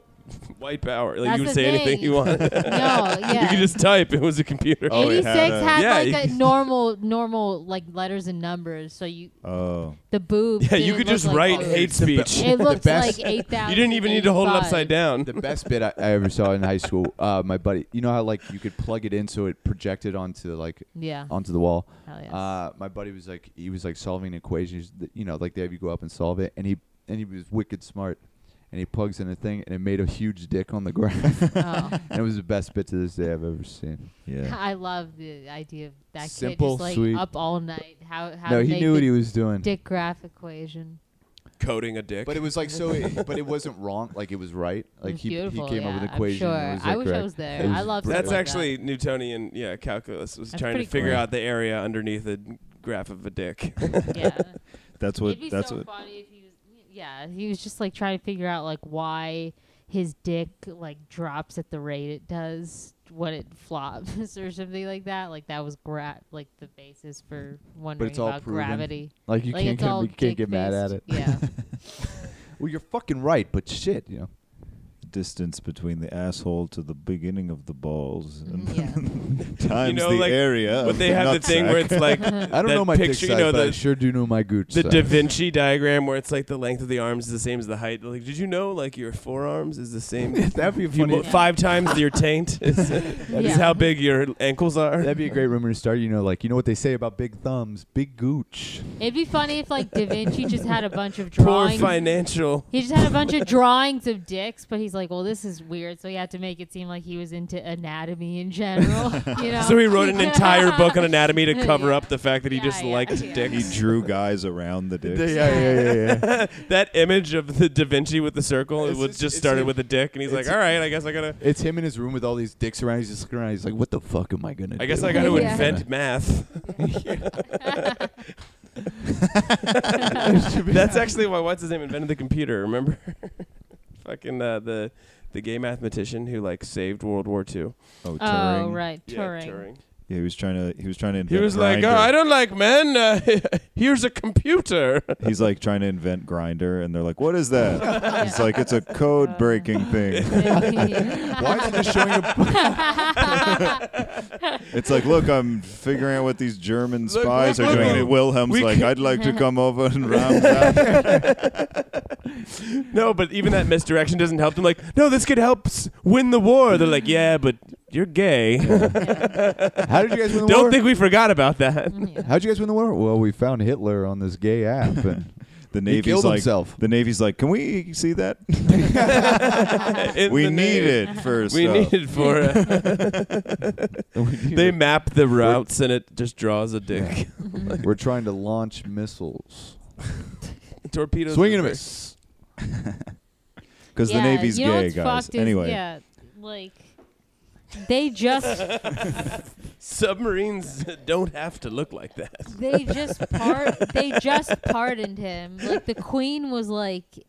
Speaker 3: white power. Like,
Speaker 5: That's
Speaker 3: you
Speaker 5: the
Speaker 3: could say anything
Speaker 5: thing.
Speaker 3: you want.
Speaker 5: no,
Speaker 3: You
Speaker 5: yeah.
Speaker 3: could just type. It was a computer.
Speaker 4: Oh, it
Speaker 5: 86
Speaker 4: had
Speaker 5: had,
Speaker 4: a-
Speaker 3: Yeah,
Speaker 5: like
Speaker 3: you-
Speaker 5: a normal normal like letters and numbers so you
Speaker 4: Oh,
Speaker 5: the boobs
Speaker 3: yeah, you
Speaker 5: didn't
Speaker 3: could just
Speaker 5: look
Speaker 3: write
Speaker 5: like boobs.
Speaker 3: hate speech.
Speaker 5: it looked
Speaker 6: best-
Speaker 5: like 8000
Speaker 3: You didn't even need to hold it upside down.
Speaker 6: the best bit I, I ever saw in high school. Uh, my buddy, you know how like you could plug it in so it projected onto like
Speaker 5: yeah
Speaker 3: Uh,
Speaker 6: onto the wall.
Speaker 5: hell yes.
Speaker 6: Uh, my buddy was like, he was like solving an equation. He's th- You know, like they have you go up and solve it, and he and he was wicked smart. And he plugs in a thing, and it made a huge dick on the graph.
Speaker 5: oh.
Speaker 6: and it was the best bit to this day I've ever seen.
Speaker 4: yeah.
Speaker 5: i love the idea of that
Speaker 6: Simple,
Speaker 5: kid just like
Speaker 6: sweet.
Speaker 5: up all night how how
Speaker 6: no,
Speaker 5: to
Speaker 6: he
Speaker 5: make
Speaker 6: knew
Speaker 5: the
Speaker 6: what he was doing.
Speaker 5: dick graph equation
Speaker 3: Coding a dick.
Speaker 6: But it was like so. It, but it wasn't wrong. Like it was right. Like
Speaker 5: It's
Speaker 6: he, he
Speaker 5: beautiful,
Speaker 6: came up
Speaker 5: yeah,
Speaker 6: with an
Speaker 5: I'm
Speaker 6: equation. and it
Speaker 5: sure.
Speaker 6: was,
Speaker 5: I
Speaker 6: like,
Speaker 5: wish I
Speaker 6: correct.
Speaker 5: was there.
Speaker 6: It
Speaker 5: I love
Speaker 6: brilliant.
Speaker 3: That's
Speaker 5: like
Speaker 3: actually Newtonian, yeah, calculus was
Speaker 5: That's
Speaker 3: trying to
Speaker 5: pretty
Speaker 3: figure
Speaker 5: cool.
Speaker 3: out the area underneath a graph of a dick.
Speaker 5: yeah
Speaker 4: That's what.
Speaker 5: It'd be
Speaker 4: That's
Speaker 5: so
Speaker 4: what.
Speaker 5: funny if he was. Yeah, he was just like trying to figure out like why his dick like drops at the rate it does when it flops or something like that. Like that was gra- like the basis for wondering
Speaker 6: all
Speaker 5: about
Speaker 6: proven.
Speaker 5: gravity.
Speaker 6: Like you
Speaker 5: like
Speaker 6: can't
Speaker 5: it's
Speaker 6: get,
Speaker 5: all
Speaker 6: you can't get mad at
Speaker 5: dick-based.
Speaker 6: it.
Speaker 5: Yeah.
Speaker 6: Well, you're fucking right, but shit, you know.
Speaker 4: Distance between the asshole to the beginning of the balls. And
Speaker 5: Mhm, yeah.
Speaker 4: times
Speaker 3: know,
Speaker 4: the
Speaker 3: like,
Speaker 4: area.
Speaker 3: But
Speaker 4: of
Speaker 3: they have the
Speaker 4: nutsack.
Speaker 3: thing where it's like
Speaker 6: I don't
Speaker 3: that
Speaker 6: know my
Speaker 3: picture, you
Speaker 6: dick size,
Speaker 3: know,
Speaker 6: but I
Speaker 3: the-
Speaker 6: sure do know my gooch
Speaker 3: the
Speaker 6: size.
Speaker 3: Da Vinci diagram where it's like the length of the arms is the same as the height. Like, did you know like your forearms is the same?
Speaker 6: That'd be a
Speaker 3: if you
Speaker 6: funny.
Speaker 3: mo- five times your taint is, is
Speaker 5: Yeah.
Speaker 3: how big your ankles are.
Speaker 6: That'd be a great rumor to start. You know, like you know what they say about big thumbs, big gooch.
Speaker 5: It'd be funny if like Da Vinci just had a bunch of
Speaker 3: Poor
Speaker 5: drawings.
Speaker 3: financial.
Speaker 5: He just had a bunch of drawings of dicks, but he's like, "Well, this is weird," so he had to make it seem like he was into anatomy in general. You know?
Speaker 3: So he wrote an entire book on anatomy to cover up the fact that he
Speaker 5: Yeah,
Speaker 3: just
Speaker 5: yeah,
Speaker 3: liked
Speaker 5: yeah.
Speaker 3: dicks.
Speaker 4: he drew guys around the dick.
Speaker 5: yeah,
Speaker 6: yeah, yeah.
Speaker 3: That image of the Da Vinci with the circle it
Speaker 6: It's
Speaker 3: was
Speaker 6: just-
Speaker 3: just,
Speaker 6: it's
Speaker 3: started
Speaker 6: him.
Speaker 3: with a dick, and he's like,
Speaker 6: It's-
Speaker 3: "All right, I guess I gotta,
Speaker 6: it's him in his room with all these dicks around. He's just looking around. He's like, "What the fuck am I gonna?"
Speaker 3: I guess
Speaker 6: do?
Speaker 3: I gotta
Speaker 5: Yeah.
Speaker 3: invent math."
Speaker 5: yeah.
Speaker 3: That's actually why what's his name invented the computer. Remember, fucking uh, the the gay mathematician who like saved World War II.
Speaker 4: Oh, Turing.
Speaker 5: Oh right, Turing.
Speaker 4: Yeah, he was trying to. He was trying to invent.
Speaker 3: He was like,
Speaker 4: Grindr.
Speaker 3: oh, "I don't like men. Uh, here's a computer."
Speaker 4: He's like trying to invent grinder, and they're like, "What is that?" He's like, "It's a code breaking thing."
Speaker 6: Why is it showing a
Speaker 4: It's like, look, I'm figuring out what these German
Speaker 3: Look,
Speaker 4: spies
Speaker 3: look,
Speaker 4: are doing.
Speaker 3: look.
Speaker 4: And Wilhelm's
Speaker 3: We
Speaker 4: like,
Speaker 3: can-
Speaker 4: I'd like to come over and round that.
Speaker 3: no, but even that misdirection doesn't help them. Like, no, this could help s- win the war. They're like, "Yeah, but you're gay."
Speaker 6: How did you guys win the war?
Speaker 3: don't think we forgot about that.
Speaker 6: How'd you guys win the war? Well, we found Hitler on this gay app, and
Speaker 4: The
Speaker 6: he
Speaker 4: Navy's
Speaker 6: killed
Speaker 4: like,
Speaker 6: himself.
Speaker 4: the Navy's like, can we see that?
Speaker 3: In
Speaker 4: we
Speaker 3: the
Speaker 4: need
Speaker 3: name.
Speaker 4: it first.
Speaker 3: We
Speaker 4: off.
Speaker 3: need it for. they map the routes and it just draws a dick.
Speaker 6: We're trying to launch missiles.
Speaker 3: Torpedoes.
Speaker 6: Swing and a
Speaker 3: are-
Speaker 6: miss.
Speaker 4: Because the Navy's
Speaker 5: you know
Speaker 4: gay,
Speaker 5: what's
Speaker 4: guys.
Speaker 5: fucked is-
Speaker 4: Anyway,
Speaker 5: yeah, like they just
Speaker 3: Submarines don't have to look like that.
Speaker 5: they just part they just pardoned him. Like the queen was like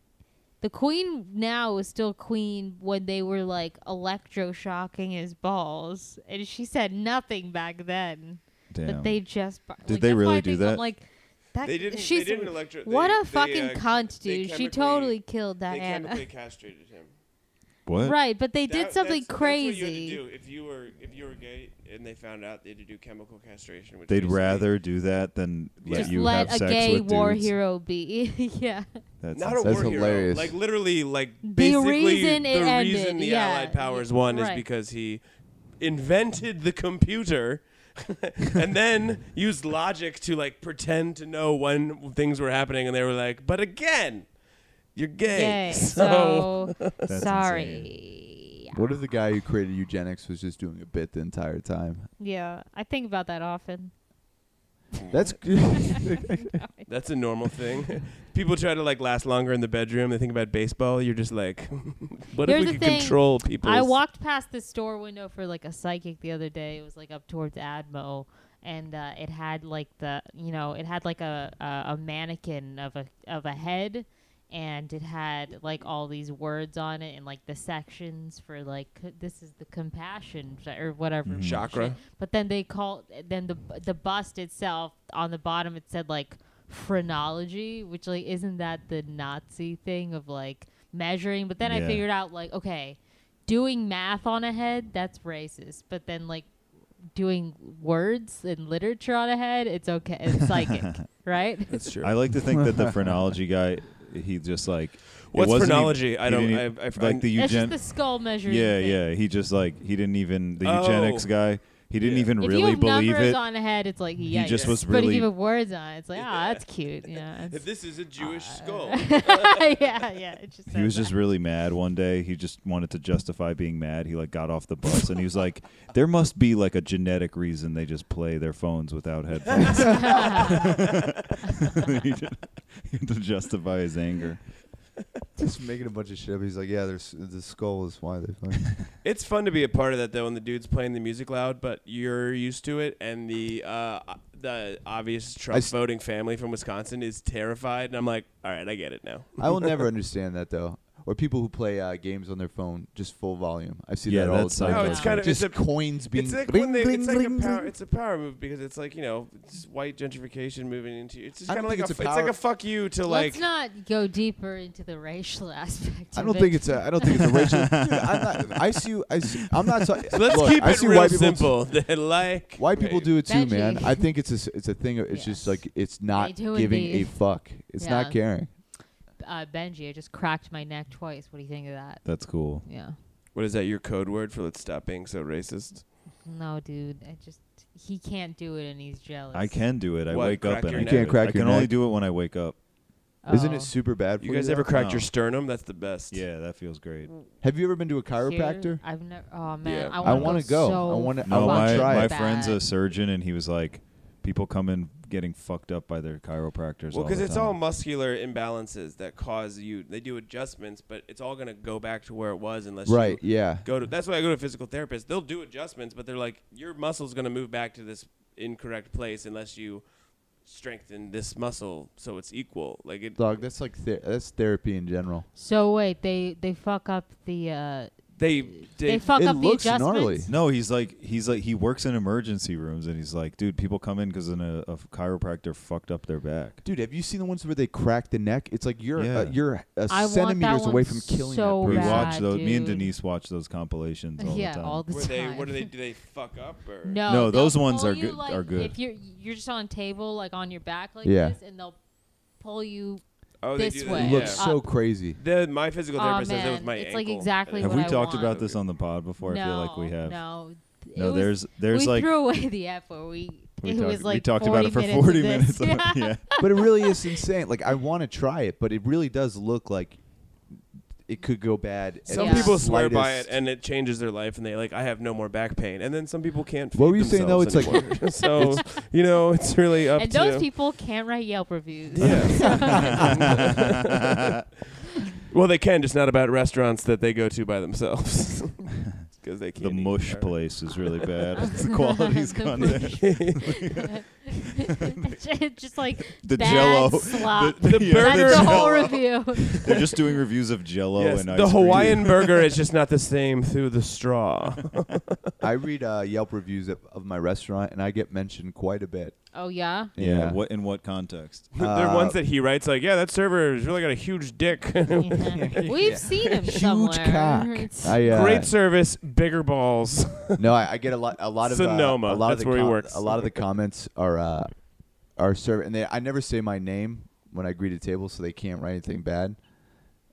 Speaker 5: the queen now is still queen when they were like electroshocking his balls, and she said nothing back then.
Speaker 4: damn.
Speaker 5: But they just par-
Speaker 4: Did
Speaker 5: like,
Speaker 4: they
Speaker 5: that's why I
Speaker 4: really do
Speaker 5: think
Speaker 4: that?
Speaker 5: I'm like that,
Speaker 9: They didn't.
Speaker 5: She's
Speaker 9: they didn't electro-
Speaker 5: what
Speaker 9: they-
Speaker 5: a
Speaker 9: they,
Speaker 5: fucking
Speaker 9: uh,
Speaker 5: cunt,
Speaker 9: they
Speaker 5: dude. She
Speaker 9: chemically-
Speaker 5: totally killed
Speaker 9: They
Speaker 5: Diana.
Speaker 9: chemically castrated him.
Speaker 4: What?
Speaker 5: Right, but they
Speaker 3: That-
Speaker 5: did something
Speaker 3: that's- that's what you had to
Speaker 5: crazy.
Speaker 3: do. If you were if you were gay and they found out, they had to do chemical castration. Which
Speaker 4: They'd
Speaker 3: basically-
Speaker 4: rather do that than let
Speaker 5: Just
Speaker 4: you
Speaker 5: let
Speaker 4: have
Speaker 5: a
Speaker 4: sex
Speaker 5: gay
Speaker 4: with
Speaker 5: war
Speaker 4: dudes.
Speaker 5: hero be. yeah.
Speaker 4: That's
Speaker 3: not a
Speaker 4: insane.
Speaker 6: That's
Speaker 3: war hero.
Speaker 6: hilarious.
Speaker 3: Like literally, like basically
Speaker 5: reason
Speaker 3: the
Speaker 5: it ended,
Speaker 3: reason the
Speaker 5: yeah.
Speaker 3: Allied powers won is
Speaker 5: Right.
Speaker 3: because he invented the computer. and then used logic to like pretend to know when things were happening, and they were like, "But again, you're gay."
Speaker 5: Yay.
Speaker 3: So,
Speaker 5: So,
Speaker 4: That's
Speaker 5: sorry.
Speaker 6: What if the guy who created eugenics was just doing a bit the entire time?
Speaker 5: Yeah, I think about that often.
Speaker 6: That's good.
Speaker 3: that's a normal thing. People try to like last longer in the bedroom. They think about baseball. You're just like, "What
Speaker 5: Here's
Speaker 3: if we
Speaker 5: the
Speaker 3: could
Speaker 5: thing.
Speaker 3: control people?"
Speaker 5: I walked past the store window for like a psychic the other day. It was like up towards Admo, and uh, it had like the you know it had like a, a a mannequin of a of a head, and it had like all these words on it and like the sections for like c- this is the compassion sh- or whatever
Speaker 3: Chakra.
Speaker 5: shit. But then they called then the the bust itself on the bottom it said like phrenology, which like isn't that the Nazi thing of like measuring? But then I
Speaker 4: Yeah.
Speaker 5: figured out like okay, doing math on a head that's racist, but then like doing words and literature on a head it's okay it's psychic right
Speaker 3: That's true.
Speaker 4: I like to think that the phrenology guy, he just like. it
Speaker 3: What's
Speaker 4: wasn't even-
Speaker 3: phrenology? I
Speaker 4: he
Speaker 3: don't-
Speaker 4: didn't- e-
Speaker 3: I've- I've-
Speaker 4: like the
Speaker 5: that's just
Speaker 4: eugen.
Speaker 5: the skull measure
Speaker 4: Yeah, yeah. He just like he didn't even the
Speaker 3: Oh.
Speaker 4: eugenics guy. He didn't
Speaker 3: Yeah.
Speaker 4: even
Speaker 5: if you
Speaker 4: really
Speaker 5: have
Speaker 4: believe
Speaker 5: numbers
Speaker 4: it.
Speaker 5: on a head it's like yeah
Speaker 4: just was
Speaker 5: but if
Speaker 4: really-
Speaker 5: you have words on it it's like ah
Speaker 3: Yeah.
Speaker 5: that's cute yeah it's-
Speaker 3: this is a
Speaker 5: Uh,
Speaker 3: Jewish skull.
Speaker 5: yeah yeah it just
Speaker 4: He was
Speaker 5: says
Speaker 4: just really mad one day. He just wanted to justify being mad. He like got off the bus and he was like, "There must be like a genetic reason they just play their phones without headphones." he did, he had to justify his anger.
Speaker 6: just making a bunch of shit up. He's like, yeah, there's the skull is why they. Fucking
Speaker 3: It's fun to be a part of that though, when the dude's playing the music loud, but you're used to it, and the uh, the obvious Trump
Speaker 6: s-
Speaker 3: voting family from Wisconsin is terrified, and I'm like, all right, I get it now.
Speaker 6: I will never understand that though. Or people who play uh, games on their phone just full volume. I see
Speaker 4: Yeah,
Speaker 6: that all
Speaker 4: that's
Speaker 6: the time.
Speaker 4: No,
Speaker 5: it's
Speaker 3: kind of-
Speaker 6: just
Speaker 3: it's a-
Speaker 6: coins being.
Speaker 3: It's like
Speaker 6: bling,
Speaker 3: when they,
Speaker 6: bling,
Speaker 3: it's like a
Speaker 6: bling,
Speaker 3: power,
Speaker 6: bling.
Speaker 3: it's a power move because it's like you know, it's white gentrification moving into. It's just
Speaker 6: I
Speaker 3: kind
Speaker 6: don't
Speaker 3: of like a, f-
Speaker 6: think it's a
Speaker 3: it's
Speaker 6: power-
Speaker 3: like a fuck you to like.
Speaker 5: let's not go deeper into the racial aspect
Speaker 6: I
Speaker 5: of
Speaker 6: don't
Speaker 5: it.
Speaker 6: think it's a. I don't think it's a racial. Dude, I'm not, I see. I see. I'm not. So,
Speaker 3: Let's
Speaker 6: look,
Speaker 3: keep
Speaker 6: I
Speaker 3: it
Speaker 6: see
Speaker 3: real
Speaker 6: white
Speaker 3: simple.
Speaker 6: people-
Speaker 3: They like
Speaker 6: White people do it too,
Speaker 5: Veggie.
Speaker 6: man. I think it's a, s- it's a thing. of- It's just
Speaker 5: Yes.
Speaker 6: like it's not
Speaker 5: do
Speaker 6: giving
Speaker 5: indeed.
Speaker 6: a fuck. It's
Speaker 5: Yeah.
Speaker 6: not caring.
Speaker 5: uh, benji i just cracked my neck twice what do you think of that
Speaker 4: That's cool.
Speaker 5: yeah
Speaker 3: What is that? Your code word for let's stop being so racist?
Speaker 5: no dude i just he can't do it and he's jealous
Speaker 4: I can do it. I
Speaker 3: What,
Speaker 4: wake
Speaker 3: crack
Speaker 4: up and
Speaker 3: your
Speaker 4: I
Speaker 3: neck?
Speaker 4: do
Speaker 6: You can't
Speaker 4: it.
Speaker 6: crack
Speaker 4: I
Speaker 6: your
Speaker 4: can only
Speaker 6: neck.
Speaker 4: do it when I wake up.
Speaker 6: Isn't
Speaker 5: Oh.
Speaker 6: it super bad for
Speaker 3: You
Speaker 6: you?
Speaker 3: guys
Speaker 6: though?
Speaker 3: ever cracked
Speaker 4: No.
Speaker 3: your sternum? That's the best.
Speaker 4: Yeah, that feels great.
Speaker 6: Have you ever been to a
Speaker 5: Here?
Speaker 6: chiropractor?
Speaker 5: I've never. Oh
Speaker 3: Yeah.
Speaker 5: man,
Speaker 3: I
Speaker 5: I want to
Speaker 6: wanna
Speaker 5: go.
Speaker 6: go.
Speaker 5: So
Speaker 6: I wanna- I
Speaker 4: No,
Speaker 6: wanna
Speaker 4: my,
Speaker 5: fucking
Speaker 6: try it.
Speaker 4: my
Speaker 5: bad.
Speaker 4: friend's a surgeon, and he was like, people come in getting fucked up by their chiropractors.
Speaker 3: Well, because
Speaker 4: because
Speaker 3: it's all muscular imbalances that cause you. They do adjustments, but it's all gonna go back to where it was unless
Speaker 6: Right.
Speaker 3: you
Speaker 6: Yeah.
Speaker 3: go to. That's why I go to a physical therapist. They'll do adjustments, but they're like, your muscle's gonna move back to this incorrect place unless you strengthen this muscle so it's equal. Like it,
Speaker 6: Dog, that's like the that's therapy in general.
Speaker 5: So wait, they they fuck up the uh,
Speaker 3: they
Speaker 5: they,
Speaker 3: they.
Speaker 5: fuck
Speaker 6: it
Speaker 5: up the
Speaker 6: looks
Speaker 5: adjustments.
Speaker 6: gnarly.
Speaker 4: No, he's like he's like he works in emergency rooms, and he's like, dude, people come in because a, a chiropractor fucked up their back.
Speaker 6: Dude, have you seen the ones where they crack the neck? It's like you're
Speaker 4: Yeah.
Speaker 6: uh, you're a
Speaker 5: I want that
Speaker 6: centimeters
Speaker 5: one
Speaker 6: away from killing
Speaker 5: so
Speaker 6: that
Speaker 4: we
Speaker 6: person.
Speaker 5: bad.
Speaker 4: watch those. Me and
Speaker 5: Oh, dude.
Speaker 4: Denise watch those compilations all
Speaker 5: yeah,
Speaker 4: the time.
Speaker 5: all the
Speaker 3: Were
Speaker 5: time.
Speaker 3: they? What do they? Do they fuck up or?
Speaker 5: No,
Speaker 4: No,
Speaker 5: they'll
Speaker 4: those ones
Speaker 5: pull
Speaker 4: are
Speaker 5: you,
Speaker 4: good-
Speaker 5: Like,
Speaker 4: are good.
Speaker 5: If you're you're just on table like on your back like
Speaker 6: Yeah.
Speaker 5: this, and they'll pull you.
Speaker 3: Oh, they
Speaker 5: This
Speaker 3: do that,
Speaker 5: way.
Speaker 6: It looks
Speaker 3: yeah.
Speaker 6: so
Speaker 5: Up.
Speaker 6: crazy.
Speaker 3: The, my physical
Speaker 5: Aw,
Speaker 3: therapist does that
Speaker 5: man,
Speaker 3: with my
Speaker 5: it's
Speaker 3: ankle.
Speaker 5: like exactly
Speaker 4: Have
Speaker 5: what
Speaker 4: we
Speaker 5: I
Speaker 4: talked
Speaker 5: want.
Speaker 4: about this on the pod before?
Speaker 5: no,
Speaker 4: I feel like we have.
Speaker 5: No, th-
Speaker 4: No,
Speaker 5: it was-
Speaker 4: there's there's
Speaker 5: we
Speaker 4: like
Speaker 5: threw away the F where we.
Speaker 4: we,
Speaker 5: it
Speaker 4: talked-
Speaker 5: was like
Speaker 4: we talked about it for 40 minutes.
Speaker 5: of
Speaker 4: of-
Speaker 5: this. yeah.
Speaker 4: yeah.
Speaker 6: but it really is insane. Like I want to try it, but it really does look like it could go bad. at
Speaker 3: Some
Speaker 5: Yeah.
Speaker 6: the
Speaker 3: people swear by it
Speaker 6: slightest-
Speaker 3: and it changes their life, and they like, I have no more back pain. And then some people can't.
Speaker 6: What
Speaker 3: feed
Speaker 6: were you saying, though?
Speaker 3: themselves
Speaker 6: It's like-
Speaker 3: anymore. so you know, it's really up
Speaker 5: And
Speaker 3: to.
Speaker 5: those people can't write Yelp reviews.
Speaker 3: yeah. well, they can, just not about restaurants that they go to by themselves, because they
Speaker 4: The
Speaker 3: can't. eat
Speaker 4: mush
Speaker 3: there.
Speaker 4: place is really bad. the quality's
Speaker 5: The
Speaker 4: gone down.
Speaker 5: mush. It's just like
Speaker 4: The
Speaker 5: bad
Speaker 4: Jell-O.
Speaker 5: slop.
Speaker 3: The
Speaker 4: yeah,
Speaker 3: burger-
Speaker 5: That's the whole
Speaker 4: Jell-O.
Speaker 5: review.
Speaker 4: They're just doing reviews of Jello
Speaker 3: Yes,
Speaker 4: and
Speaker 3: the
Speaker 4: ice cream.
Speaker 3: Hawaiian burger is just not the same through the straw.
Speaker 6: I read uh, Yelp reviews of, of my restaurant, and I get mentioned quite a bit.
Speaker 5: Oh yeah.
Speaker 6: Yeah.
Speaker 4: What in what context?
Speaker 6: Uh,
Speaker 3: There are ones that he writes like, yeah, that server's really got a huge dick.
Speaker 5: Yeah. We've seen him somewhere. It's-
Speaker 6: I, uh,
Speaker 3: Great service, bigger balls.
Speaker 6: No, I, I get a lot. A lot of uh,
Speaker 3: Sonoma,
Speaker 6: a lot
Speaker 3: that's
Speaker 6: of the
Speaker 3: where he works.
Speaker 6: A lot of the comments are uh, are server, and they. I never say my name when I greet a table, so they can't write anything bad.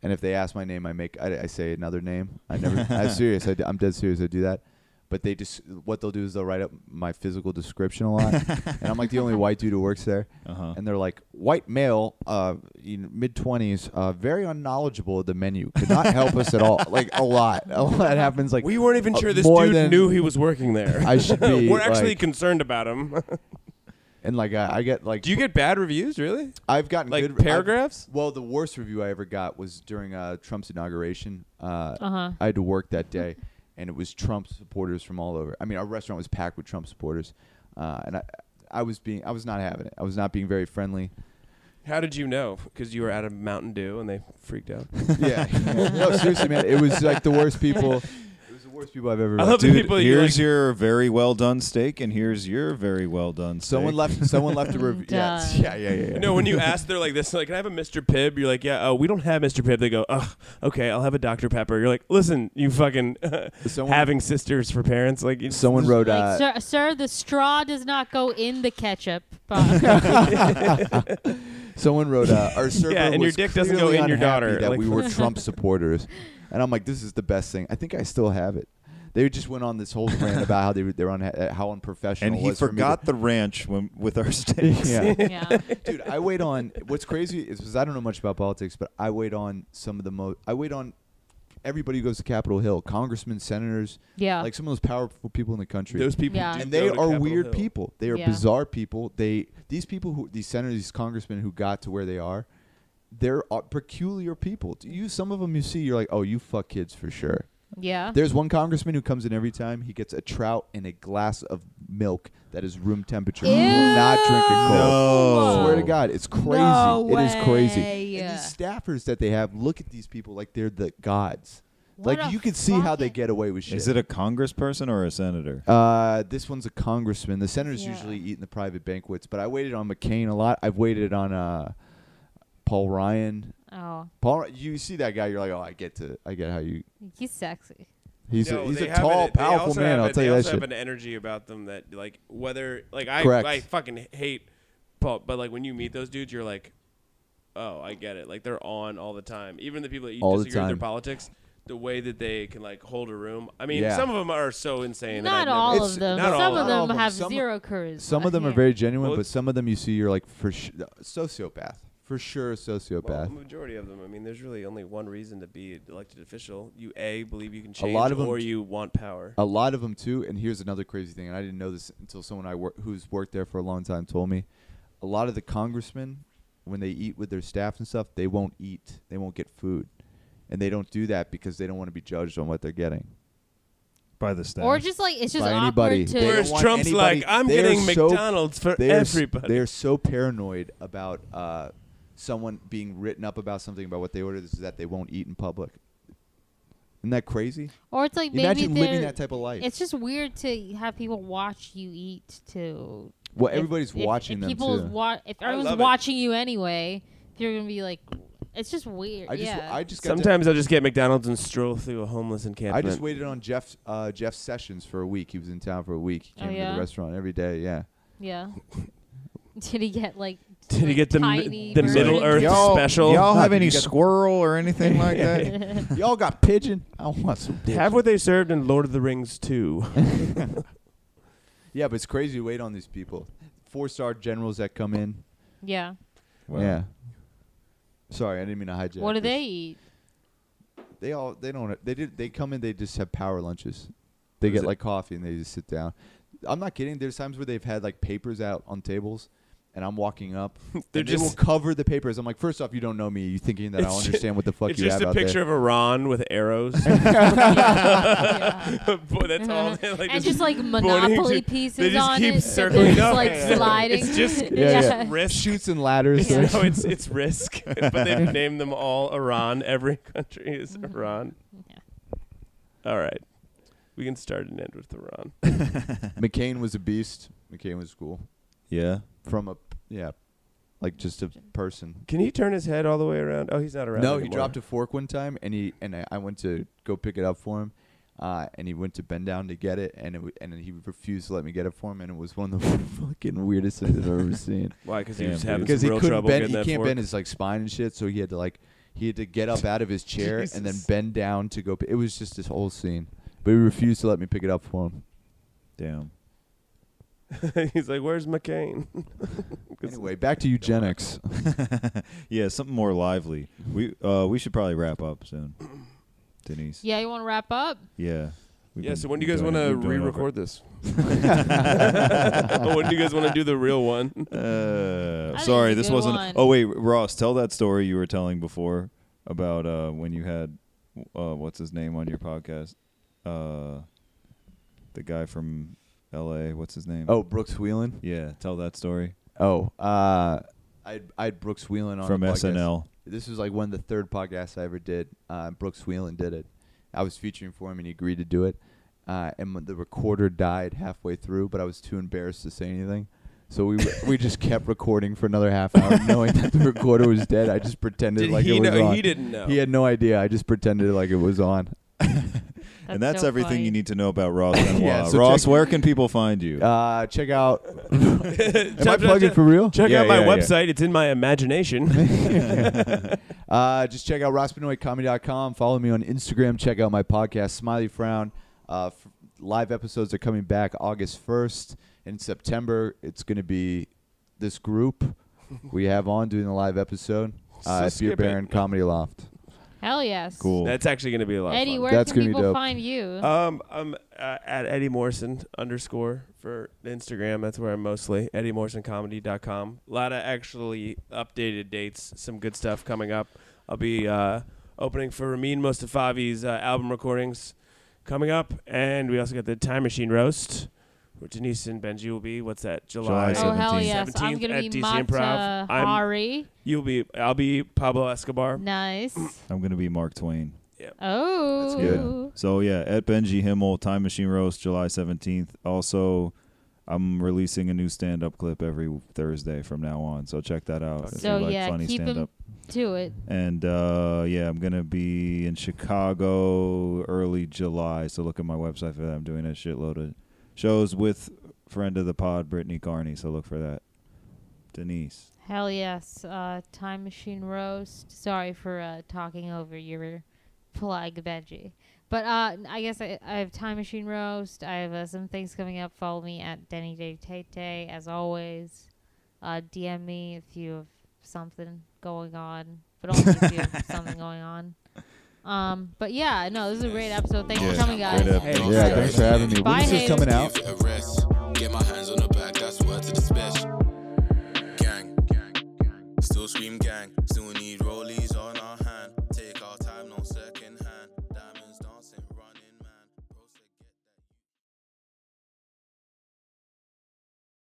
Speaker 6: And if they ask my name, I make I, I say another name. I never. I'm serious. I, am dead serious. I do that. But they just what they'll do is they'll write up my physical description a lot, and I'm like the only white dude who works there.
Speaker 4: Uh-huh.
Speaker 6: And they're like white male, uh, mid twenties, uh, very unknowledgeable of the menu, could not help us at all. Like a lot, a lot happens. Like
Speaker 3: We weren't even
Speaker 6: uh,
Speaker 3: sure this
Speaker 6: more
Speaker 3: dude
Speaker 6: than-
Speaker 3: knew he was working there.
Speaker 6: I should be.
Speaker 3: We're actually
Speaker 6: like-
Speaker 3: concerned about him.
Speaker 6: and like I, I get like
Speaker 8: Do you get bad reviews, really?
Speaker 6: I've gotten
Speaker 8: like
Speaker 6: good I've-
Speaker 8: paragraphs?
Speaker 6: well, the worst review I ever got was during uh, Trump's inauguration. Uh,
Speaker 5: Uh-huh.
Speaker 6: I had to work that day, and it was Trump supporters from all over. I mean, our restaurant was packed with Trump supporters, uh, and I, I was being I was not having it. I was not being very friendly.
Speaker 3: How did you know? Because you were out of Mountain Dew and they freaked out.
Speaker 6: Yeah, no, seriously, man, it was like the worst people. It was the worst people I've ever.
Speaker 3: I
Speaker 6: met.
Speaker 3: love the
Speaker 4: Dude,
Speaker 3: people you're
Speaker 4: here's
Speaker 3: like-
Speaker 4: your very well done steak, and here's your very well done steak.
Speaker 6: Someone left. Someone left a review. Yeah,
Speaker 5: Done.
Speaker 6: yeah, yeah, yeah. yeah.
Speaker 3: No, when you ask, they're like this. Like, can I have a Mr. Pibb? You're like, yeah. Oh, we don't have Mr. Pibb. They go, oh, okay, I'll have a Dr. Pepper. You're like, listen, you fucking
Speaker 6: Someone-
Speaker 3: having sisters for parents. Like, it's-
Speaker 6: Someone wrote.
Speaker 5: Like,
Speaker 6: Uh,
Speaker 5: sir, sir, the straw does not go in the ketchup. But
Speaker 6: Someone wrote, uh, "Our server
Speaker 3: and your
Speaker 6: was
Speaker 3: dick doesn't
Speaker 6: clearly
Speaker 3: go in your
Speaker 6: unhappy
Speaker 3: daughter."
Speaker 6: That
Speaker 3: Like-
Speaker 6: we were Trump supporters, and I'm like, this is the best thing. I think I still have it. They just went on this whole rant about how they were- they're on how unprofessional.
Speaker 4: and
Speaker 6: it
Speaker 4: he
Speaker 6: was for me to-
Speaker 4: forgot the ranch when, with our steaks.
Speaker 6: yeah,
Speaker 5: yeah.
Speaker 6: dude, I wait on. What's crazy is 'cause I don't know much about politics, but I wait on some of the most. I wait on everybody who goes to Capitol Hill, congressmen, senators,
Speaker 5: Yeah.
Speaker 6: like some of those powerful people in the country.
Speaker 3: those people.
Speaker 5: Yeah.
Speaker 3: do
Speaker 6: and
Speaker 3: go
Speaker 6: they
Speaker 3: to
Speaker 6: are
Speaker 3: Capitol
Speaker 6: weird
Speaker 3: Hill.
Speaker 6: people. They are
Speaker 5: Yeah.
Speaker 6: bizarre people. They these people who these senators, these congressmen who got to where they are, they're uh, peculiar people. Do you some of them you see, you're like, oh, you fuck kids for sure.
Speaker 5: Yeah.
Speaker 6: There's one congressman who comes in every time. He gets a trout and a glass of milk that is room temperature. He will not drink it cold.
Speaker 4: No.
Speaker 6: Swear to God, it's crazy.
Speaker 5: No
Speaker 6: It is
Speaker 5: way.
Speaker 6: crazy. And these staffers that they have look at these people like they're the gods.
Speaker 5: What a
Speaker 6: like you can see how they
Speaker 5: fucking-
Speaker 6: get away with shit.
Speaker 4: Is it a congressperson or a senator?
Speaker 6: Uh, this one's a congressman. The senators
Speaker 5: Yeah.
Speaker 6: usually eat in the private banquets, but I waited on McCain a lot. I've waited on uh, Paul Ryan.
Speaker 5: Oh,
Speaker 6: Paul, you see that guy, you're like, oh, I get to, I get how you.
Speaker 5: he's sexy.
Speaker 6: He's
Speaker 3: No,
Speaker 6: a, he's
Speaker 3: they
Speaker 6: a
Speaker 3: have
Speaker 6: tall,
Speaker 3: an- e-, they
Speaker 6: powerful
Speaker 3: also
Speaker 6: man.
Speaker 3: have
Speaker 6: I'll
Speaker 3: a-
Speaker 6: tell
Speaker 3: they
Speaker 6: you that
Speaker 3: also have
Speaker 6: shit.
Speaker 3: an energy about them that, like, whether like I,
Speaker 6: Correct.
Speaker 3: I fucking hate Paul, but like when you meet those dudes, you're like, oh, I get it. Like they're on all the time. Even the people that you
Speaker 6: All the
Speaker 3: disagree with their
Speaker 6: time.
Speaker 3: politics, the way that they can like hold a room. I mean,
Speaker 6: Yeah.
Speaker 3: some of them are so insane.
Speaker 5: Not
Speaker 3: that I've
Speaker 5: all
Speaker 3: never,
Speaker 5: of
Speaker 6: It's-
Speaker 5: them.
Speaker 3: not all
Speaker 5: Some
Speaker 3: of
Speaker 5: of
Speaker 6: them.
Speaker 5: them have
Speaker 6: Some-
Speaker 5: zero charisma.
Speaker 6: Some of them are
Speaker 5: Yeah.
Speaker 6: very genuine,
Speaker 3: Well,
Speaker 6: but
Speaker 3: it's-
Speaker 6: some of them you see, you're like, for sh- sociopath, for sure, a
Speaker 3: Well,
Speaker 6: sociopath.
Speaker 3: the majority of them. I mean, there's really only one reason to be an elected official. You a believe you can
Speaker 6: A
Speaker 3: change,
Speaker 6: lot of 'em
Speaker 3: or
Speaker 6: d-
Speaker 3: you want power.
Speaker 6: a lot of them too. And here's another crazy thing, and I didn't know this until someone I work who's worked there for a long time told me. A lot of the congressmen, when they eat with their staff and stuff, they won't eat. They won't get food, and they don't do that because they don't want to be judged on what they're getting.
Speaker 4: By the staff.
Speaker 5: Or just like it's just
Speaker 6: By
Speaker 5: awkward
Speaker 6: anybody.
Speaker 5: to.
Speaker 6: They
Speaker 3: Whereas
Speaker 6: don't want
Speaker 3: Trump's
Speaker 6: anybody-
Speaker 3: like, I'm
Speaker 6: they are
Speaker 3: getting
Speaker 6: so-
Speaker 3: McDonald's for
Speaker 6: They are s-
Speaker 3: everybody.
Speaker 6: They are so paranoid about uh, someone being written up about something about what they ordered is that they won't eat in public. Isn't that crazy?
Speaker 5: or it's like maybe
Speaker 6: Imagine living
Speaker 5: they're-
Speaker 6: that type of life.
Speaker 5: It's just weird to have people watch you eat too.
Speaker 6: well,
Speaker 5: If-
Speaker 6: everybody's
Speaker 5: if-
Speaker 6: watching
Speaker 5: if
Speaker 6: them
Speaker 5: people's
Speaker 6: too.
Speaker 5: wa- if
Speaker 3: I
Speaker 5: everyone's
Speaker 3: love it.
Speaker 5: watching you anyway, if you're gonna be like, it's just weird.
Speaker 6: I just,
Speaker 5: yeah.
Speaker 6: I just got to-
Speaker 3: Sometimes I'll just get McDonald's and stroll through a homeless
Speaker 6: I
Speaker 3: encampment.
Speaker 6: just waited on Jeff uh, Jeff Sessions for a week. He was in town for a week. He
Speaker 5: Oh,
Speaker 6: came to
Speaker 5: yeah?
Speaker 6: the restaurant every day. Yeah.
Speaker 5: yeah. Did he get like?
Speaker 3: Did he get the
Speaker 5: tiny
Speaker 3: mi- the
Speaker 5: version?
Speaker 3: Middle Earth
Speaker 4: y'all,
Speaker 3: special?
Speaker 4: Y'all have
Speaker 6: You
Speaker 4: any
Speaker 6: got-
Speaker 4: squirrel or anything like that?
Speaker 6: Y'all got pigeon? I want some.
Speaker 3: Have what they served in Lord of the Rings 2.
Speaker 6: Yeah, but it's crazy to wait on these people. Four star generals that come in.
Speaker 5: Yeah.
Speaker 4: Wow.
Speaker 6: Yeah. Sorry, I didn't mean to hijack.
Speaker 5: What do
Speaker 6: this.
Speaker 5: they eat?
Speaker 6: They all they don't they did they come in they just have power lunches. They
Speaker 3: What is
Speaker 6: get
Speaker 3: it?
Speaker 6: like coffee and they just sit down. I'm not kidding. There's times where they've had like papers out on tables, and I'm walking up. and
Speaker 3: They're
Speaker 6: they will
Speaker 3: just-
Speaker 6: cover the papers. I'm like, first off, you don't know me. You thinking that I
Speaker 3: It's
Speaker 6: don't
Speaker 3: ju-
Speaker 6: understand what the fuck
Speaker 3: it's
Speaker 6: you
Speaker 3: just
Speaker 6: have
Speaker 3: a
Speaker 6: out
Speaker 3: picture
Speaker 6: there.
Speaker 3: of Iran with arrows.
Speaker 5: Yeah.
Speaker 3: Boy, that's all. they- Like,
Speaker 5: Uh-huh. and
Speaker 3: just
Speaker 5: just like
Speaker 3: pointing to-
Speaker 5: Monopoly pieces
Speaker 3: they just
Speaker 5: on
Speaker 3: keep
Speaker 5: it.
Speaker 3: circling
Speaker 5: They're
Speaker 3: up.
Speaker 5: just like
Speaker 3: Yeah, yeah.
Speaker 5: sliding.
Speaker 3: It's just-
Speaker 6: Yeah,
Speaker 5: yeah.
Speaker 3: risk.
Speaker 6: Shoots and ladders.
Speaker 5: Yeah.
Speaker 3: no, it's it's risk, but they've named them
Speaker 5: Mm-hmm.
Speaker 3: all Iran. Every country is Iran.
Speaker 5: Yeah.
Speaker 3: All right. We can start and end with Theron.
Speaker 6: McCain was a beast. McCain was cool.
Speaker 4: Yeah.
Speaker 6: From a yeah, like just a person.
Speaker 3: Can he turn his head all the way around? Oh, he's not around.
Speaker 6: No, he dropped a fork one time, and he and I, I went to go pick it up for him, uh, and he went to bend down to get it, and it, w- and he refused to let me get it for him, and it was one of the fucking weirdest things I've ever seen.
Speaker 3: Why? Because he
Speaker 4: Damn,
Speaker 3: was
Speaker 4: dude.
Speaker 3: having
Speaker 6: Because
Speaker 3: some
Speaker 6: he
Speaker 3: real
Speaker 6: couldn't
Speaker 3: trouble
Speaker 6: bend,
Speaker 3: getting
Speaker 6: he
Speaker 3: that
Speaker 6: can't
Speaker 3: fork.
Speaker 6: bend his like spine and shit, so he had to like he had to get up out of his chair and then bend down to go. p- It was just this whole scene, but he refused to let me pick it up for him.
Speaker 4: Damn.
Speaker 3: he's like, "Where's McCain?"
Speaker 6: Anyway, back to eugenics.
Speaker 4: yeah, something more lively. We uh we should probably wrap up soon. Denise.
Speaker 5: Yeah, you want to wrap up?
Speaker 4: Yeah. We've
Speaker 3: yeah.
Speaker 4: been-
Speaker 3: So when do
Speaker 4: we've
Speaker 3: you guys
Speaker 4: done
Speaker 3: want
Speaker 4: it-
Speaker 3: to
Speaker 4: we've done it over-
Speaker 3: re-record this? when do you guys want to do the real one?
Speaker 4: Uh,
Speaker 5: I think
Speaker 4: sorry,
Speaker 5: it's a
Speaker 4: this
Speaker 5: good
Speaker 4: wasn't.
Speaker 5: one.
Speaker 4: Oh wait, Ross, tell that story you were telling before about uh, when you had uh, what's his name on your podcast, uh, the guy from L.A. What's his name?
Speaker 6: oh, Brooks Wheelan.
Speaker 4: yeah, tell that story
Speaker 6: Oh, uh, I I had Brooks Wheelan on
Speaker 4: from
Speaker 6: the podcast.
Speaker 4: SNL.
Speaker 6: This was like one of the third podcasts I ever did. Uh, Brooks Wheelan did it. I was featuring for him, and he agreed to do it. Uh, and when the recorder died halfway through, but I was too embarrassed to say anything. So we we just kept recording for another half hour, knowing that the recorder was dead. I just pretended
Speaker 3: Did
Speaker 6: like
Speaker 3: he
Speaker 6: it was
Speaker 3: know?
Speaker 6: on.
Speaker 3: He didn't know.
Speaker 6: He had no idea. I just pretended like it was on.
Speaker 4: and that's
Speaker 5: so
Speaker 4: everything
Speaker 5: funny.
Speaker 4: you need to know about Ross Benoit.
Speaker 6: Yeah, so
Speaker 4: Ross,
Speaker 6: check-
Speaker 4: where can people find you?
Speaker 6: Uh, check out. Am I
Speaker 3: Check-
Speaker 6: plugging
Speaker 3: check-
Speaker 6: for real?
Speaker 3: Check
Speaker 4: Yeah,
Speaker 3: out my
Speaker 4: yeah, yeah.
Speaker 3: website. It's in my imagination.
Speaker 6: Uh, just check out rossbenoitcomedy.com. Follow me on Instagram. Check out my podcast, Smiley Frown. Uh, f- live episodes are coming back August 1st. In September, it's going to be this group we have on doing a live episode uh,
Speaker 3: So
Speaker 6: at Beer
Speaker 3: skip it.
Speaker 6: Baron Comedy Loft.
Speaker 5: Hell yes.
Speaker 4: cool.
Speaker 3: That's actually going to be a lot. of
Speaker 5: Eddie,
Speaker 3: fun.
Speaker 5: where
Speaker 6: That's
Speaker 5: can
Speaker 6: gonna be
Speaker 5: people
Speaker 6: dope.
Speaker 5: find you?
Speaker 3: Um, I'm uh, at Eddie Morrison underscore for Instagram. That's where I'm mostly. EddieMorrisonComedy.com. A lot of actually updated dates. Some good stuff coming up. I'll be uh, opening for Ramin Mostafavi's uh, album recordings coming up, and we also got the Time Machine roast. Where Denise and Benji will be. What's that? July.
Speaker 4: July
Speaker 5: oh hell
Speaker 4: 17th.
Speaker 5: yes! I'm
Speaker 3: 17th
Speaker 5: gonna
Speaker 3: at
Speaker 5: be
Speaker 3: DC
Speaker 5: Mata
Speaker 3: Improv. I'm-
Speaker 5: Hari.
Speaker 3: You'll be. I'll be Pablo Escobar.
Speaker 5: Nice.
Speaker 4: I'm gonna be Mark Twain.
Speaker 5: Oh,
Speaker 4: Yeah. So yeah, at Benji Himmel, Time Machine Roast, July seventeenth. Also, I'm releasing a new stand-up clip every Thursday from now on. So check that out. if
Speaker 5: So,
Speaker 4: you like
Speaker 5: yeah,
Speaker 4: funny
Speaker 5: keep 'em-
Speaker 4: stand-up.
Speaker 5: do it.
Speaker 4: And uh, yeah, I'm gonna be in Chicago early July. So look at my website for that. I'm doing a shitload of shows with friend of the pod Brittany Carney. So look for that. Denise.
Speaker 5: Hell yes. Uh, Time Machine Roast. Sorry for uh, talking over your plug, Benji. But uh, I guess I, I have Time Machine Roast. I have uh, some things coming up. Follow me at Denny Dave Tate Day, as always. Uh, DM me if you have something going on, but only if you have something going on. Um, but yeah, no, this is a great episode. Thanks for coming, guys.
Speaker 4: Great episode.
Speaker 6: Yeah, thanks for having me.
Speaker 5: Bye,
Speaker 6: When's this
Speaker 5: haters.
Speaker 6: coming out?
Speaker 2: Give it a rest. Get my hands on the back, that's word to the special. Gang, gang, gang. Still scream gang, still need